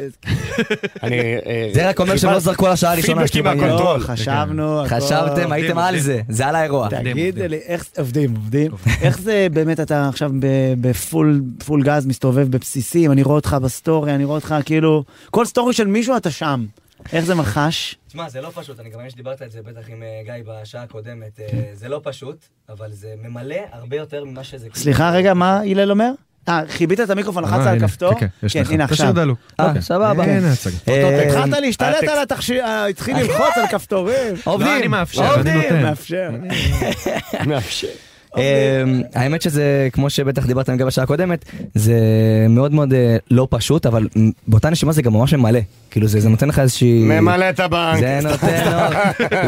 אני... אה,
זה רק אומר שהם לא זרקו על השעה הראשונה
פידבקים
שאתם
מהקונטרול.
לא,
קונטרול.
חשבנו, הכל-
כן. חשבתם, הייתם על זה, זה על האירוע.
תגיד לי, איך... עובדים, עובדים. איך זה באמת, אתה עכשיו ב- בפול פול גז מסתובב בבסיסים, אני רואה אותך בסטורי, אני רואה אותך כאילו... כל סטורי של מישהו אתה שם. איך זה מחש?
תשמע, זה לא פשוט, אני גם מבין שדיברת על זה בטח עם אה, גיא בשעה הקודמת, אה, זה לא פשוט, אבל זה ממלא הרבה יותר ממה שזה... כאילו
סליחה, רגע, מה הלל אומר? אה, חיבית את המיקרופון, לחצת
אה,
על
הנה,
כפתור?
כן, כן, יש
כן,
לך.
הנה עכשיו.
תשאיר דלוק.
אה,
אוקיי.
סבבה.
הנה הצגה.
אה,
התחלת להשתלט
הטקסט.
על התכשיר, אה, התחיל ללחוץ על כפתורים.
עובדים.
לא, אני מאפשר, אני
עובדים.
נותן.
מאפשר.
מאפשר.
אמ, האמת שזה, כמו שבטח דיברתם גם בשעה הקודמת, זה מאוד מאוד אה, לא פשוט, אבל מ, באותה נשימה זה גם ממש ממלא. כאילו זה זה נותן לך איזושהי...
ממלא את הבנק.
זה נותן עוד.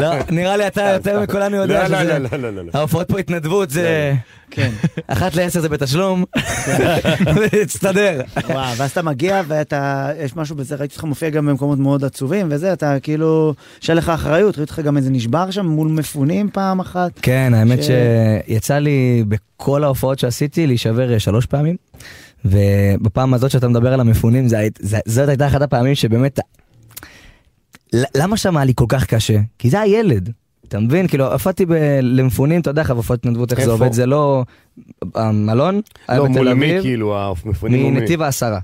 לא, נראה לי אתה יותר מכולנו יודע
לא, לא,
שזה...
לא, לא, לא, לא, לא.
ההופעות פה התנדבות זה... כן. אחת לעשר זה בתשלום. תסתדר.
וואו, ואז אתה מגיע ואתה, יש משהו בזה, ראיתי אותך מופיע גם במקומות מאוד עצובים וזה, אתה כאילו, יש עליך אחריות, ראיתי אותך גם איזה נשבר שם מול מפונים פעם אחת.
כן, האמת
ש-
שיצא לי בכל ההופעות שעשיתי להישבר אה, שלוש פעמים. ובפעם הזאת שאתה מדבר על המפונים, זה היית- זה- זאת הייתה אחת הפעמים שבאמת... ל- למה שם היה לי כל כך קשה? כי זה הילד. אתה מבין? כאילו, עפתי ב... למפונים, אתה יודע איך עופות התנדבות, איך זה
איפה?
עובד, זה לא... המלון?
אה,
היה
לא,
בתל
מול
אביב,
מי, כאילו, המפונים מול מי.
מנתיב העשרה.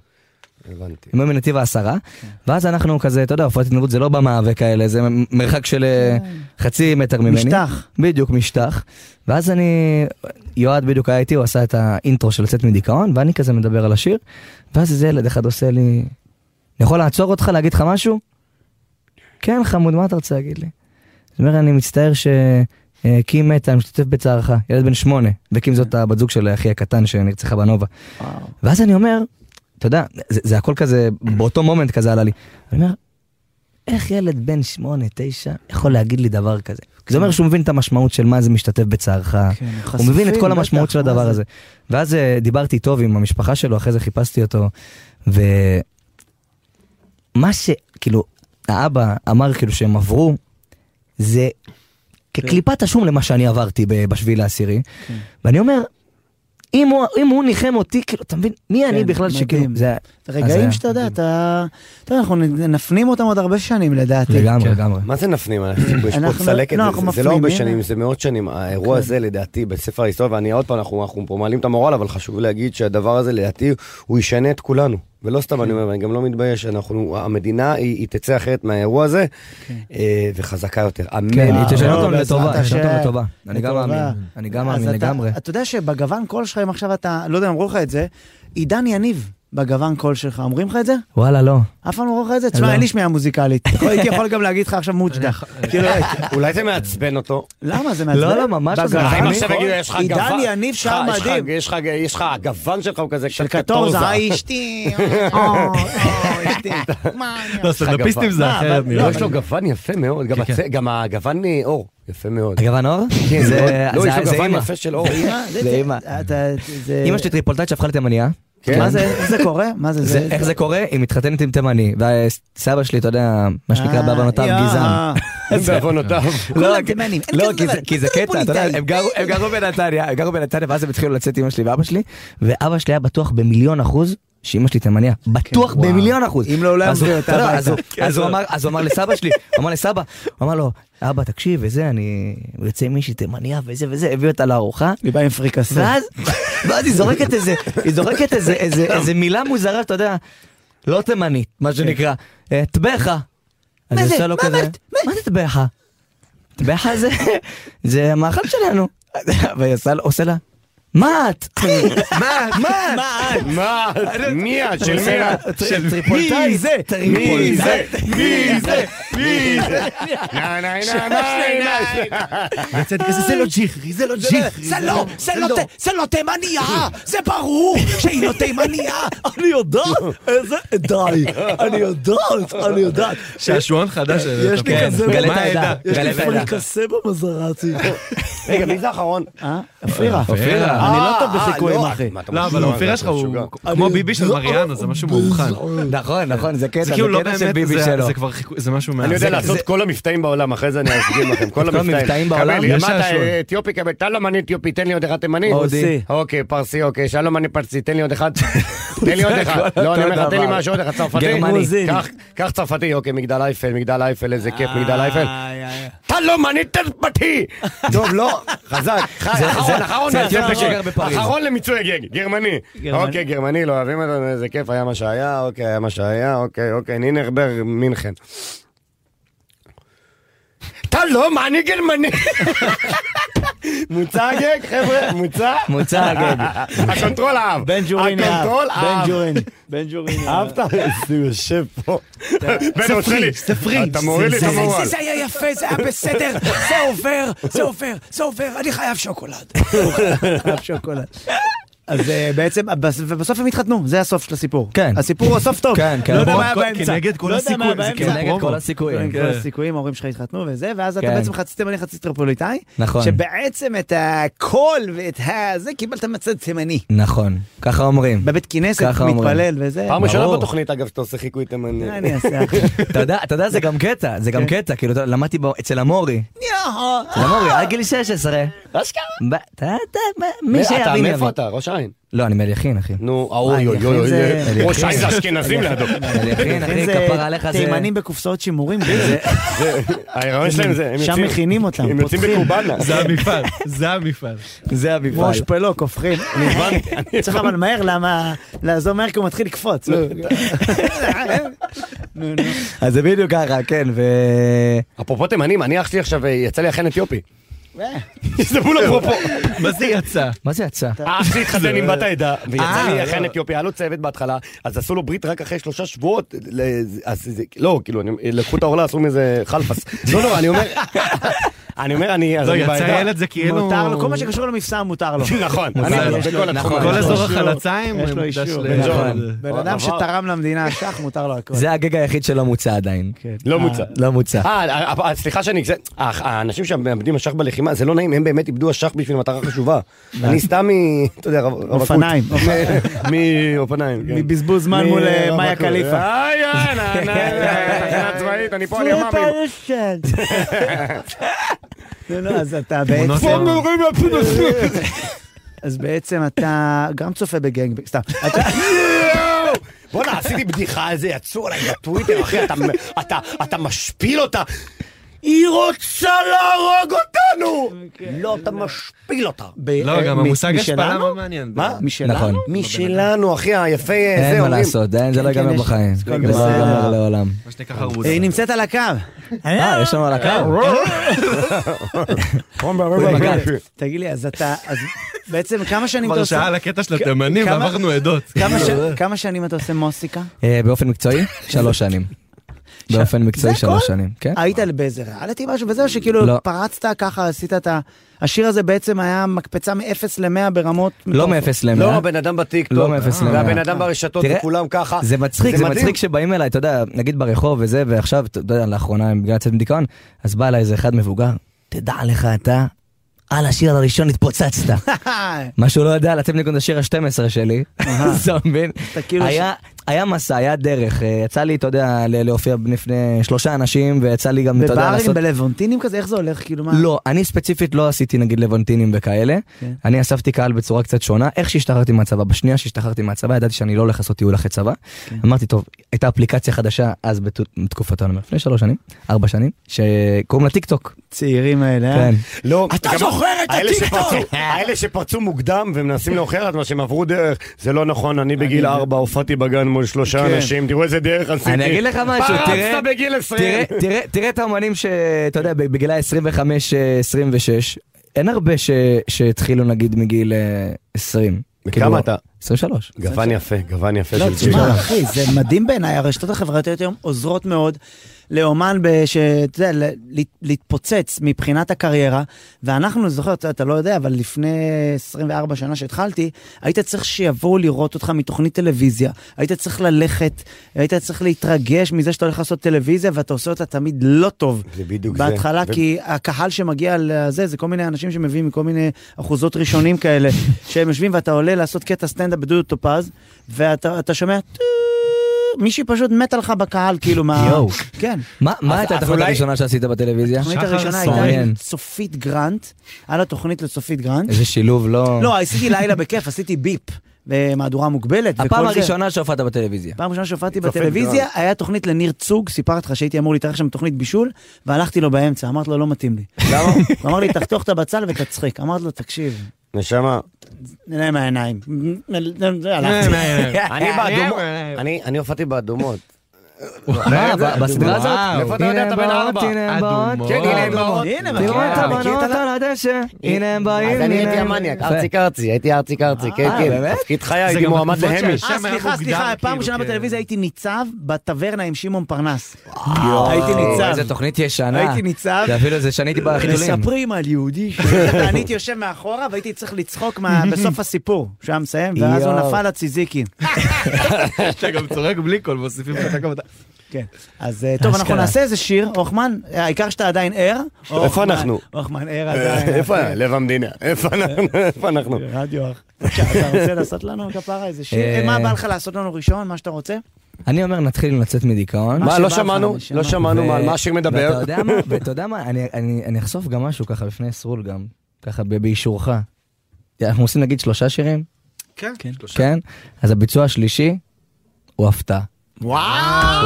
הבנתי. כן.
הם היו מנתיב העשרה, ואז אנחנו כזה, אתה יודע, הופעת התנדבות זה לא במה וכאלה, זה מ- מרחק של אה, חצי מטר ממני.
משטח.
בדיוק, משטח. ואז אני, יועד בדיוק היה איתי, הוא עשה את האינטרו של לצאת מדיכאון, ואני כזה מדבר על השיר, ואז איזה ילד אחד עושה לי, אני יכול לעצור אותך, להגיד לך משהו? כן, חמוד, מה אתה רוצה להגיד לי? זאת אומרת, אני מצטער ש... אה, קים מתה, אני משתתף בצערך, ילד בן שמונה, וקים זאת הבת זוג של אחי הקטן שנרצחה בנובה. ואז אני אומר, אתה יודע, זה, זה הכל כזה, באותו מומנט כזה עלה לי. אני אומר, איך ילד בן שמונה, תשע, יכול להגיד לי דבר כזה? כי זה אומר שהוא מבין את המשמעות של מה זה משתתף בצערך. הוא
כן. חשופים,
מבין את כל
בטח,
המשמעות של
מה
הדבר
זה?
הזה. ואז אה, דיברתי טוב עם המשפחה שלו, אחרי זה חיפשתי אותו, ומה ש... כאילו, האבא אמר כאילו שהם עברו, זה כקליפת השום למה שאני עברתי ב- בשביל העשירי.
כן.
ואני אומר, אם הוא, אם הוא ניחם אותי, כאילו, אתה מבין, מי אני בכלל
כן, מדהים.
שכאילו, זה אז אה,
רגעים
היה-
שאתה יודע, אתה... אתה יודע, אנחנו נפנים אותם עוד הרבה שנים לדעתי.
כן.
לגמרי, לגמרי.
מה זה נפנים? אנחנו- יש פה
כן. אנחנו-
צלקת,
לא,
זה-
אנחנו
זה- זה לא
מפנים,
הרבה
הנה.
שנים, זה מאות שנים. האירוע
כן.
הזה לדעתי בספר ההיסטוריה, ואני עוד פעם, אנחנו אנחנו פה מעלים את המורל, אבל חשוב להגיד שהדבר הזה לדעתי, הוא ישנה את כולנו. ולא סתם
כן.
אני אומר, ואני גם לא מתבייש, אנחנו, המדינה היא היא תצא אחרת מהאירוע הזה, אה, וחזקה יותר.
כן,
אמן.
היא תשנה אותם
כן. לא,
לטובה,
בעזרת
תשנה אותם
השם.
לטובה. אני גם
לטובה.
מאמין, אני גם
אז
מאמין
אתה-
לגמרי.
אתה יודע שבגוון קול שלך, אם עכשיו אתה, לא יודע אם אמרו לך את זה, עידן יניב. בגוון קול שלך. אומרים לך את זה?
וואלה, לא.
אף פעם לא אומרים לך את זה? תשמע,
לא.
אין לי שמיעה מוזיקלית. יכול- הייתי יכול גם להגיד לך עכשיו מוצ'דה. כאילו,
אה,
אולי זה מעצבן אותו.
למה זה מעצבן? בגוון
בגוון.
קול?
אם עכשיו יגידו, יש לך גוון.
עידן יניב
יש
שר
לך- יש לך-
מדהים.
יש לך- יש לך, הגוון שלך הוא כזה של
קטורזה, היי, אשתי, אה, או,
לא,
סטנדאפיסטים זה אחרת, נראה לי.
יש לו גוון יפה מאוד, גם
כן,
הצ- גם הגוון אה, אור יפה מאוד.
הגוון אור?
כן,
זה-
מאוד. לא,
אה, זה-
יש לו
זה
גוון
אימא.
יפה של אור.
זה אימא? זה- זה אימא.
אתה- זה-
אמא שלי טריפולטאית שהפכה לתימניה.
כן. מה זה, איך זה קורה? מה זה,
זה- איך זה קורה? היא מתחתנת עם תימני, וסבא שלי, אתה יודע, מה שנקרא
אה,
בעוונותיו
יאה.
גזען. אז-
בעוונותיו.
לא,
כולם
כי-
תימנים, אין
לא,
כזה
כי
דבר,
זה- כי זה
כולם
קטע, אתה יודע,
פוליטאים.
הם גרו- הם גרו בנתניה, הם גרו בנתניה, ואז הם התחילו לצאת אמא שלי ואבא שלי, ואבא שלי היה בטוח במיליון אחוז. שאימא שלי תימניה, בטוח
כן. וואו.
במיליון אחוז.
אם לא, אולי
אז
הוא
הוא-
אותה
אתה יודע,
הביתה.
אז הוא-
כן,
אז הוא
זה-
אמר- אז הוא אמר לסבא שלי, הוא אמר לסבא, הוא אמר לו, אבא תקשיב וזה, אני הוא יוצא עם מישהי תימניה וזה וזה, הביא אותה לארוחה,
היא באה עם פריקסה.
ואז, ואז היא זורקת איזה, היא זורקת איזה, איזה, איזה מילה מוזרה, אתה יודע, לא תימנית,
כן.
מה שנקרא, אה, טבחה. אז
מה
היא
זה?
עושה לו
מה
לא כזה,
אמרת?
מה זה טבחה? טבחה זה, זה המאכל שלנו. והיא עושה לו- עושה לה, מה את? מה את? מה לא- את?
מה? מי את? של מי את?
של לא- טריפולטאי זה?
מי זה? מי זה?
מי
זה?
נה נה
נה, נה,
זה לא ג'יחרי, זה לא ג'יחרי. זה לא, זה לא ת- זה לא תימניה, זה ברור שהיא לא תימניה.
אני יודעת, איזה, די, אני יודעת, אני יודעת.
שעשועון חדש.
יש לי כזה,
גלי
מה
העדה.
יש לי
גלי העדה.
פריקסה במזרצי.
רגע, מי זה האחרון?
אה? אופירה.
אופירה.
אני לא טוב
אה,
בחיקויים,
לא,
אחי. לא-
מה אתה
לא, אבל האופירה שלך הוא כמו ביבי של מריאנו, זה משהו מאובחן.
נכון, נכון, זה קטע,
זה
זה
כאילו לא
קטע של
באמת,
ביבי
זה-
שלו.
זה כבר חיקוי, זה משהו מה...
אני יודע
זה-
לעשות
זה-
כל המבטאים בעולם, אחרי זה אני אסגיר לכם. כל
כל המבטאים
המבטאים.
בעולם?
כבל,
יש
מה
שעשועון.
אתה אתיופי, כבל, שלום אני אתיופי, תן לי עוד אחד תימני.
הודי.
אוקיי, פרסי, אוקיי, שלום אני פרסי, תן לי עוד אחד. תן לי עוד אחד. לא, אני אומר לך, תן לי משהו עוד אחד, צרפתי.
גרמני.
קח- קח צרפתי, אוקיי, מגדל אייפל, מגדל אייפל, איזה כיף, מגדל אייפל. לא שלום אני צרפתי! טוב, לא, חזק. חי,
זה-
אחרון,
זה-
אחרון,
זה אתיופי
אחרון.
שגר בפריז.
אחרון למיצוי הגג, גרמני.
גרמני.
אוקיי, גרמני, לא אוהבים אותנו, איזה כיף, היה מה שהיה, אוקיי, היה מה שהיה, אוקיי, אוקיי, נינרברג, מינכן. אתה לא, מה אני גרמני? מוצא הגג, חבר'ה, מוצא?
מוצא הגג.
הקונטרול אהב.
בן ג'ורין אהב.
הקונטרול אהב.
בן ג'ורין. בן ג'ורין אהב.
אהבת? איזה יושב פה. בן, הוא עושה לי.
ספרי.
אתה מוריד לי את
זה- זה-
המורל.
זה היה יפה, זה היה בסדר, זה עובר, זה עובר, זה עובר, אני חייב שוקולד.
חלב שוקולד. אז אה, בעצם, בס- ובסוף הם התחתנו, זה הסוף של הסיפור.
כן.
הסיפור הוא הסוף טוב.
כן, כן.
לא יודע מה היה
כל-
באמצע.
כנגד כל
לא יודע מה היה
הסיכויים, זה
באמצע.
כאילו
כנגד כל
פרומו.
הסיכויים.
כל הסיכויים, ההורים שלך התחתנו וזה, ואז אתה
כן.
בעצם חצי תימני, חצי טריפוליטאי.
נכון.
שבעצם את הכל ואת הזה קיבלת מצד תימני.
נכון, ככה אומרים.
בבית כנסת,
ככה אומרים.
מתפלל וזה.
פעם ראשונה
ברור.
בתוכנית, אגב, שאתה עושה חיקוי תימני.
מה אני אעשה כן. אחי?
אתה יודע, אתה יודע, זה גם קטע, זה גם קטע, כאילו, אתה- למדתי בו- אצל המורי, אצל המורי, עד לא גיל 16.
אשכרה.
ב- אתה- אתה- מי
אתה,
שיבין יבין.
מאיפה אתה? ראש העין.
לא, אני מליחין, אחי.
נו,
אוי,
אוי אוי
אוי,
אוי
אוי, זה-
אוי, ראש העין זה אשכנזים לידו.
מליחין,
לכן
אחי,
זה
כפרה עליך זה...
תימנים בקופסאות שימורים, זה-
זה- ההיריון שלהם זה, הם
שם
יוצאים-
מכינים אותם,
הם יוצאים
פותחים.
בקובאנה.
זה המפעל, זה המפעל.
זה המפעל.
ראש פלו, כופרים. צריך אבל מהר, למה... לעזוב מהר, כי הוא מתחיל לקפוץ.
לא.
אה, נו, נו.
אז זה בדיוק ככה, כן, ו...
אפרופו תימנים, אני אח שלי עכשיו אה, יצא לי אכן אתיופי.
אה,
זה בול אפרופו. אה,
מה זה יצא?
מה זה יצא?
אח שלי התחתן עם בת העדה, ויצא
אה,
לי אכן אתיופי, היה לו צוות בהתחלה, אז עשו לו ברית רק אחרי שלושה שבועות, ל- אז זה- לא, כאילו, אני- לקחו את העורלה, עשו מזה חלפס. לא, לא, אני אומר, אני אומר, אני... אז
לא,
אני
יצא
בעדה.
ילד זה כאילו...
מותר לו, כל מה שקשור למבצע מותר לו.
נכון,
מותר
אני-
לו.
בכל
נכון.
התחומים.
כל
יש לו
אזור
אישור.
החלציים
יש לו
מוקדש
אישור.
ל- נכון.
בן ג'ורן.
בן נכון. אדם
עבר.
שתרם למדינה שח, מותר לו הכל.
זה הגג היחיד שלא מוצא עדיין.
כן.
לא מוצא.
לא מוצא.
אה, אה, אה, סליחה שאני... זה- אה, האנשים שמאבדים אשך בלחימה, זה לא נעים, הם באמת איבדו אשך בשביל מטרה חשובה. אני סתם מ... אתה יודע, רב- רווקות.
אה. אופניים.
מ- מאופניים. כן.
מבזבוז זמן מול אה,
מרווקות.
מאיה קליפה.
איי, איי, נה, נה, נה, תחנה צבאית, אני פה על ימ"מים.
לא, לא, אז אתה בעצם...
תמונות לא- יום.
אז בעצם אתה גם צופה בגנגבנג, סתם.
לא,
אתה-
אה, בואנה, עשיתי בדיחה על זה, יצאו עליי בטוויטר, אחי, אתה- אתה- אתה משפיל אותה. היא רוצה להרוג אותנו! לא, אתה משפיל אותה.
אה,
לא, גם המושג השפלה מאוד מעניין. לא,
מה?
משלנו? נכון.
משלנו, אחי, היפה, זה
אין מה
אומרים.
לעשות, אין, זה לא
כן, כן,
ייגמר
יש-
בחיים.
זה
זה
הכל
לא
בסדר.
ייגמר לעולם.
מה שנקרא חרוז.
היא נמצאת על הקו.
אה, יש לנו על הקו?
תגיד לי, אז אתה, אז בעצם כמה שנים אתה
אה, כבר
עושה...
שעה על הקטע של התימנים
כמה-
ועברנו עדות.
כמה ש- כמה שנים אתה עושה מוסיקה?
אה, באופן מקצועי? שלוש שנים. באופן מקצועי
זה
שלוש
הכל?
שנים, כן.
היית באיזה ריאליטי משהו וזהו, שכאילו
לא.
פרצת ככה, עשית את ה... השיר הזה בעצם היה מקפצה מ-0 ל-100 ברמות...
לא מאפס למאה.
לא, הבן אדם בטיקטוק.
לא מאפס למאה.
והבן אדם ברשתות,
תראה,
וכולם ככה.
זה מצחיק, זה
מדהים.
מצחיק שבאים אליי, אתה יודע, נגיד ברחוב וזה, ועכשיו, אתה יודע, לאחרונה, בגלל לצאת מדיכאון, אז בא אליי איזה אחד מבוגר, תדע לך אתה, על השיר הראשון התפוצצת. מה שהוא לא יודע, לצאת מדיכאון זה השיר ה-12 שלי, אתה מבין?
אתה כאילו ש-
היה- היה מסע, היה דרך, אה, יצא לי, אתה יודע, ל- להופיע בפני שלושה אנשים, ויצא לי גם, אתה יודע,
בברים,
לעשות...
בלוונטינים כזה, איך זה הולך? כאילו מה?
לא, אני ספציפית לא עשיתי נגיד לבנטינים וכאלה.
כן.
אני אספתי קהל בצורה קצת שונה. איך שהשתחררתי מהצבא, בשנייה שהשתחררתי מהצבא, ידעתי שאני לא הולך לעשות טיול אחרי צבא.
כן.
אמרתי, טוב, הייתה אפליקציה חדשה אז בת- בתקופתה, אני אומר, לפני שלוש שנים, ארבע שנים, שקוראים לה טיק טוק.
צעירים האלה, אה?
כן.
לא,
אתה
גם-
זוכר את
האלה
הטיקטוק?
שפרצו- האלה שפרצו מוקדם ומנסים לאוחר את מה שהם עברו דרך, זה לא נכון, אני בגיל ארבע הופעתי בגן מול שלושה
כן.
אנשים, תראו איזה דרך עשיתי.
אני אגיד לך משהו, תראה,
פרצת בגיל
תראה,
עשרים.
תראה, תראה את האומנים שאתה יודע, בגילי 25-26, אין הרבה ש- שהתחילו נגיד מגיל אה, 20. כאילו,
וכמה אתה?
23.
גוון יפה, גוון יפה
לא,
של צ'יק.
תשמע, אחי, זה מדהים בעיניי, הרשתות החברתיות היום עוזרות מאוד לאומן, ב- שאתה יודע, ל- ל- להתפוצץ מבחינת הקריירה, ואנחנו, זוכר, אתה- אתה לא יודע, אבל לפני 24 שנה שהתחלתי, היית צריך שיבואו לראות אותך מתוכנית טלוויזיה, היית צריך ללכת, היית צריך להתרגש מזה שאתה הולך לעשות טלוויזיה, ואתה עושה אותה תמיד לא טוב.
זה בדיוק זה.
בהתחלה,
ו-
כי הקהל שמגיע לזה, זה כל מיני אנשים שמביאים מכל מיני אחוזות ראשונים כאלה, שהם יושבים ואתה עולה לעשות קטע סטנדאפ בדודו טופז, ואתה אתה שומע, "טו", מישהי פשוט מתה לך בקהל, כאילו מה...
יואו.
כן.
מה מה
אז-
הייתה
אז
התוכנית
אולי-
הראשונה שעשית בטלוויזיה?
התוכנית הראשונה הייתה עם
מעניין.
צופית גרנט, על התוכנית לצופית גרנט.
איזה שילוב לא...
לא, עשיתי לילה בכיף, עשיתי ביפ. במהדורה מוגבלת וכל זה.
הפעם הראשונה שהופעת בטלוויזיה.
פעם ראשונה שהופעתי
צופית
בטלוויזיה,
גרנט.
היה תוכנית לניר צוג, סיפרתי לך שהייתי אמור להתארח שם תוכנית בישול, והלכתי לו באמצע, אמרתי לו, לא מתאים לי. למה? הוא אמר לי, תחתוך את הבצל ותצחיק. אמרתי לו, תקשיב,
נשמה.
נראה מהעיניים.
הלכתי. אני באדומות,
אה,
אני- אני הופעתי באדומות.
מה, ב- בסדרה הזאת?
מאיפה אתה יודע, אתה בן ארבע.
אדומות.
כן, הנה הן באות.
הנה,
מכיר
תראו את
אותה?
הבנות על הדשא, הנה הם באים.
אז אני
הנה
הייתי
הם-
המניאק,
יפה.
ארצי קרצי, הייתי ארצי קרצי, כן,
אה,
כן.
באמת?
תפקיד חיי,
זה
הייתי
גם
מועמד
בתקופות
להמי.
סליחה, סליחה, פעם ראשונה בטלוויזיה הייתי ניצב בטברנה עם שמעון פרנס.
יואו,
הייתי ניצב.
איזה תוכנית ישנה.
הייתי ניצב.
זה אפילו זה שאני הייתי בחיתולים.
מספרים על יהודי שאני הייתי יושב מאחורה והייתי צריך לצחוק מה- בסוף הסיפור, שהוא היה מסיים, ואז הוא
יואו.
נפל לציזיקי.
אתה גם צורק בלי קול, מוסיפים לך את הכבוד.
כן. אז אה, טוב, אנחנו
אשכרה.
נעשה איזה שיר, הוחמן, אה, העיקר שאתה עדיין ער.
איפה
הוחמן-
אנחנו? אה,
הוחמן ער עדיין.
איפה?
אחי.
לב המדינה. איפה אנחנו? איפה אנחנו?
רדיו אח. אתה רוצה לעשות לנו כפרה איזה שיר?
אה,
אה, מה בא לך לעשות לנו ראשון? מה שאתה רוצה?
אני אומר, נתחיל לצאת מדיכאון.
מה,
שבא
לא
לך,
שמענו?
נשמה.
לא שמענו
ו-
מה- על מה השיר מדבר.
ואתה יודע מה, ואתה יודע מה, אני- אני אני אחשוף גם משהו ככה לפני סרול גם, ככה ב- באישורך. אנחנו עושים נגיד שלושה שירים,
כן,
כן? אז הביצוע השלישי הוא הפתעה.
וואו!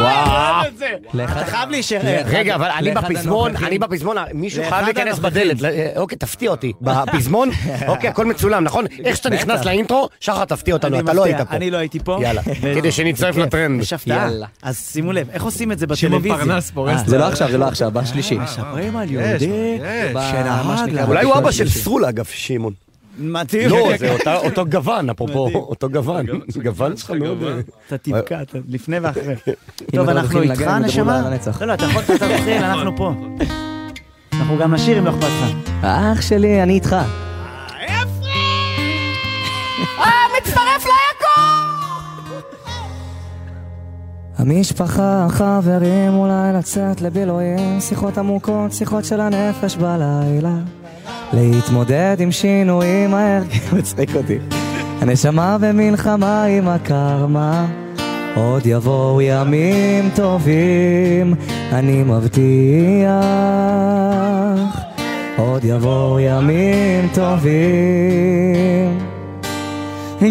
וואו.
אתה לא חייב להישאר ער.
רגע, אבל אני
לאחד
בפזמון,
הנוכחים.
אני בפזמון, מישהו
לאחד
חייב להיכנס בדלת. אה, אוקיי, תפתיע אותי. בפזמון, אוקיי, הכל מצולם, נכון? איך שאתה נכנס לאינטרו, שחר תפתיע אותנו,
אני
אתה לא היית
מבטיח,
פה.
אני לא הייתי פה.
יאללה,
ו-
כדי שנצטרף לטרנד.
יש הפתעה.
יאללה.
אז שימו לב, איך עושים את זה
שמעון
בטלוויזיה?
פרנס פורס.
אה, זה לא עכשיו, זה לא עכשיו, בשלישי.
מדברים על יהודי
יש.
מה
שנהג
שנקרא,
לה...
אה, אולי הוא אבא
בביצוע
של
השלישי.
סרול, אגב, שמעון.
מתאים.
לא, זה אותה- אותו גוון, אפרופו,
מדהים.
אותו גוון. גוון שלך מאוד... אה,
אתה טיפקע, אתה לפני ואחרי.
אם
טוב,
אתה
אנחנו
מתחיל
איתך,
לנגן, הם ידברו
נשמה?
לנצח.
לא, לא, אתה יכול אתה תתחיל, אנחנו פה. אנחנו גם נשיר אם לא אכפת לך.
אח שלי, אני איתך.
אה,
המשפחה, החברים, אולי לצאת לבילויים, שיחות עמוקות, שיחות של הנפש בלילה. להתמודד עם שינויים מהר, כן, מצחיק אותי. הנשמה במלחמה עם הקרמה, עוד יבואו ימים טובים, אני מבטיח. עוד יבואו ימים טובים.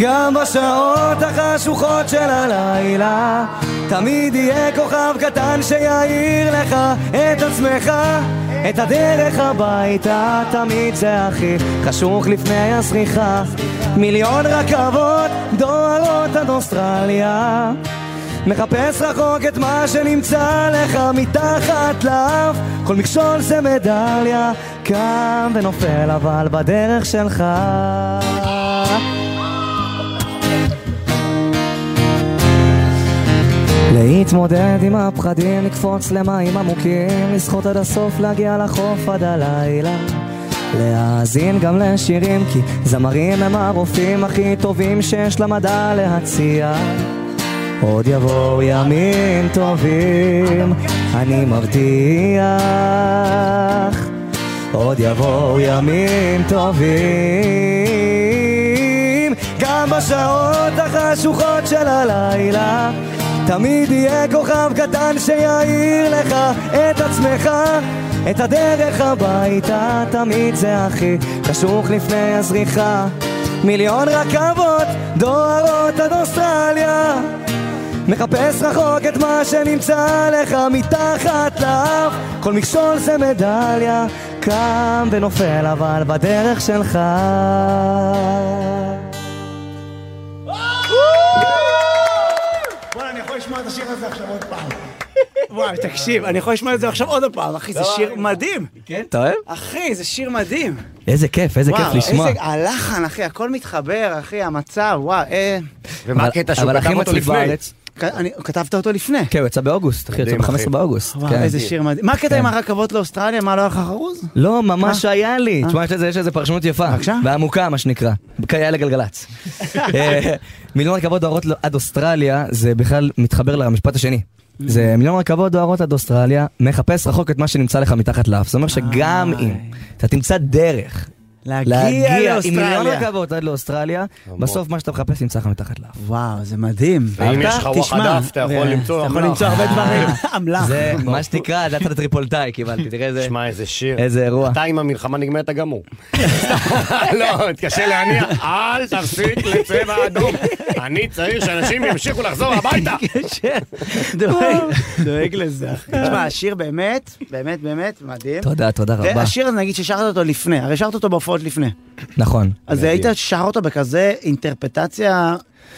גם בשעות החשוכות של הלילה
תמיד יהיה כוכב קטן שיאיר לך את עצמך את הדרך הביתה תמיד זה הכי חשוך לפני הסריחה מיליון רכבות דוהרות עד אוסטרליה מחפש רחוק את מה שנמצא לך מתחת לאף כל מכשול זה מדליה קם ונופל אבל בדרך שלך להתמודד עם הפחדים, לקפוץ למים עמוקים, לשחות עד הסוף, להגיע לחוף עד הלילה. להאזין גם לשירים, כי זמרים הם הרופאים הכי טובים שיש למדע להציע. עוד יבואו ימים טובים, אני מבטיח. עוד יבואו ימים טובים, גם בשעות החשוכות של הלילה. תמיד יהיה כוכב קטן שיאיר לך את עצמך, את הדרך הביתה, תמיד זה הכי חשוך לפני הזריחה. מיליון רכבות דוהרות עד אוסטרליה, מחפש רחוק את מה שנמצא לך מתחת לאף, כל מכשול זה מדליה, קם ונופל אבל בדרך שלך.
וואלה, אני יכול לשמוע את השיר הזה עכשיו עוד פעם. וואי, תקשיב, אני יכול לשמוע את זה עכשיו עוד פעם, אחי,
לא,
זה שיר מדהים. כן?
אתה אוהב?
אחי, זה שיר מדהים.
איזה כיף, איזה
וואו,
כיף לשמוע.
איזה- הלחן, אחי, הכל מתחבר, אחי, המצב, וואו, אה...
ומה אבל- הקטע שהוא אבל כתב הכי אותו מצליף לפני? בארץ.
כ- אני- כתבת אותו לפני.
כן, הוא יצא באוגוסט, אחי, יצא
מדהים,
ב-15
אחי.
באוגוסט.
וואו,
כן.
איזה שיר מדהים. מה הקטע עם הרכבות לאוסטרליה? מה, לא היה לך חרוז?
לא, ממש היה לי.
אה?
תשמע, יש לזה- יש לזה פרשנות יפה. בבקשה. ועמוקה, מה שנקרא. כיאה לגלגלצ. אה, מיליון רכבות דוהרות לו- עד אוסטרליה, זה בכלל מתחבר למשפט השני. זה מיליון רכבות דוהרות עד אוסטרליה, מחפש רחוק את מה שנמצא לך מתחת לאף. זאת אומרת שגם
אה.
אם אתה תמצא דרך עם מיליון
לאוסטרליה.
רכבות עד לאוסטרליה, בסוף מה שאתה מחפש נמצא לך מתחת לאף.
וואו, זה מדהים.
ואם יש לך וואחד
תשמע,
אף, אתה יכול
ו-
למצוא
אתה יכול
אמל"ח.
למצוא הרבה דברים. אמל"ח.
זה מה שנקרא, זה הצד הטריפולטאי קיבלתי, תראה איזה...
שמע, איזה שיר.
איזה אירוע.
אתה, אם המלחמה נגמרת, אתה גמור. לא, תתקשה להניע, אל תפסיק לצבע אדום. אני צריך שאנשים ימשיכו לחזור הביתה.
דואג- דואג לזה, אחי. תשמע, השיר באמת, באמת, באמת, מדהים.
תודה, תודה רבה.
והשיר הזה, נגיד ששרת אותו לפני, הרי שרת אותו בהופעות לפני.
נכון.
אז היית שר אותו בכזה אינטרפטציה,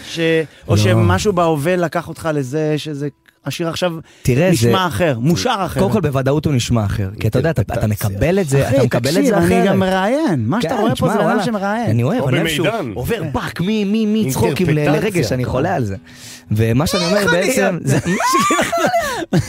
ש... או
לא.
שמשהו בהווה לקח אותך לזה, שזה... השיר עכשיו
תראה, זה...
נשמע אחר, מושר אחר.
קודם כל, בוודאות הוא נשמע אחר. כי אתה יודע, אתה אתה מקבל את זה, אתה מקבל את זה אחרת.
אחי, תקשיב, אני גם מראיין. מה שאתה
כן,
רואה פה
תשמע,
זה אדם
וואלה.
שמראיין.
אני אוהב, אני אוהב שהוא עובר באק מי- מי מי צחוקים ל- לרגש, אני חולה על זה. ומה שאני אומר
יכול
בעצם,
להיות?
זה...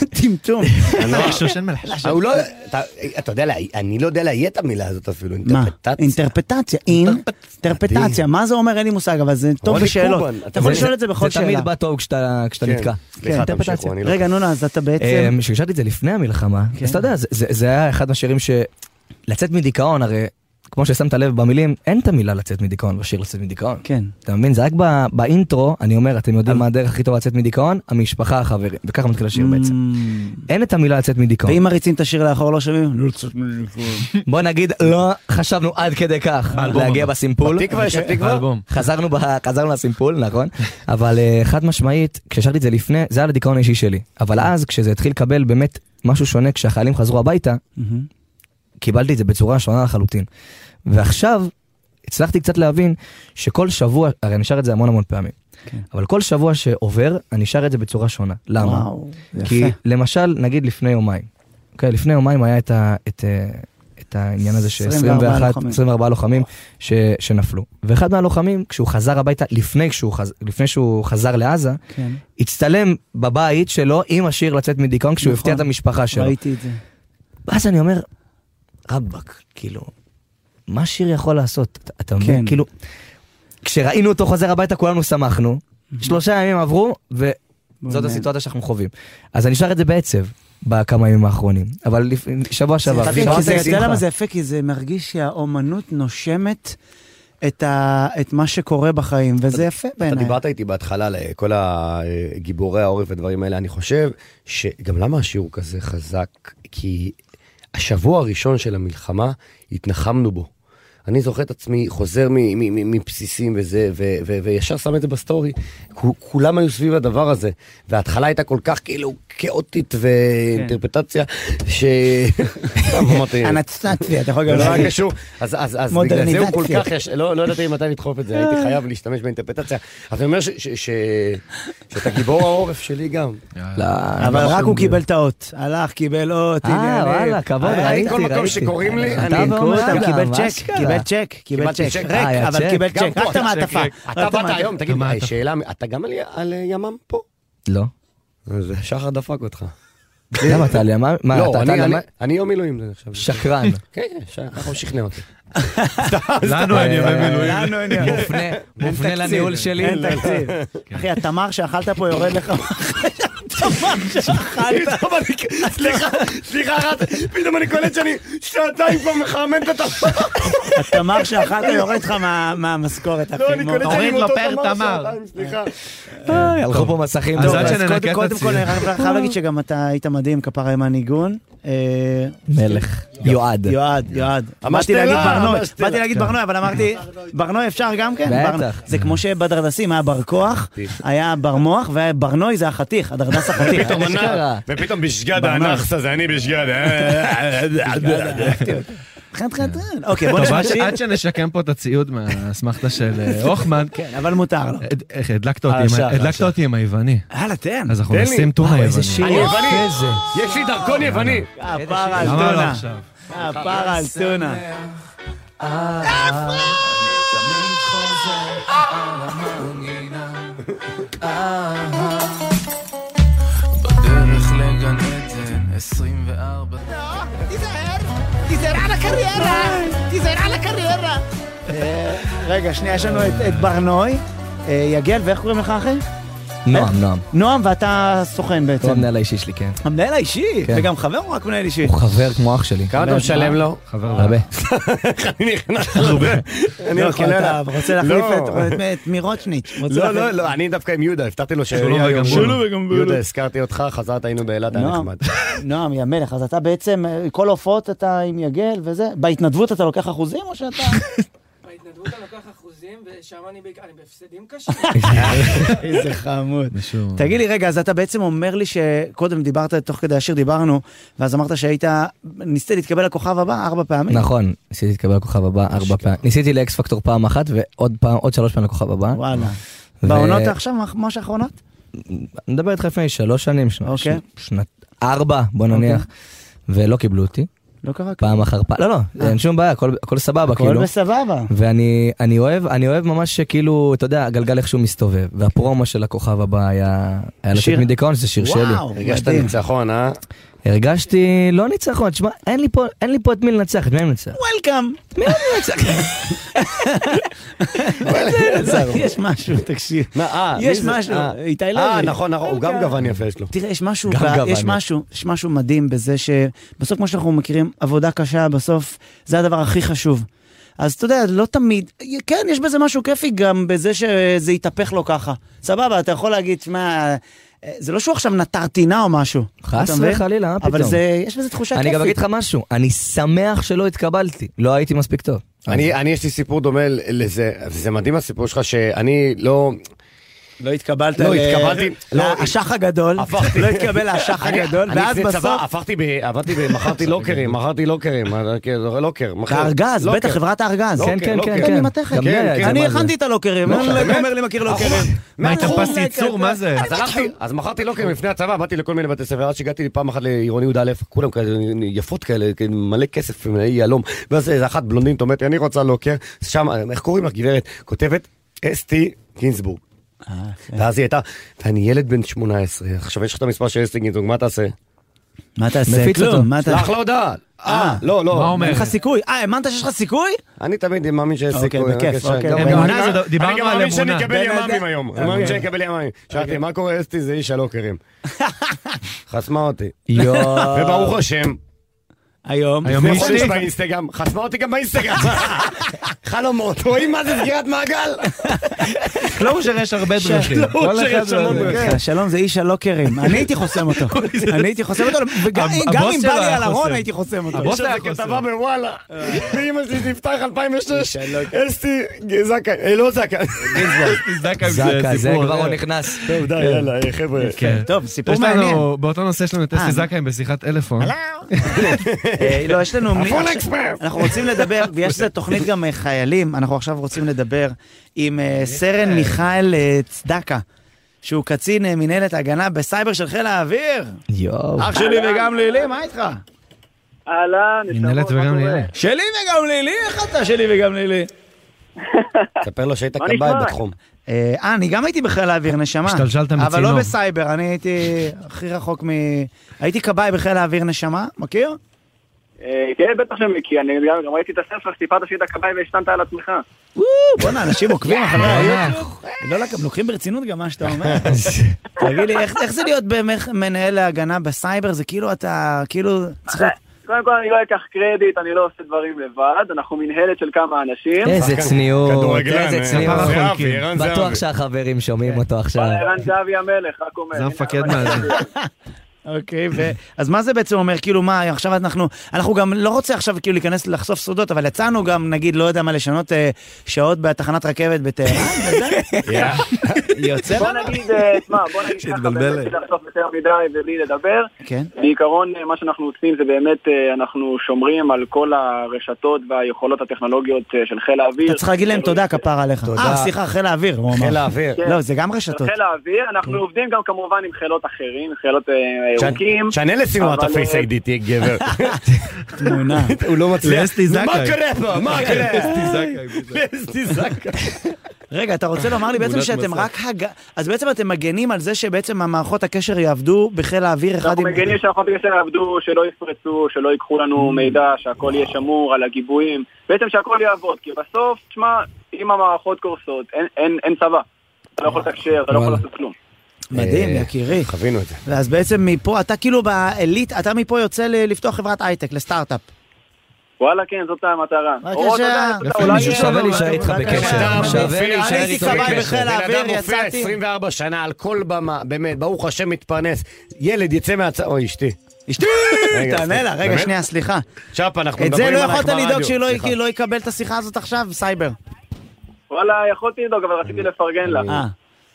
טמטום.
לא- הוא לא- אתה- אתה יודע, לה- אני לא יודע לאיית את המילה הזאת אפילו.
מה? אינטרפטציה. אינטרפטציה. מה זה אומר? אין לי מושג, אבל זה טוב
רוני
בשאלות.
קובן, אתה
אתה יכול
זה-
לשאול את זה בכל
זה
שאלה.
תמיד בא טוב כשאתה כשאתה
כן.
נתקע.
סליחה,
אינטרפטציה.
תמשיכו, אני לא- רגע, נונה, אז אתה בעצם... כן.
אמ, כששאלתי את זה לפני המלחמה, אז אתה יודע, זה- זה זה היה אחד מהשירים ש... לצאת מדיכאון, הרי כמו ששמת לב במילים, אין את המילה לצאת מדיכאון בשיר לצאת מדיכאון.
כן.
אתה מבין? זה רק ב- באינטרו, אני אומר, אתם יודעים מה הדרך הכי טובה לצאת מדיכאון? המשפחה, החברים. וככה מתחיל השיר בעצם. אין את המילה לצאת מדיכאון.
ואם מריצים את השיר לאחור לא שומעים? לא לצאת מדיכאון.
בוא נגיד, לא חשבנו עד כדי כך
באלבום
להגיע
הבא.
בסימפול.
בתקווה, יש
אוקיי?
תקווה? באלבום.
חזרנו ב- חזרנו לסימפול, נכון. אבל אה, חד משמעית, כששאלתי את זה לפני, זה היה לדיכאון האישי שלי. אבל אז, כשזה התחיל לקבל באמת משהו שונה, כשהחיילים חזרו הביתה, קיבלתי את זה בצורה שונה לחלוטין. ועכשיו, הצלחתי קצת להבין שכל שבוע, הרי אני שר את זה המון המון פעמים, כן. אבל כל שבוע שעובר, אני שר את זה בצורה שונה. למה?
וואו, יפה.
כי למשל, נגיד לפני יומיים, אוקיי, לפני יומיים היה את, ה, את, אה, את העניין הזה ש-
24
21
לוחמים.
24 לוחמים ש, שנפלו. ואחד מהלוחמים, כשהוא חזר הביתה, לפני, כשהוא חז, לפני שהוא חזר לעזה,
כן.
הצטלם בבית שלו עם השיר לצאת מדיכאון כשהוא הפתיע את המשפחה שלו.
נכון. ראיתי את זה.
ואז אני אומר, רבאק, כאילו, מה שיר יכול לעשות? אתה- אתה
כן.
מבין? כאילו, כשראינו אותו חוזר הביתה כולנו שמחנו, שלושה ימים עברו, וזאת
באמת.
הסיטואציה שאנחנו חווים. אז אני שר את זה בעצב בכמה ימים האחרונים, אבל לפ- שבוע שעבר.
זה יפה,
שבוע
כי זה- אתה יודע
שמחה.
למה זה יפה? כי זה מרגיש שהאומנות נושמת את ה- את מה שקורה בחיים, וזה יפה
אתה
בעיניי.
דיברת איתי בהתחלה על אה, כל הגיבורי העורף והדברים האלה, אני חושב שגם למה השיר הוא כזה חזק? כי השבוע הראשון של המלחמה התנחמנו בו. אני זוכר את עצמי חוזר מ- מ- מ- מבסיסים וזה, ו- ו- וישר שם את זה בסטורי. כו- כולם היו סביב הדבר הזה, וההתחלה הייתה כל כך כאילו כאוטית ואינטרפטציה, ש... סתם אמרתי-
אנסטנטבי, אתה יכול גם...
זה לא היה קשור, אז, אז, אז בגלל זה הוא כל
מודרניזציה.
כך, יש... לא, לא ידעתי מתי לדחוף את זה, הייתי חייב להשתמש באינטרפטציה. אז אני אומר ש... ש... ש... שאתה גיבור העורף שלי גם.
אבל רק הוא קיבל את האות. הלך, קיבל אות,
אה,
עניינים.
וואלה, כבוד,
אה,
ראיתי, ראיתי. אתה
אני
ועומר
קורא אותם,
אדם,
קיבל
מה
צ'ק,
אשכרה?
קיבל צ'ק, קיבל
קיבלתי
צ'ק.
אה,
ריק,
היה
אבל
צ'ק.
קיבל
גם
צ'ק,
פה
רק את
אתה-
המעטפה.
אתה
רק את
באת
המעטפה.
היום, תגיד, שאלה, אתה גם על- על ימ"מ פה?
לא.
זה שחר דפק אותך.
למה אתה על ימ"מ? מה,
לא,
אתה-
אני-
אתה-
אני-
מה-
אני יום מילואים זה נחשב.
שקרן.
כן, כן, ש- ככה הוא שכנע אותי.
לנו אין ימי מילואים.
לנו אין ימי. מופנה- מופנה לניהול שלי.
אין תקציב. אחי, התמר שאכלת פה יורד לך התמר שאכלת.
טוב, אני- סליחה, סליחה, אחת, פתאום אני קולט שאני שעתיים כבר מחרמן את התמר.
התמר שאכלת יורד לך מה- מהמשכורת, אחי.
לא, אני קולט שאני עם
מוריד לו
אותו
פר תמר.
שעתיים, סליחה.
הלכו פה מסכים.
טוב,
טוב,
אז
אז
קודם-
קודם-
קודם כל, אני חייב- חייב להגיד שגם אתה היית מדהים כפרה עם הניגון. אה,
מלך. יועד.
יועד, יועד. באתי להגיד ברנוי, באתי להגיד ברנוי, אבל אמרתי, ברנוי אפשר גם כן?
בטח.
ברנוי. זה כמו שבדרדסים היה בר כוח, היה בר מוח, וברנוי זה החתיך, הדרדס החתיך.
ופתאום
אתה יודע שקרה.
ענה, ופתאום בשגד
ברנש.
האנכסה זה אני בשגד. אה,
חן, חן, חן. אוקיי, בוא
טוב,
נשמע
עד ש-
שיר.
עד שנשקם פה את הציוד מהאסמכתה של אה, הוכמן.
כן, אבל מותר לו.
איך, הדלקת אותי עם ה-
השער,
הדלקת
השער.
אותי עם היווני.
יאללה, תן.
אז אנחנו
תן לי.
נשים טונה
וואו,
יווני.
כן. איזה שיר כן.
אני יווני.
יפה זה.
יש לי דרכון יווני.
הפרה על
למה לא
טונה.
עכשיו?
הפרה על טונה.
אה,
בדרך לגן עדן, 24...
תיזהר, תיזהר על הקריירה, תיזהר על הקריירה.
אה, רגע, שנייה, יש לנו את את ברנוי, אה, יגל, ואיך קוראים לך אחי?
נועם, נועם.
נועם, ואתה סוכן בעצם.
הוא המנהל האישי שלי, כן.
המנהל האישי,
כן.
וגם חבר או רק מנהל אישי?
הוא חבר כמו אח שלי.
כמה אתה משלם לו?
חבר
הרבה.
אני נכנס הרבה. אני
לא,
רק
כי
עולה
אתה
עליו.
רוצה להחליף
לא.
את- את- את מירוטשניץ'. רוצה
לא,
להחליף-
לא, לא, אני דווקא עם יהודה, הבטחתי לו ש...
שלום וגמבול. שלום
וגמבול.
יהודה, הזכרתי אותך, חזרת, היינו באילת, היה
נועם.
נחמד.
נועם, יא מלך, אז אתה בעצם, אה, כל ההופעות אתה עם יגל וזה, בהתנדבות אתה לוקח אחוזים או שאתה...
בהתנדבות אני לוקח אחוזים, ושם אני בעיקר, אני בהפסדים קשים.
איזה חמוד. תגיד לי, רגע, אז אתה בעצם אומר לי שקודם דיברת, תוך כדי השיר דיברנו, ואז אמרת שהיית, ניסית להתקבל לכוכב הבא ארבע פעמים.
נכון, ניסיתי להתקבל לכוכב הבא ארבע פעמים. ניסיתי לאקס פקטור פעם אחת ועוד פעם, עוד שלוש פעמים לכוכב הבא.
וואלה.
ו-
בעונות עכשיו, ממש האחרונות?
אני מדבר איתך לפני שלוש שנים, שנה,
אוקיי.
שנת, ארבע, בוא
אוקיי.
נניח, ולא קיבלו אותי.
לא קרה
פעם אחר פעם, לא, לא, אין שום בעיה, הכל- הכל סבבה, כאילו.
אה. הכל בסבבה.
ואני אני אוהב, אני אוהב ממש שכאילו, אתה יודע, הגלגל איכשהו מסתובב, והפרומו של הכוכב הבא היה, היה לצאת
שיר?
מדיכאון, שזה שיר שלי.
וואו, הרגשת מדהים. ניצחון, אה?
הרגשתי, לא ניצחון, תשמע, אין לי פה, אין לי פה את מי לנצח, את מי אני מנצח?
וולקאם.
מי אני מנצח?
יש משהו, תקשיב.
אה, מי
יש
זה?
משהו,
אה.
איתי לא לוי.
אה, נכון, נכון, הוא גם גוון יפה יש לו.
תראה, יש משהו,
גם
ב-
גוון
יש
יפה.
משהו, יש משהו מדהים בזה שבסוף, כמו שאנחנו מכירים, עבודה קשה, בסוף זה הדבר הכי חשוב. אז אתה יודע, לא תמיד, כן, יש בזה משהו כיפי גם בזה שזה יתהפך לו ככה. סבבה, אתה יכול להגיד, שמע, אה, זה לא שהוא עכשיו נטר טינה או משהו.
חס
אתה מבין?
וחלילה, מה פתאום?
אבל זה, יש בזה תחושה כיפית.
אני גם אגיד לך משהו, אני שמח שלא התקבלתי, לא הייתי מספיק טוב.
אה.
אני, אני, יש לי סיפור דומה ל- לזה, זה מדהים הסיפור שלך, שאני לא...
לא התקבלת
לא,
ל-
התקבלתי. לא,
לאשך הגדול,
הפכתי.
לא התקבל לאשך
אני-
הגדול,
אני
ואז
לפני צבא
בסוף...
הפכתי, ב- עבדתי, ב- מכרתי לוקרים, מכרתי לוקרים, אה, לוקר. מכר-
הארגז,
לוקר.
בטח, חברת הארגז. כן,
לוקר, לוקר. כן,
אני מתכת. אני הכנתי את הלוקרים,
לא,
אני
באמת?
אומר לי מכיר לוקרים.
מה, אה,
אתה פס ייצור, מה זה?
אז הלכתי, אז מכרתי לוקרים לפני הצבא, באתי לכל מיני בתי ספר, עד שהגעתי פעם אחת לעירוני י"א, כולם כאלה יפות כאלה, כאלה, מלא כסף, מלא יהלום, ואז איזה אחת בלונדינית אומרת לי, אני רוצה לוקר, שם, איך קוראים לך גברת? כותבת, אסתי גינזבורג.
אה, כן.
ואז היא הייתה, ואני ילד בן 18, עכשיו יש לך את המספר של אסתי גינזבורג, מה תעשה?
מה תעשה? כלום, מה אתה...
שלח לה הודעה. אה, לא, לא.
אין לך סיכוי? אה, האמנת שיש לך סיכוי?
אני תמיד מאמין שיש
אוקיי,
סיכוי. רק
בכיף,
ישר.
אוקיי.
גם
אמונה זה
אני- אני
דבר-
גם
דיברנו על
מאמין שאני
אמונה.
אקבל
בן
ימ"מים
אדם-
היום. אני
אוקיי.
מאמין שאני אקבל ימ"מים. שאלתי, מה קורה אסתי? זה איש הלוקרים. חסמה אותי.
יואו.
וברוך השם.
היום.
לפני חודש באינסטגרם, חסמה אותי גם באינסטגרם. חלומות, רואים מה זה סגירת מעגל?
קלוז'ר יש הרבה
ש- לא, שיש המון דרכים. כן, שלום זה איש הלוקרים, אני הייתי חוסם אותו. אני הייתי חוסם אותו, וגם
הב-
גם
הבוס
אם בא
שלו
לי
היה
על ארון
חוסם.
הייתי חוסם אותו.
הבוס היה חוסם. אה. כתבה בוואלה, ואימא שלי תפתח 2006, אסתי זקה, אה, לא זקה. אה,
זקה
זקה, זה כבר הוא
אה.
נכנס.
טוב, די, יאללה, אה, חבר'ה.
כן. יש לנו- באותו נושא יש לנו את
אה,
אסי
נו.
זכאי בשיחת טלפון.
אה, לא, יש לנו... מי-
הפול
עכשיו-
אקספרס.
אנחנו רוצים לדבר, ויש איזה תוכנית גם אה, חיילים, אנחנו עכשיו רוצים לדבר עם אה, סרן מיכאל אה, צדקה, שהוא קצין אה, מנהלת הגנה בסייבר של חיל האוויר.
יואו.
אח שלי וגם לילי, מה איתך?
אהלן,
מנהלת וגם לילי.
שלי וגם לילי, איך אתה שלי וגם לילי?
ספר לו שהיית
מה נשמע?
כבאי בתחום.
אה, אני גם הייתי בחיל האוויר, נשמה.
השתלשלת
אבל
מצינור.
לא בסייבר, אני הייתי הכי רחוק מ... הייתי כבאי בחיל האוויר, נשמה, מכיר?
אה, כן, בטח שמכיר, אני גם- גם ראיתי את הספר, שטיפלת שעשית כבאי והשתנת על עצמך.
וואו, בואנה, אנשים עוקבים אחרי היום. לא, לא, גם לוקחים ברצינות גם מה שאתה אומר. תגיד לי, איך איך זה להיות באמת מנהל ההגנה בסייבר? זה כאילו אתה, כאילו, צריך להיות...
קודם כל, אני לא אקח קרדיט, אני לא עושה דברים לבד, אנחנו מנהלת של כמה אנשים. אוקיי.
איזה צניעות,
כדורגלן,
איזה
אה,
צניעות.
זהבי, ערן זהבי.
בטוח שהחברים
כן.
שומעים אותו עכשיו.
ערן זהבי המלך, רק אומר.
זה המפקד
מאזין. אוקיי, ו... אז מה זה בעצם אומר? כאילו, מה, עכשיו אנחנו... אנחנו גם לא רוצה עכשיו כאילו להיכנס לחשוף סודות, אבל יצאנו גם, נגיד, לא יודע מה, לשנות אה, שעות בתחנת רכבת בטהרן, וזה...
כן.
יוצא
בוא
לנו.
נגיד, אה, שמע, בוא נגיד ככה,
שהתבלבלת.
באמת לחשוף יותר מדי ובלי לדבר.
כן.
בעיקרון, אה, מה שאנחנו עושים זה באמת, אה, אנחנו שומרים על כל הרשתות והיכולות הטכנולוגיות אה, של חיל האוויר.
אתה צריך להגיד להם תודה, כפר עליך. אה, סליחה, חיל האוויר, הוא אמר.
חיל האוויר.
לא, זה גם רשתות.
חיל האוויר,
Mm.
אנחנו עובדים גם כמובן עם חילות אחרים, חילות אה, ירוקים.
שנה לסינואר את
אבל,
הפייס
אה,
איי די, תהיה גבר.
תמונה.
הוא לא מצליח.
לאסתי זכאי.
מה קורה פה? מה קורה?
לאסתי
לאסתי זכאי.
רגע, אתה רוצה לומר לי בעצם
תמונת
שאתם
מסך.
רק... הג- אז בעצם אתם מגנים על זה שבעצם המערכות הקשר יעבדו בחיל האוויר אחד
אנחנו
עם...
מגנים שאנחנו בגלל יעבדו, שלא יפרצו, שלא ייקחו לנו
Mm.
מידע, שהכל יהיה שמור על הגיבויים. בעצם שהכל יעבוד, כי בסוף, תשמע, אם המערכות קורסות, אין- אין אין צבא. אתה לא יכול לתקשר, אתה לא יכול לעשות כלום.
מדהים,
אה,
יקירי.
חווינו את זה.
אז בעצם מפה, אתה כאילו באליט, אתה מפה יוצא ל- לפתוח חברת הייטק, לסטארט-אפ.
וואלה, כן, זאת המטרה.
בבקשה.
או, אתה יודע, אתה יודע,
יפה,
אולי-
מישהו שווה להישאר איתך בקשר. שווה
אני
להישאר
הייתי
איתו
כבאי
בקשר.
בחיל האוויר, יצאתי. בן אדם מופיע
יצאתי.
24 שנה על כל במה, באמת, ברוך השם מתפרנס. ילד יצא מהצ... אוי, אשתי.
אשתי!
רגע,
תענה לה, רגע,
באמת?
שנייה, סליחה.
צ'אפה, אנחנו
את זה
מדברים
לא
עלייך
יכולת
ברדיו.
לדאוג שלא
סליחה.
לא יקבל את השיחה הזאת עכשיו, סייבר.
וואלה, יכולתי לדאוג, אבל רציתי לפרגן לה.
אה,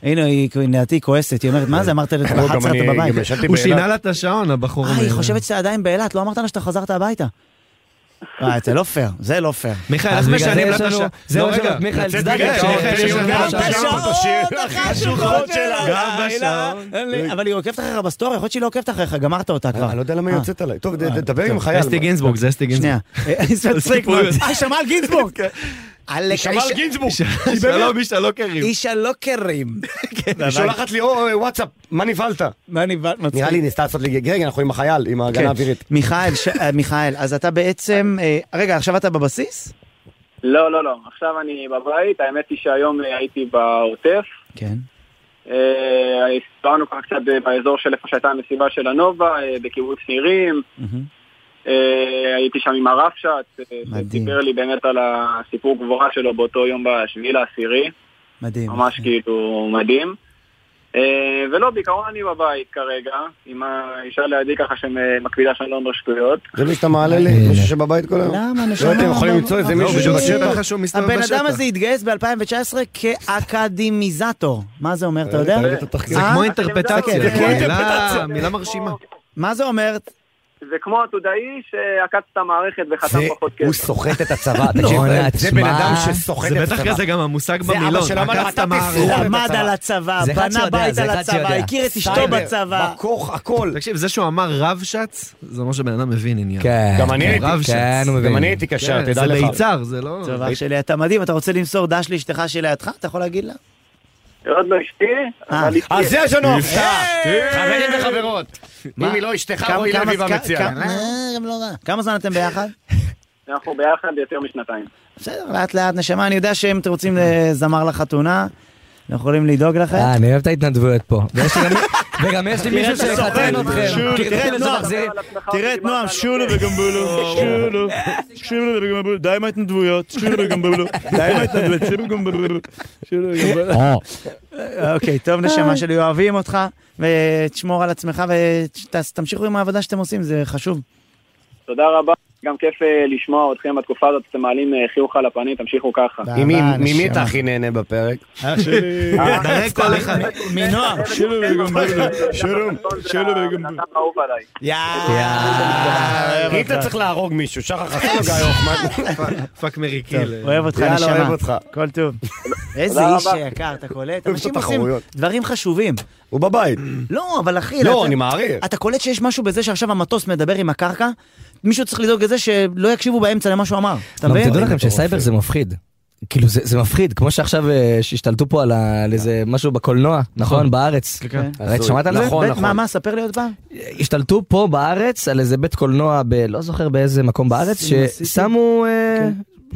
הנה, היא לדעתי כועסת, היא אומרת, מה זה, אמרת לי, אתה
גם
ב-11
אני-
אתה בבית.
גם ישנתי הוא באילת. שינה לה את השעון, הבחור.
אה, היא
המהיר.
חושבת שאתה עדיין באילת, לא אמרת לה שאתה חזרת הביתה. וואי, זה לא פייר, זה לא פייר.
מיכאל, אז בגלל זה יש לנו- זה מה שאומרת, לא, מיכאל,
לא לצאת
צדקה,
מגן,
שמיכאל,
מיכאל,
יש לנו
גם
גם
בשעון,
בשעון,
החשוכות שלה.
גם
לילה. אבל היא עוקבת אחריך בסטורי, יכול להיות שהיא לא עוקבת אחריך, גמרת אותה כבר. אני לא
אה, יודע למה היא יוצאת עליי. טוב, ד- ד- דבר עם חייל.
אסתי גינזבורג, זה אסתי גינזבורג.
שנייה. אה, שמע על גינזבורג. עלק,
כן. היא שמעה על
האיש-
גינזבורג. היא באמת-
שלום, איש הלוקרים.
איש הלוקרים.
היא שולחת לי "או, או, וואטסאפ, מה נבהלת?
מה נבהלת? מצחיק.
נראה לי ניסתה לעשות לי גג, אנחנו עם החייל, עם ההגנה
כן.
האווירית.
מיכאל, ש- אה, מיכאל, אז אתה בעצם, אה, רגע, עכשיו אתה בבסיס?
לא, לא, לא. עכשיו אני בבית, האמת היא שהיום אה, הייתי בעוטף.
כן.
אה, הסברנו ככה קצת אה, באזור של איפה שהייתה המסיבה של הנובה, אה, בקיבוץ נירים. אה, הייתי שם עם הרפש"ט, אה, שסיפר לי באמת על הסיפור גבורה שלו באותו יום בשביעי לעשירי.
מדהים. כן.
ממש כאילו מדהים. אה, ולא, בעיקרון אני בבית כרגע, עם האישה לידי ככה שמקפידה שאני לא אומר שטויות.
זה מי שאתה מעלה לי? מישהו שבבית כל היום?
למה,
לא הייתם יכולים למצוא איזה מישהו שבשטח?
הבן אדם הזה התגייס ב-2019 כאקדמיזטור. מה זה אומר, אתה יודע?
זה
אה?
כמו אינטרפטציה,
כן,
זה
כן.
מילה- מילה מרשימה.
מה זה אומר?
זה כמו עתודאי שעקץ את המערכת וחתם פחות כסף.
הוא סוחט את הצבא,
נו,
תקשיב,
נה,
אה, לא, זה בן
תשמע.
אדם שסוחט את
זה
הצבא.
בטח כזה גם המושג
זה אבא
במילון,
שלו אמר,
עקצת
"אתה
מערכת".
תפרע את
למד
הצבא.
על הצבא,
זה אחד
בנה
שיודע,
בית
זה
על
אחד
הצבא,
שיודע.
הכיר את אשתו
סייבר,
בצבא.
בכוך, הכל.
תקשיב, זה שהוא אמר רבש"ץ, זה אומר שבן אדם מבין עניין.
כן.
גם אני הייתי-
רבש"ץ.
כן, הוא מבין.
כן,
תדע לך.
זה ליצר, זה לא...
טוב, אח שלי, אתה מדהים, אתה רוצה למסור דש לאשתך שלידך? אתה יכול להגיד לה?
עוד לא אשתי,
אה,
אבל אשתי.
אז יש לנו הפתעה, חברים וחברות. אם
מה?
היא לא אשתך,
כמה-
רועי
כמה-
לוי
כמה-
במציאה.
כמה- אה, גם לא רע. כמה זמן אתם ביחד?
אנחנו ביחד יותר משנתיים.
בסדר, לאט לאט, נשמה, אני יודע שאם אתם רוצים אה, זמר לחתונה, אנחנו יכולים לדאוג לכם.
אה, אני אוהב את ההתנדבויות פה. ויש לי גם- וגם יש לי מישהו שיחתן אתכם.
תראה את נועם,
מחזיר-
תראה את נועם, שולו וגמבולו, שולו, שולו וגמבולו, די עם ההתנדבויות, שולו וגמבולו, די עם ההתנדבויות, שולו וגמבולו, שולו וגמבולו.
אה.
אוקיי, טוב
אה.
נשמה שלי, אוהבים אותך, ותשמור על עצמך, ותמשיכו עם העבודה שאתם עושים, זה חשוב.
תודה רבה, גם כיף אה, לשמוע אתכם בתקופה הזאת, אתם מעלים אה, חיוך על הפנים, תמשיכו ככה.
עם מי- ממי אתה הכי נהנה בפרק?
אח שלי.
דרג כל אחד.
מנועם.
שולו וגמבולו, שולו, שולו וגמבולו.
יאללה. היית צריך להרוג מישהו, שחר חסון או גיא הוחמן.
פאק מרי
טוב, אוהב אותך,
יאללה,
נשמה.
אוהב אותך.
כל טוב. איזה
תודה
איש
רבה.
יקר, אתה קולט?
אוהב את
אנשים עושים
התחרויות.
דברים חשובים.
הוא בבית.
לא, אבל אחי...
לא,
אתה-
אני מעריך.
אתה קולט שיש משהו בזה שעכשיו המטוס מדבר עם הקרקע? מישהו צריך לדאוג לזה שלא יקשיבו באמצע למה שהוא אמר. אתה
לא,
גם
מבין?
תדעו לכם שסייבר זה מפחיד. כאילו זה, זה מפחיד, כמו שעכשיו אה, שהשתלטו פה על, ה, על איזה משהו בקולנוע, נכון? בארץ.
כן.
ראית, שמעת על זה?
נכון,
בית, נכון. מה, מה, ספר לי עוד פעם.
השתלטו פה בארץ על איזה בית קולנוע, ב, לא זוכר באיזה מקום בארץ,
סינמה סיטי? כן.
ששמו אה,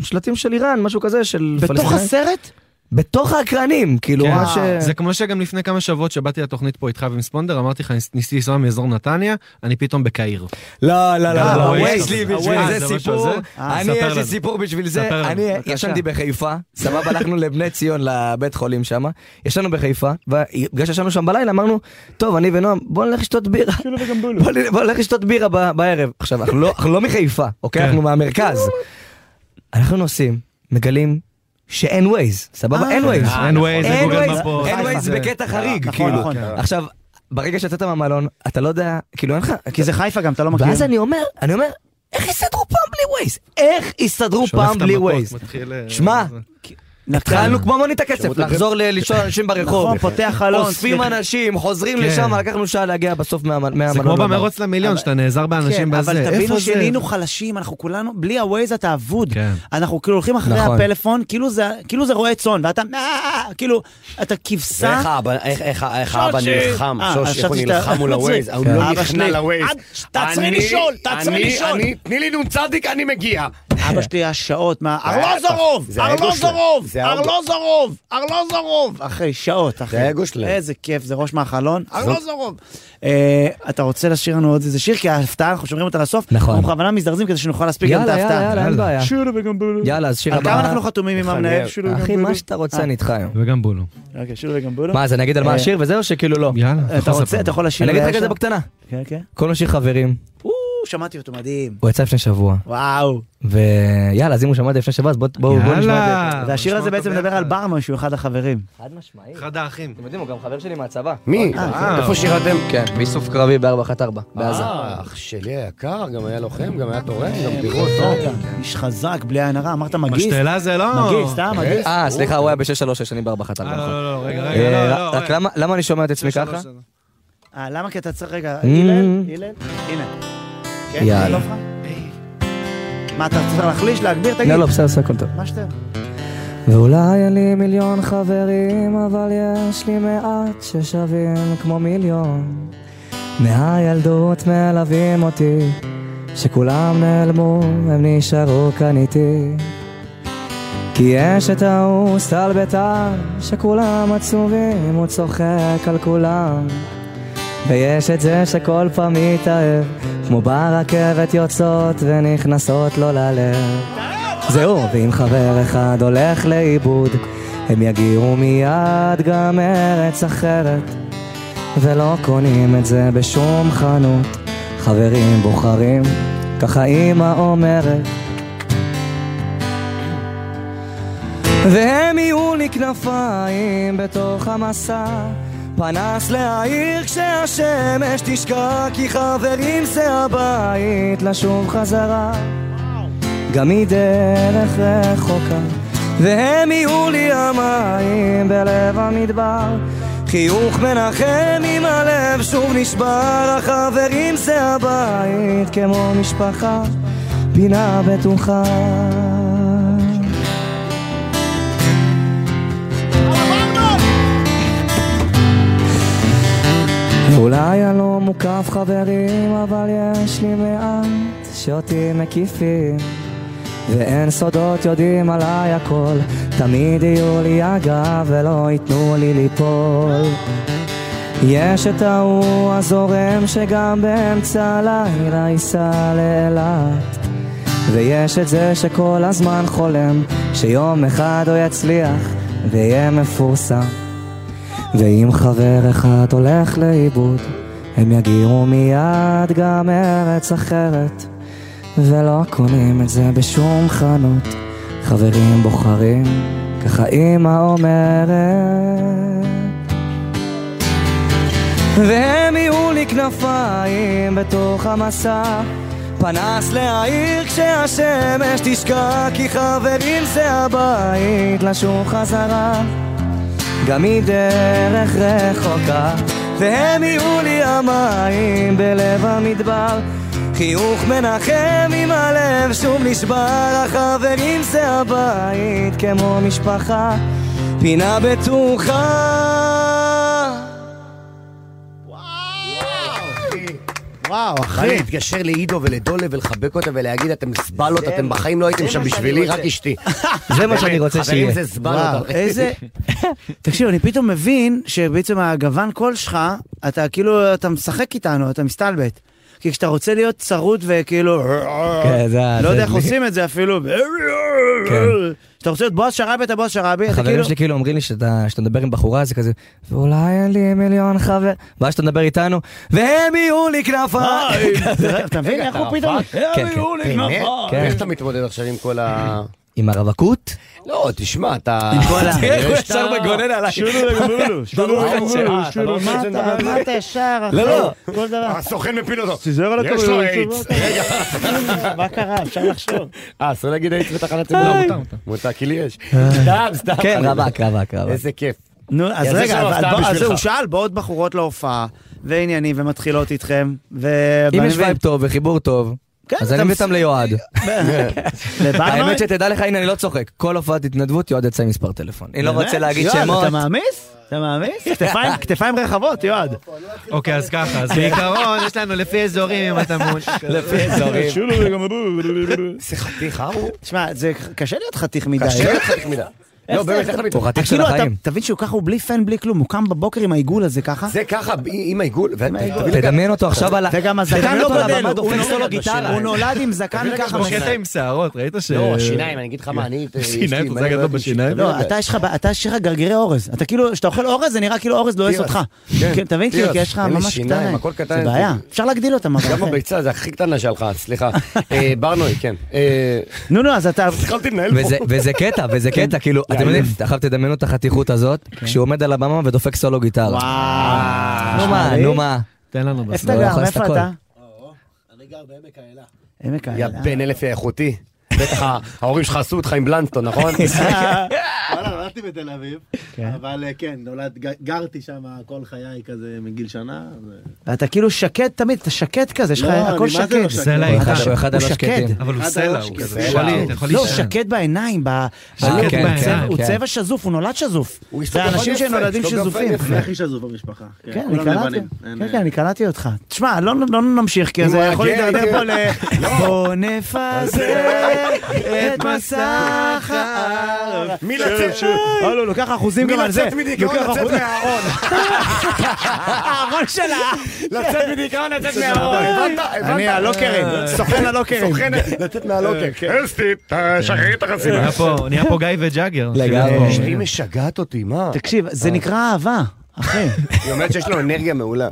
שלטים של איראן, משהו כזה, של
בתוך
פלסטינאים.
הסרט?
בתוך האקרנים,
לא
כאילו,
כן.
ממש... אה,
זה כמו שגם לפני כמה שבועות שבאתי לתוכנית פה איתך ועם ספונדר, אמרתי לך, "ניס- ניסיתי לנסוע מאזור נתניה, אני פתאום בקהיר.
לא, לא,
גם
לא, לא,
ה-Waze
יש לי
הזה.
בשביל
אה,
זה
משהו
סיפור,
הזה? אה,
אני
ספר
יש לי
לנו.
סיפור בשביל
ספר
זה,
לנו.
אני
בבקשה.
ישנתי בחיפה, סבבה, הלכנו לבני ציון לבית חולים שם, ישנו בחיפה, ובגלל שישנו שם בלילה אמרנו, טוב, אני ונועם, בוא נלך לשתות בירה,
כאילו,
בוא נ- בוא נלך לשתות בירה ב- בערב, עכשיו, אנחנו לא- אנחנו לא מחיפה, אוקיי,
כן.
אנחנו מהמרכז,
לא.
אנחנו נוסעים, מגלים שאין ווייז, סבבה?
אה.
אין ווייז.
אה, אין Waze,
אין
גוגל
Waze,
מפות.
אין ווייז
זה-
בקטע חריג,
נכון,
כאילו.
נכון.
עכשיו, ברגע שיצאת מהמלון, אתה לא יודע, כאילו אין לך...
כי זה חיפה גם, אתה לא מכיר.
ואז אני אומר, אני אומר, איך יסתדרו פעם בלי ווייז? איך יסתדרו
שולף
פעם
את
בלי
המפות,
ווייז?
מתחיל, אה,
שמע, התחלנו כמו מונית
שירות
הכסף, לחזור
לב-
ל- לישון אנשים ברחוב.
נכון, פותח חלון,
אוספים
סליחה.
אנשים, חוזרים
כן.
לשם, לקחנו שעה להגיע בסוף מה- מהמלון.
זה כמו
לבית.
במרוץ למיליון, שאתה נעזר באנשים
כן,
בזה.
אבל
איפה
תבינו
זה? כן.
שנהיינו חלשים, אנחנו כולנו, בלי הווייז אתה אבוד. אנחנו כאילו הולכים אחרי
נכון.
הפלאפון, כאילו זה- כאילו זה רועה צאן, ואתה, "אה", כאילו, אתה כבשה.
ואיך האבא- איך- איך- איך האבא
שוש.
נלחם,
אה,
שוש, איך הוא
חשבתי שאתה-
נלחם מול הווייז, הוא
כן.
לא
אבא
נכנע
שלי,
לווייז.
"עד- תעצרי
אני-
לשאול, תעצרי
אני-
לשאול."
אני- תני לי נ"צ, אני מגיע.
אבא שלי היה שעות, מה, ארלוזורוב,
זה האגו שלו.
ארלוזורוב,
זה האגו.
ארלוזורוב, ארלוזורוב. אחרי שעות, אחי.
זה האגו שלהם.
איזה כיף, זה ראש מהחלון, ארלוזורוב.
זאת-
אה, אתה רוצה לשיר לנו עוד איזה שיר? כי ההפתעה, אנחנו שומרים אותה לסוף. נכון. אנחנו בכוונה מזדרזים כדי שנוכל להספיק גם את
יאללה,
ההפתעה.
יאללה, יאללה, אין בעיה.
שיר וגמבולו.
יאללה, אז שיר
על
הבא.
כמה אנחנו חתומים עם המנהל? שיר
כאילו,
וגמבולו.
אחי, מה שאתה
אה.
רוצה, אני איתך היום. וגם בולו.
אוקיי, שיר וגמבולו.
מה, אז אני אגיד על מה
אה,
השיר וזהו, שכאילו לא. יאללה.
אתה רוצה, אתה יכול לשיר.
אני אגיד לך
לישר?
את זה בקטנה.
כן, כן.
כל השיר חברים,
או, שמעתי אותו, מדהים.
הוא יצא לפני שבוע.
וואו.
ויאללה, אז אם הוא שמע את זה לפני שבוע, אז בואו בואו- בואו נשמע את זה.
והשיר הזה בעצם מדבר על ברמן שהוא אחד החברים.
חד משמעית. אחד האחים. אתם יודעים, הוא גם חבר שלי מהצבא.
מי?
אה,
איפה שירתם?
כן, באיסוף קרבי ב-414, בעזה.
אה, אח שלי היקר, גם היה לוחם, גם היה תורם, גם בדיחות טוב.
רגע, אה, איש חזק, בלי עין הרע, אמרת מגיס.
בשתלה
זה
לא-
מגיס,
כן.
סתם, מגיס.
אה, סליחה, הוא היה ב-636, אני ב-414.
אוקיי.
נכון.
לא, לא, לא, רגע, רגע,
אה,
לא, לא,
רק למה- למה אני שומע את עצמי ככה?
אה, למה? כי אתה צריך... רגע,
Mm.
הלל, הלל, הנה. כן,
יאללה.
לא הפרע? מה, אתה צריך להחליש, להגביר? תגיד.
לא, לא, בסדר, בסדר, הכל טוב.
מה שאתה...
ואולי אין לי מיליון חברים, אבל יש לי מעט ששווים כמו מיליון. מהילדות מלווים אותי, שכולם נעלמו, הם נשארו כאן איתי. כי יש את ההוא סל ביתר, שכולם עצובים, הוא צוחק על כולם. ויש את זה שכל פעם מתאהב, כמו ברכבת יוצאות ונכנסות לו ללב. זהו, ואם חבר אחד הולך לאיבוד, הם יגיעו מיד גם ארץ אחרת. ולא קונים את זה בשום חנות, חברים בוחרים, ככה אמא אומרת. והם יהיו לי כנפיים בתוך המסע פנס להעיר כשהשמש תשקע כי חברים זה הבית לשוב חזרה גם מדרך רחוקה והם יהיו לי המים בלב המדבר חיוך מנחם עם הלב שוב נשבר החברים זה הבית כמו משפחה פינה בטוחה אולי אני לא מוקף חברים, אבל יש לי מעט שאותי מקיפים. ואין סודות יודעים עליי הכל, תמיד יהיו לי הגב ולא ייתנו לי ליפול. יש את ההוא הזורם שגם באמצע הלילה ייסע לאילת ויש את זה שכל הזמן חולם שיום אחד הוא יצליח ויהיה מפורסם ואם חבר אחד הולך לאיבוד הם יגיעו מיד גם ארץ אחרת ולא קונים את זה בשום חנות חברים בוחרים ככה אמא אומרת
והם יהיו לי כנפיים בתוך המסע
פנס להעיר כשהשמש תשקע כי חברים זה הבית לשוב חזרה גם מדרך רחוקה והם יהיו לי המים בלב המדבר חיוך מנחם עם הלב שוב נשבר החברים זה הבית כמו משפחה פינה בטוחה
וואו,
אחי. להתקשר לעידו ולדולה ולחבק אותה ולהגיד, אתם זבלות, אתם בחיים לא הייתם
זה
שם
מה שאני
בשבילי,
רוצה.
רק אשתי.
זה מה
באמת,
שאני רוצה
חברים,
שיהיה.
זה זבלות.
וואו, איזה- תקשיב, אני פתאום מבין שבעצם הגוון קול שלך, אתה כאילו, אתה משחק איתנו, אתה מסתלבט. כי כשאתה רוצה להיות צרוד וכאילו,
כן, זה
לא
ה- זה
יודע איך
לי.
עושים את זה אפילו, כשאתה רוצה להיות בועז שרעבי, אתה בועז שרעבי, אתה
החברים
כאילו,
שלי כאילו אומרים לי שאתה שאתה מדבר עם בחורה זה כזה ואולי אין לי מיליון חבר ואז שאתה מדבר איתנו והם יהיו לי
אה,
כנפיים.
כזה. אה, אתה מבין איך הוא פתאום,
כן, כן.
באמת?
כן.
אה, איך אתה מתמודד עכשיו עם כל ה...
עם הרווקות?
לא, תשמע, אתה...
עם כל
אה,
ה-
אה,
תראה איך כן, הוא
יש
ישר
את ה-
מגונן עליי.
שונו לגמולו, שונו
ברור,
לגמולו,
אה, אתה
שונו.
לא רוצה
מה
שנדבר
אתה-
על זה?
מה אתה ישר, אחי?
לא, לא.
כל דבר.
הסוכן מפיל אותו.
תיזהר על
יש לו
הכדורים,
איידס. רגע.
מה קרה? אפשר לחשוב.
אה, אסור להגיד איידס בתחנת ציבור.
היי.
מותר, מותר. מותר, כי לי יש. סתם, סתם.
כן, רווק,
רווק, רווק.
איזה כיף.
נו, אז
אז זה
רגע,
שם
אבל
הפתעה
בוא- אז
בשבילך.
הוא שאל, באות בחורות להופעה, ועניינים, ומתחילות איתכם, ו...
אם
ואני
יש
כן, מבין-
וייב טוב וחיבור טוב
כן,
אז
אתה
אני מביא
מס-
אותם ליועד.
לברמן?
האמת שתדע לך הנה אני לא צוחק כל הופעת התנדבות יועד יצא עם מספר טלפון. אני לא
באמת?
רוצה להגיד
יואב,
שמות.
אתה מעמיס? אתה מעמיס? כתפיים- כתפיים רחבות, יועד.
אוקיי, אז ככה, אז בעיקרון יש לנו לפי אזורים אם אתה מול.
לפי אזורים.
שולו לגמרי.
זה חתיך, אה? הוא?
תשמע, זה קשה להיות חתיך מדי.
קשה להיות חתיך מדי.
איך
לא,
זה-
באמת, איך אתה מתמודד?
אתה כאילו, אתה- תבין שהוא ככה, הוא בלי פן, בלי כלום, הוא קם בבוקר עם העיגול הזה ככה.
זה ככה, עם העיגול.
תדמיין אותו עכשיו על ה...
וגם הזקן
תדמיין
לא
אותו על
גדל,
הבמה,
הוא
דופק
נולד-
סולו גיטרה.
הוא נולד עם זקן
יש
ככה.
פה קטע עם שערות, ראית ש...
לא, השיניים, אני אגיד לך מה, אה, אני...
שיניים, אתה זה גדול בשיניים?
לא, אתה יש לך, אתה יש לך גרגרי אורז. אתה כאילו, כשאתה אוכל אורז, זה נראה כאילו אורז לועס
תירס.
אותך.
כן.
כן, אתה מבין? כאילו, כי
תירס.
יש לך
אין לי
ממש
שיניים,
קטן.
הכל קטן.
זה בעיה. אפשר להגדיל אותם, אבל...
גם
אחי.
הביצה זה הכי קטנה שלך, סליחה. אה, ברנוי, כן.
נו, נו, אז אתה...
התחלתי לנהל
וזה-
פה.
וזה קטע, וזה
כן.
קטע, כאילו, אתם יודעים, עכשיו תדמיינו את החתיכות הזאת, כשהוא עומד על הבמה ודופק סולו גיטרה. נו מה, נו מה.
תן לנו
איפה אתה גר? איפה אתה? עמק
יא בן אלף יא איכותי. בטח ה- ההורים שלך עשו אותך עם בלנסטון, נכון?
וואלה, נולדתי בתל אביב, אבל אה, כן, נולד, ג- גרתי שם כל חיי כזה מגיל שנה. ו-
ואתה כאילו שקט תמיד, אתה שקט כזה, יש לך
לא, אני
הכל
מה זה לא
שקט.
שקט? סלע איתך,
הוא
הוא אחד
הוא
הלא
שקט.
שקטים. אבל הוא סלע, הוא כזה, הוא שליט, אתה יכול
לא, הוא
להישען.
שקט בעיניים, ב-
שקט
בלוק,
בעיניים,
בצבע, הוא
כן.
צבע שזוף, הוא נולד שזוף. זה אנשים שנולדים שזופים.
אני הכי שזוף במשפחה.
כן, אני
כולם
קלטתי,
לבנים. אין,
כן,
אה,
כן, אני קלטתי אותך. תשמע, לא לא נמשיך, כי זה יכול
כן,
להתדרדר
כן.
פה ל... בוא נפזר את מסך הארץ.
מי
כן.
לצאת?
אה, לא, לוקח אחוזים גם על זה.
מי לצאת מדיכאון,
לוקח
לצאת
אחוז-
מהארון.
הארון שלה.
לצאת מדיכאון, לצאת
זה
מהארון.
נורא.
הבנת? הבנת? אה.
אני הלוקרים, סוכן הלוקרים.
סוכן, לצאת מהלוקר. כן. אסתי, תשחררי את החסימה.
אה,
אה.
נהיה פה- נהיה פה גיא וג'אגר.
אשתי משגעת אותי, מה?
תקשיב, זה
אה.
נקרא אהבה, אחי.
היא אומרת שיש לו אנרגיה מעולה.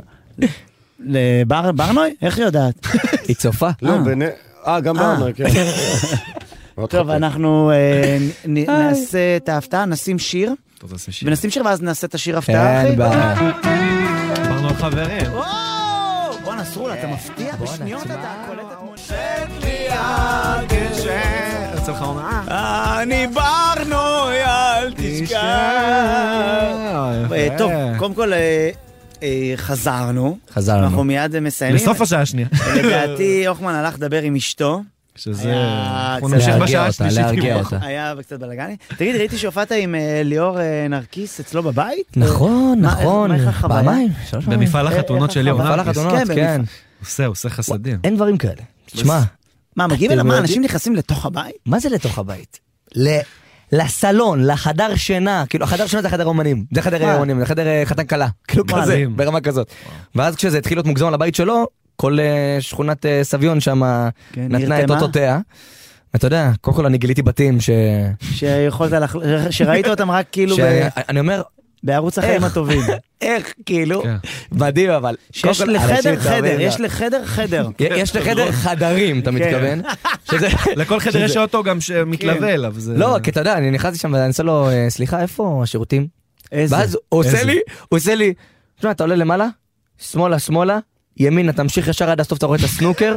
לבר- ברנוי? איך היא יודעת?
היא צופה.
לא, בנ... אה, גם ברנוי, כן.
טוב, אנחנו אה, נ- נ- נעשה את ההפתעה, נשים שיר.
טוב, נעשה שיר.
ונשים שיר ואז נעשה את השיר הפתעה,
כן,
אחי.
בעיה. דיברנו על חברים.
בואנה, סרולה, אתה מפתיע בשניות אתה קולט את אני ברנוי, אל אה, טוב, קודם כל אה, אה, חזרנו.
חזרנו.
אנחנו מיד אה, מסיימים.
בסוף השעה השנייה.
לדעתי, הוחמן הלך לדבר עם אשתו.
שזה...
היה
אנחנו
קצת-
נמשיך
להרגיע
בשעה
אותה,
השלישית.
להרגיע
כאילו.
אותה. היה קצת בלאגני. תגיד, ראיתי שהופעת עם אה, ליאור אה, נרקיס אצלו בבית? אה,
נכון,
מה-
נכון,
מה, איך החוויה? אה,
פעמיים, שלוש פעמים.
במפעל
איך-
החתונות
איך
של
אה,
ליאור
החוויה?
נרקיס.
במפעל החתונות, כן.
עושה, עושה חסדים.
אין דברים כאלה. תשמע.
מה, מגיעים
אתם
אליו, מה,
יודעים-
אנשים נכנסים לתוך הבית?
מה זה לתוך הבית? ל...
לסלון, לחדר שינה, כאילו החדר שינה זה חדר אומנים, זה חדר
וואלה.
אומנים, זה חדר אה, חתן כלה,
לא
כאילו
וואלה.
כזה, ברמה כזאת. ואז כשזה התחיל להיות מוגזם לבית שלו, כל אה, שכונת אה, סביון שם נתנה את
כן, נרתמה?
אותותיה. אתה יודע, קודם כל אני גיליתי בתים ש...
שיכולת, לח- שראית אותם רק כאילו... ב-
אני אומר,
בערוץ
איך?
החיים הטובים. כן.
איך, כאילו, מדהים אבל.
שיש
קודם כל, אנשים
לחדר חדר,
מתאהבים,
יש כן.
לא.
לחדר חדר.
יש לחדר חדרים, אתה
כן.
מתכוון? שזה-
לכל חדר יש
שזה-
אוטו גם שמתלווה אליו. זה-
לא, כי אתה יודע, אני נכנסתי שם ואני עושה לו, אה, סליחה, איפה השירותים?
איזה?
ואז הוא עושה
איזה?
לי, הוא עושה לי, תשמע, אתה עולה למעלה, שמאלה, שמאלה, ימינה, תמשיך ישר עד הסוף, אתה רואה את הסנוקר.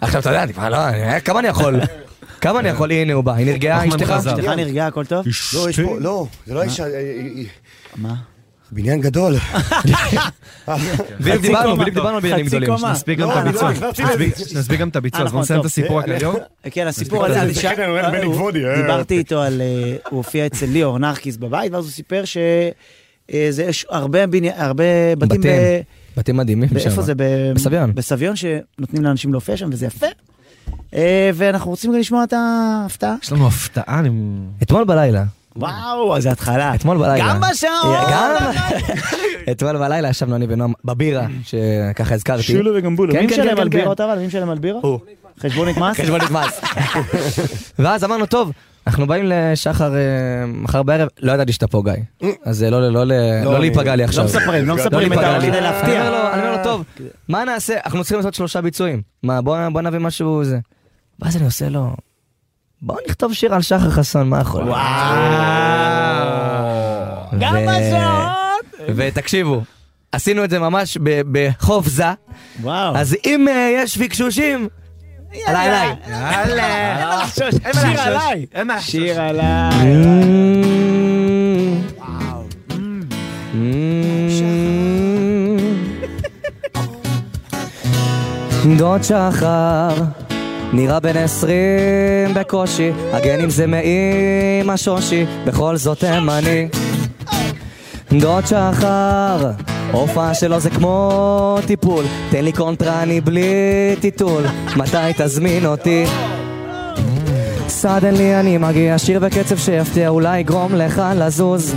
עכשיו, אתה יודע, אני כבר לא, אני- כמה אני יכול? כמה
כן.
אני יכול? הנה הוא בא, היא נרגעה, אשתך?
אשתך נרגעה, הכל טוב?
לא, יש פה, לא, זה לא
מה?
האישה... אה, אה, אה,
מה?
בניין גדול.
כן.
בדיוק דיברנו, בדיוק דיברנו על בניינים גדולים. שנספיק גם את
לא, אני לא
הביצוע.
נכנסתי
שנספיק-
לזה. אה,
שנספיק גם את הביצוע, אז בואו נסיים את הסיפור הכללי.
אה, נכון, כן, הסיפור
נספיק
הזה,
את
אני
זה.
שאל-
כן, הוא בן
הוא-
גבודי, אה.
דיברתי איתו על, אה, הוא הופיע אצל ליאור נרקיס בבית, ואז הוא סיפר ש... אה, זה- יש הרבה בני- הרבה בתים
בתים.
ב-
בתים מדהימים שם.
באיפה זה? ב-
בסביון.
בסביון, שנותנים לאנשים להופיע שם, וזה יפה. אה, ואנחנו רוצים גם לשמוע את ההפתעה.
יש לנו הפתעה, אני...
אתמול בלילה.
וואו, אז זה התחלה.
אתמול בלילה.
גם בשעון!
אה, גם- אתמול בלילה ישבנו אני ונועם בבירה, שככה הזכרתי. כן,
שולה
וגמבולה.
מי משלם כן,
כן,
על בירות אבל? מי משלם על בירות?
הוא.
חשבונית מס?
חשבונית מס. ואז אמרנו, טוב, אנחנו באים לשחר אה, מחר בערב, לא ידעתי שאתה פה גיא. אז אה, לא- לא- לא- לא
אני-
להיפגע לי
לא
עכשיו.
מספרים, לא מספרים את
להיפגע
ה-
לי.
כדי להפתיע.
אני אומר לו- אני אומר לו, טוב,
כן.
אה, מה נעשה? אנחנו צריכים לעשות שלושה ביצועים. מה, בוא בוא נביא משהו זה. ואז אני עושה לו, בוא נכתוב שיר על שחר חסון, מה יכול? וואו.
גם
ותקשיבו, עשינו את זה ממש ב- בחוף זה.
וואו.
אז אם אה, יש פיקשושים, עליי עליי. אה,
יאללה. שיר עליי. שיר עליי.
דוד שחר נראה בן עשרים בקושי, הגנים זה מאימא שושי, בכל זאת תימני. דוד שחר, הופעה שלו זה כמו טיפול, תן לי קונטרני בלי טיטול, מתי תזמין אותי? סדנלי אני מגיע, שיר בקצב שיפתיע, אולי יגרום לך לזוז.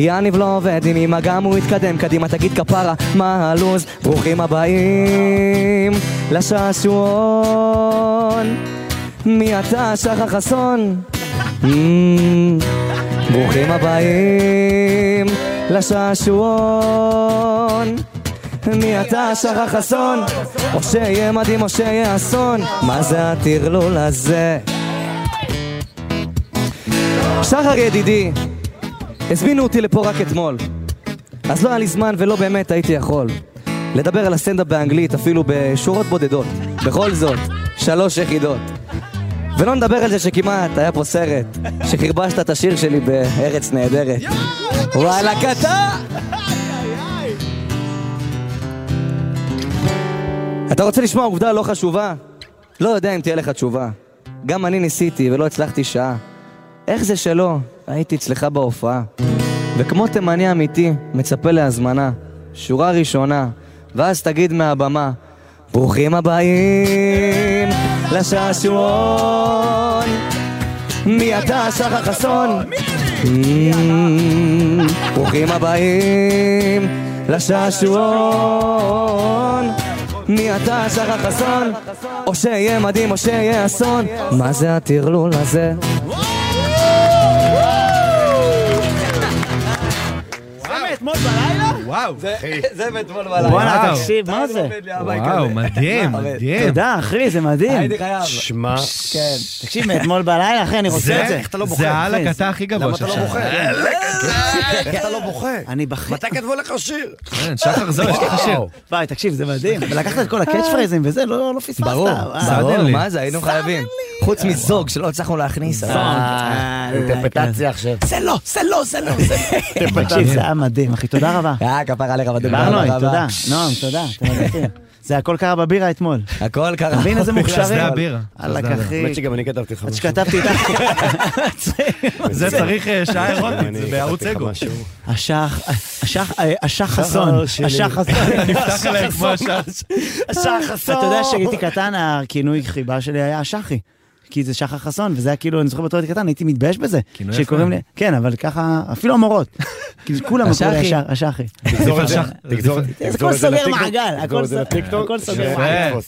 יניב לא עובד עם אמא, גם הוא יתקדם קדימה, תגיד כפרה, מה הלו"ז? ברוכים הבאים לשעשועון. מי אתה, שחר חסון? אמ, ברוכים הבאים לשעשועון. מי אתה, שחר חסון? או שיהיה מדהים או שיהיה אסון. מה זה הטרלול הזה? שחר ידידי, הזמינו אותי לפה רק אתמול. אז לא היה לי זמן ולא באמת הייתי יכול לדבר על הסטנדאפ באנגלית אפילו בשורות בודדות. בכל זאת, שלוש יחידות. ולא נדבר על זה שכמעט היה פה סרט, שחרבשת את השיר שלי בארץ נהדרת. וואלה קטן! אתה רוצה לשמוע עובדה לא חשובה? לא יודע אם תהיה לך תשובה. גם אני ניסיתי ולא הצלחתי שעה. איך זה שלא? הייתי אצלך בהופעה. וכמו תימני אמיתי, מצפה להזמנה. שורה ראשונה, ואז תגיד מהבמה, ברוכים הבאים לשעשועון. מי אתה, שחר חסון? אמ, ברוכים הבאים לשעשועון. מי אתה, שחר חסון? או שיהיה מדהים או שיהיה אסון. מה זה הטרלול הזה?
למה, אתמול בלילה?
וואו.
זה מאתמול
בלילה. וואו. זה עובד לי הבית
וואו,
הזה.
מדהים,
מה,
מדהים.
תודה, אחי, זה מדהים.
הייתי חייב.
שמע.
כן. תקשיב, מאתמול בלילה, אחי, אני רוצה
זה-
את זה.
איך אתה לא בוכה? זה העל
אחי,
הקטע
זה-
הכי גבוה
למה אתה לא
שלך. אה,
בוכה?
העל
כן.
איך אתה לא בוכה?
אני בכי...
מתי כתבו לך שיר?
כן, שחר זו, יש לך שיר.
וואי, תקשיב, זה מדהים. ולקחת את כל הקאץ' פרייזים וזה, לא לא פספסת.
ברור,
וואי.
ברור, מה זה, היינו חייבים. חוץ מזוג שלא הצלחנו להכניס. אבל-
אה,
אינטרפטציה עכשיו.
זה לא, זה לא, זה לא, זה לא.
כן, תקשיב, זה היה מדהים, אחי, תודה רבה.
אה, כפרה עליך, אבל
בר נוי, תודה. נועם, תודה. אתם מדהים. זה הכל קרה בבירה אתמול.
הכל קרה.
אתה מבין איזה מוכשרים?
חסדי הבירה.
וואלכ,
חסדי
אחי.
האמת שגם אני כתבתי לך
עד שכתבתי איתך.
זה צריך אה, שעה אירונית, זה
אני
בערוץ
כתבתי לך
אגו.
משהו.
אשח, אשח, אשח
לא,
חסון,
שלי.
אשח חסון.
נפתח עליהם כמו השעה.
אתה יודע שכשהייתי קטן, הכינוי חיבה שלי היה אשחי. כי זה שחר חסון, וזה היה כאילו, אני זוכר בתור ילד קטן, הייתי מתבייש בזה.
כינוי
שקוראים
יפה.
לי, כן, אבל ככה, אפילו המורות. כאילו, כולם אמרו לי
השחי.
"השח- השחי.
תגזור את זה, תגזור-
זה
תגזור
הכל
את זה
סוגר
לטיקטוק,
מעגל,
תגזור
הכל
את זה
ס-
לטיקטוק,
הכל סוגר
יפה.
מעגל.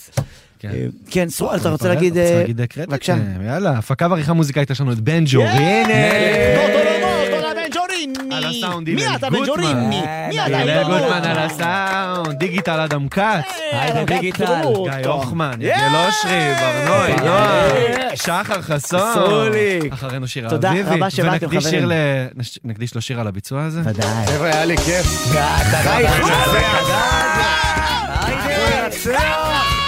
כן.
אה, כן, סורל, אתה רוצה
אתה
להגיד...
רוצה
אה,
להגיד קרדיט?
בבקשה.
אה, יאללה, הפקה ועריכה מוזיקאית, יש לנו את בן ג'ורי. על הסאונדים.
מי אתה, בן
גוטמן.
ג'וריני? מי אתה,
הלל
בן ג'וריני?
גוטמן על הסאונד, דיגיטל אדם כץ,
אדם
היידה
כץ,
דיגיטל,
תראו
גיא
אותו.
הוחמן, יגל אושרי, ברנוי, נועם, שחר חסון,
סוליק.
אחרינו שיר
תודה
האביבי,
רבה שבאתם,
ונקדיש
חברים.
שיר ל... נש- נקדיש לו שיר על הביצוע הזה.
ודאי.
חבר'ה, היה לי כיף. אתה חי, אתה חי, אתה חי.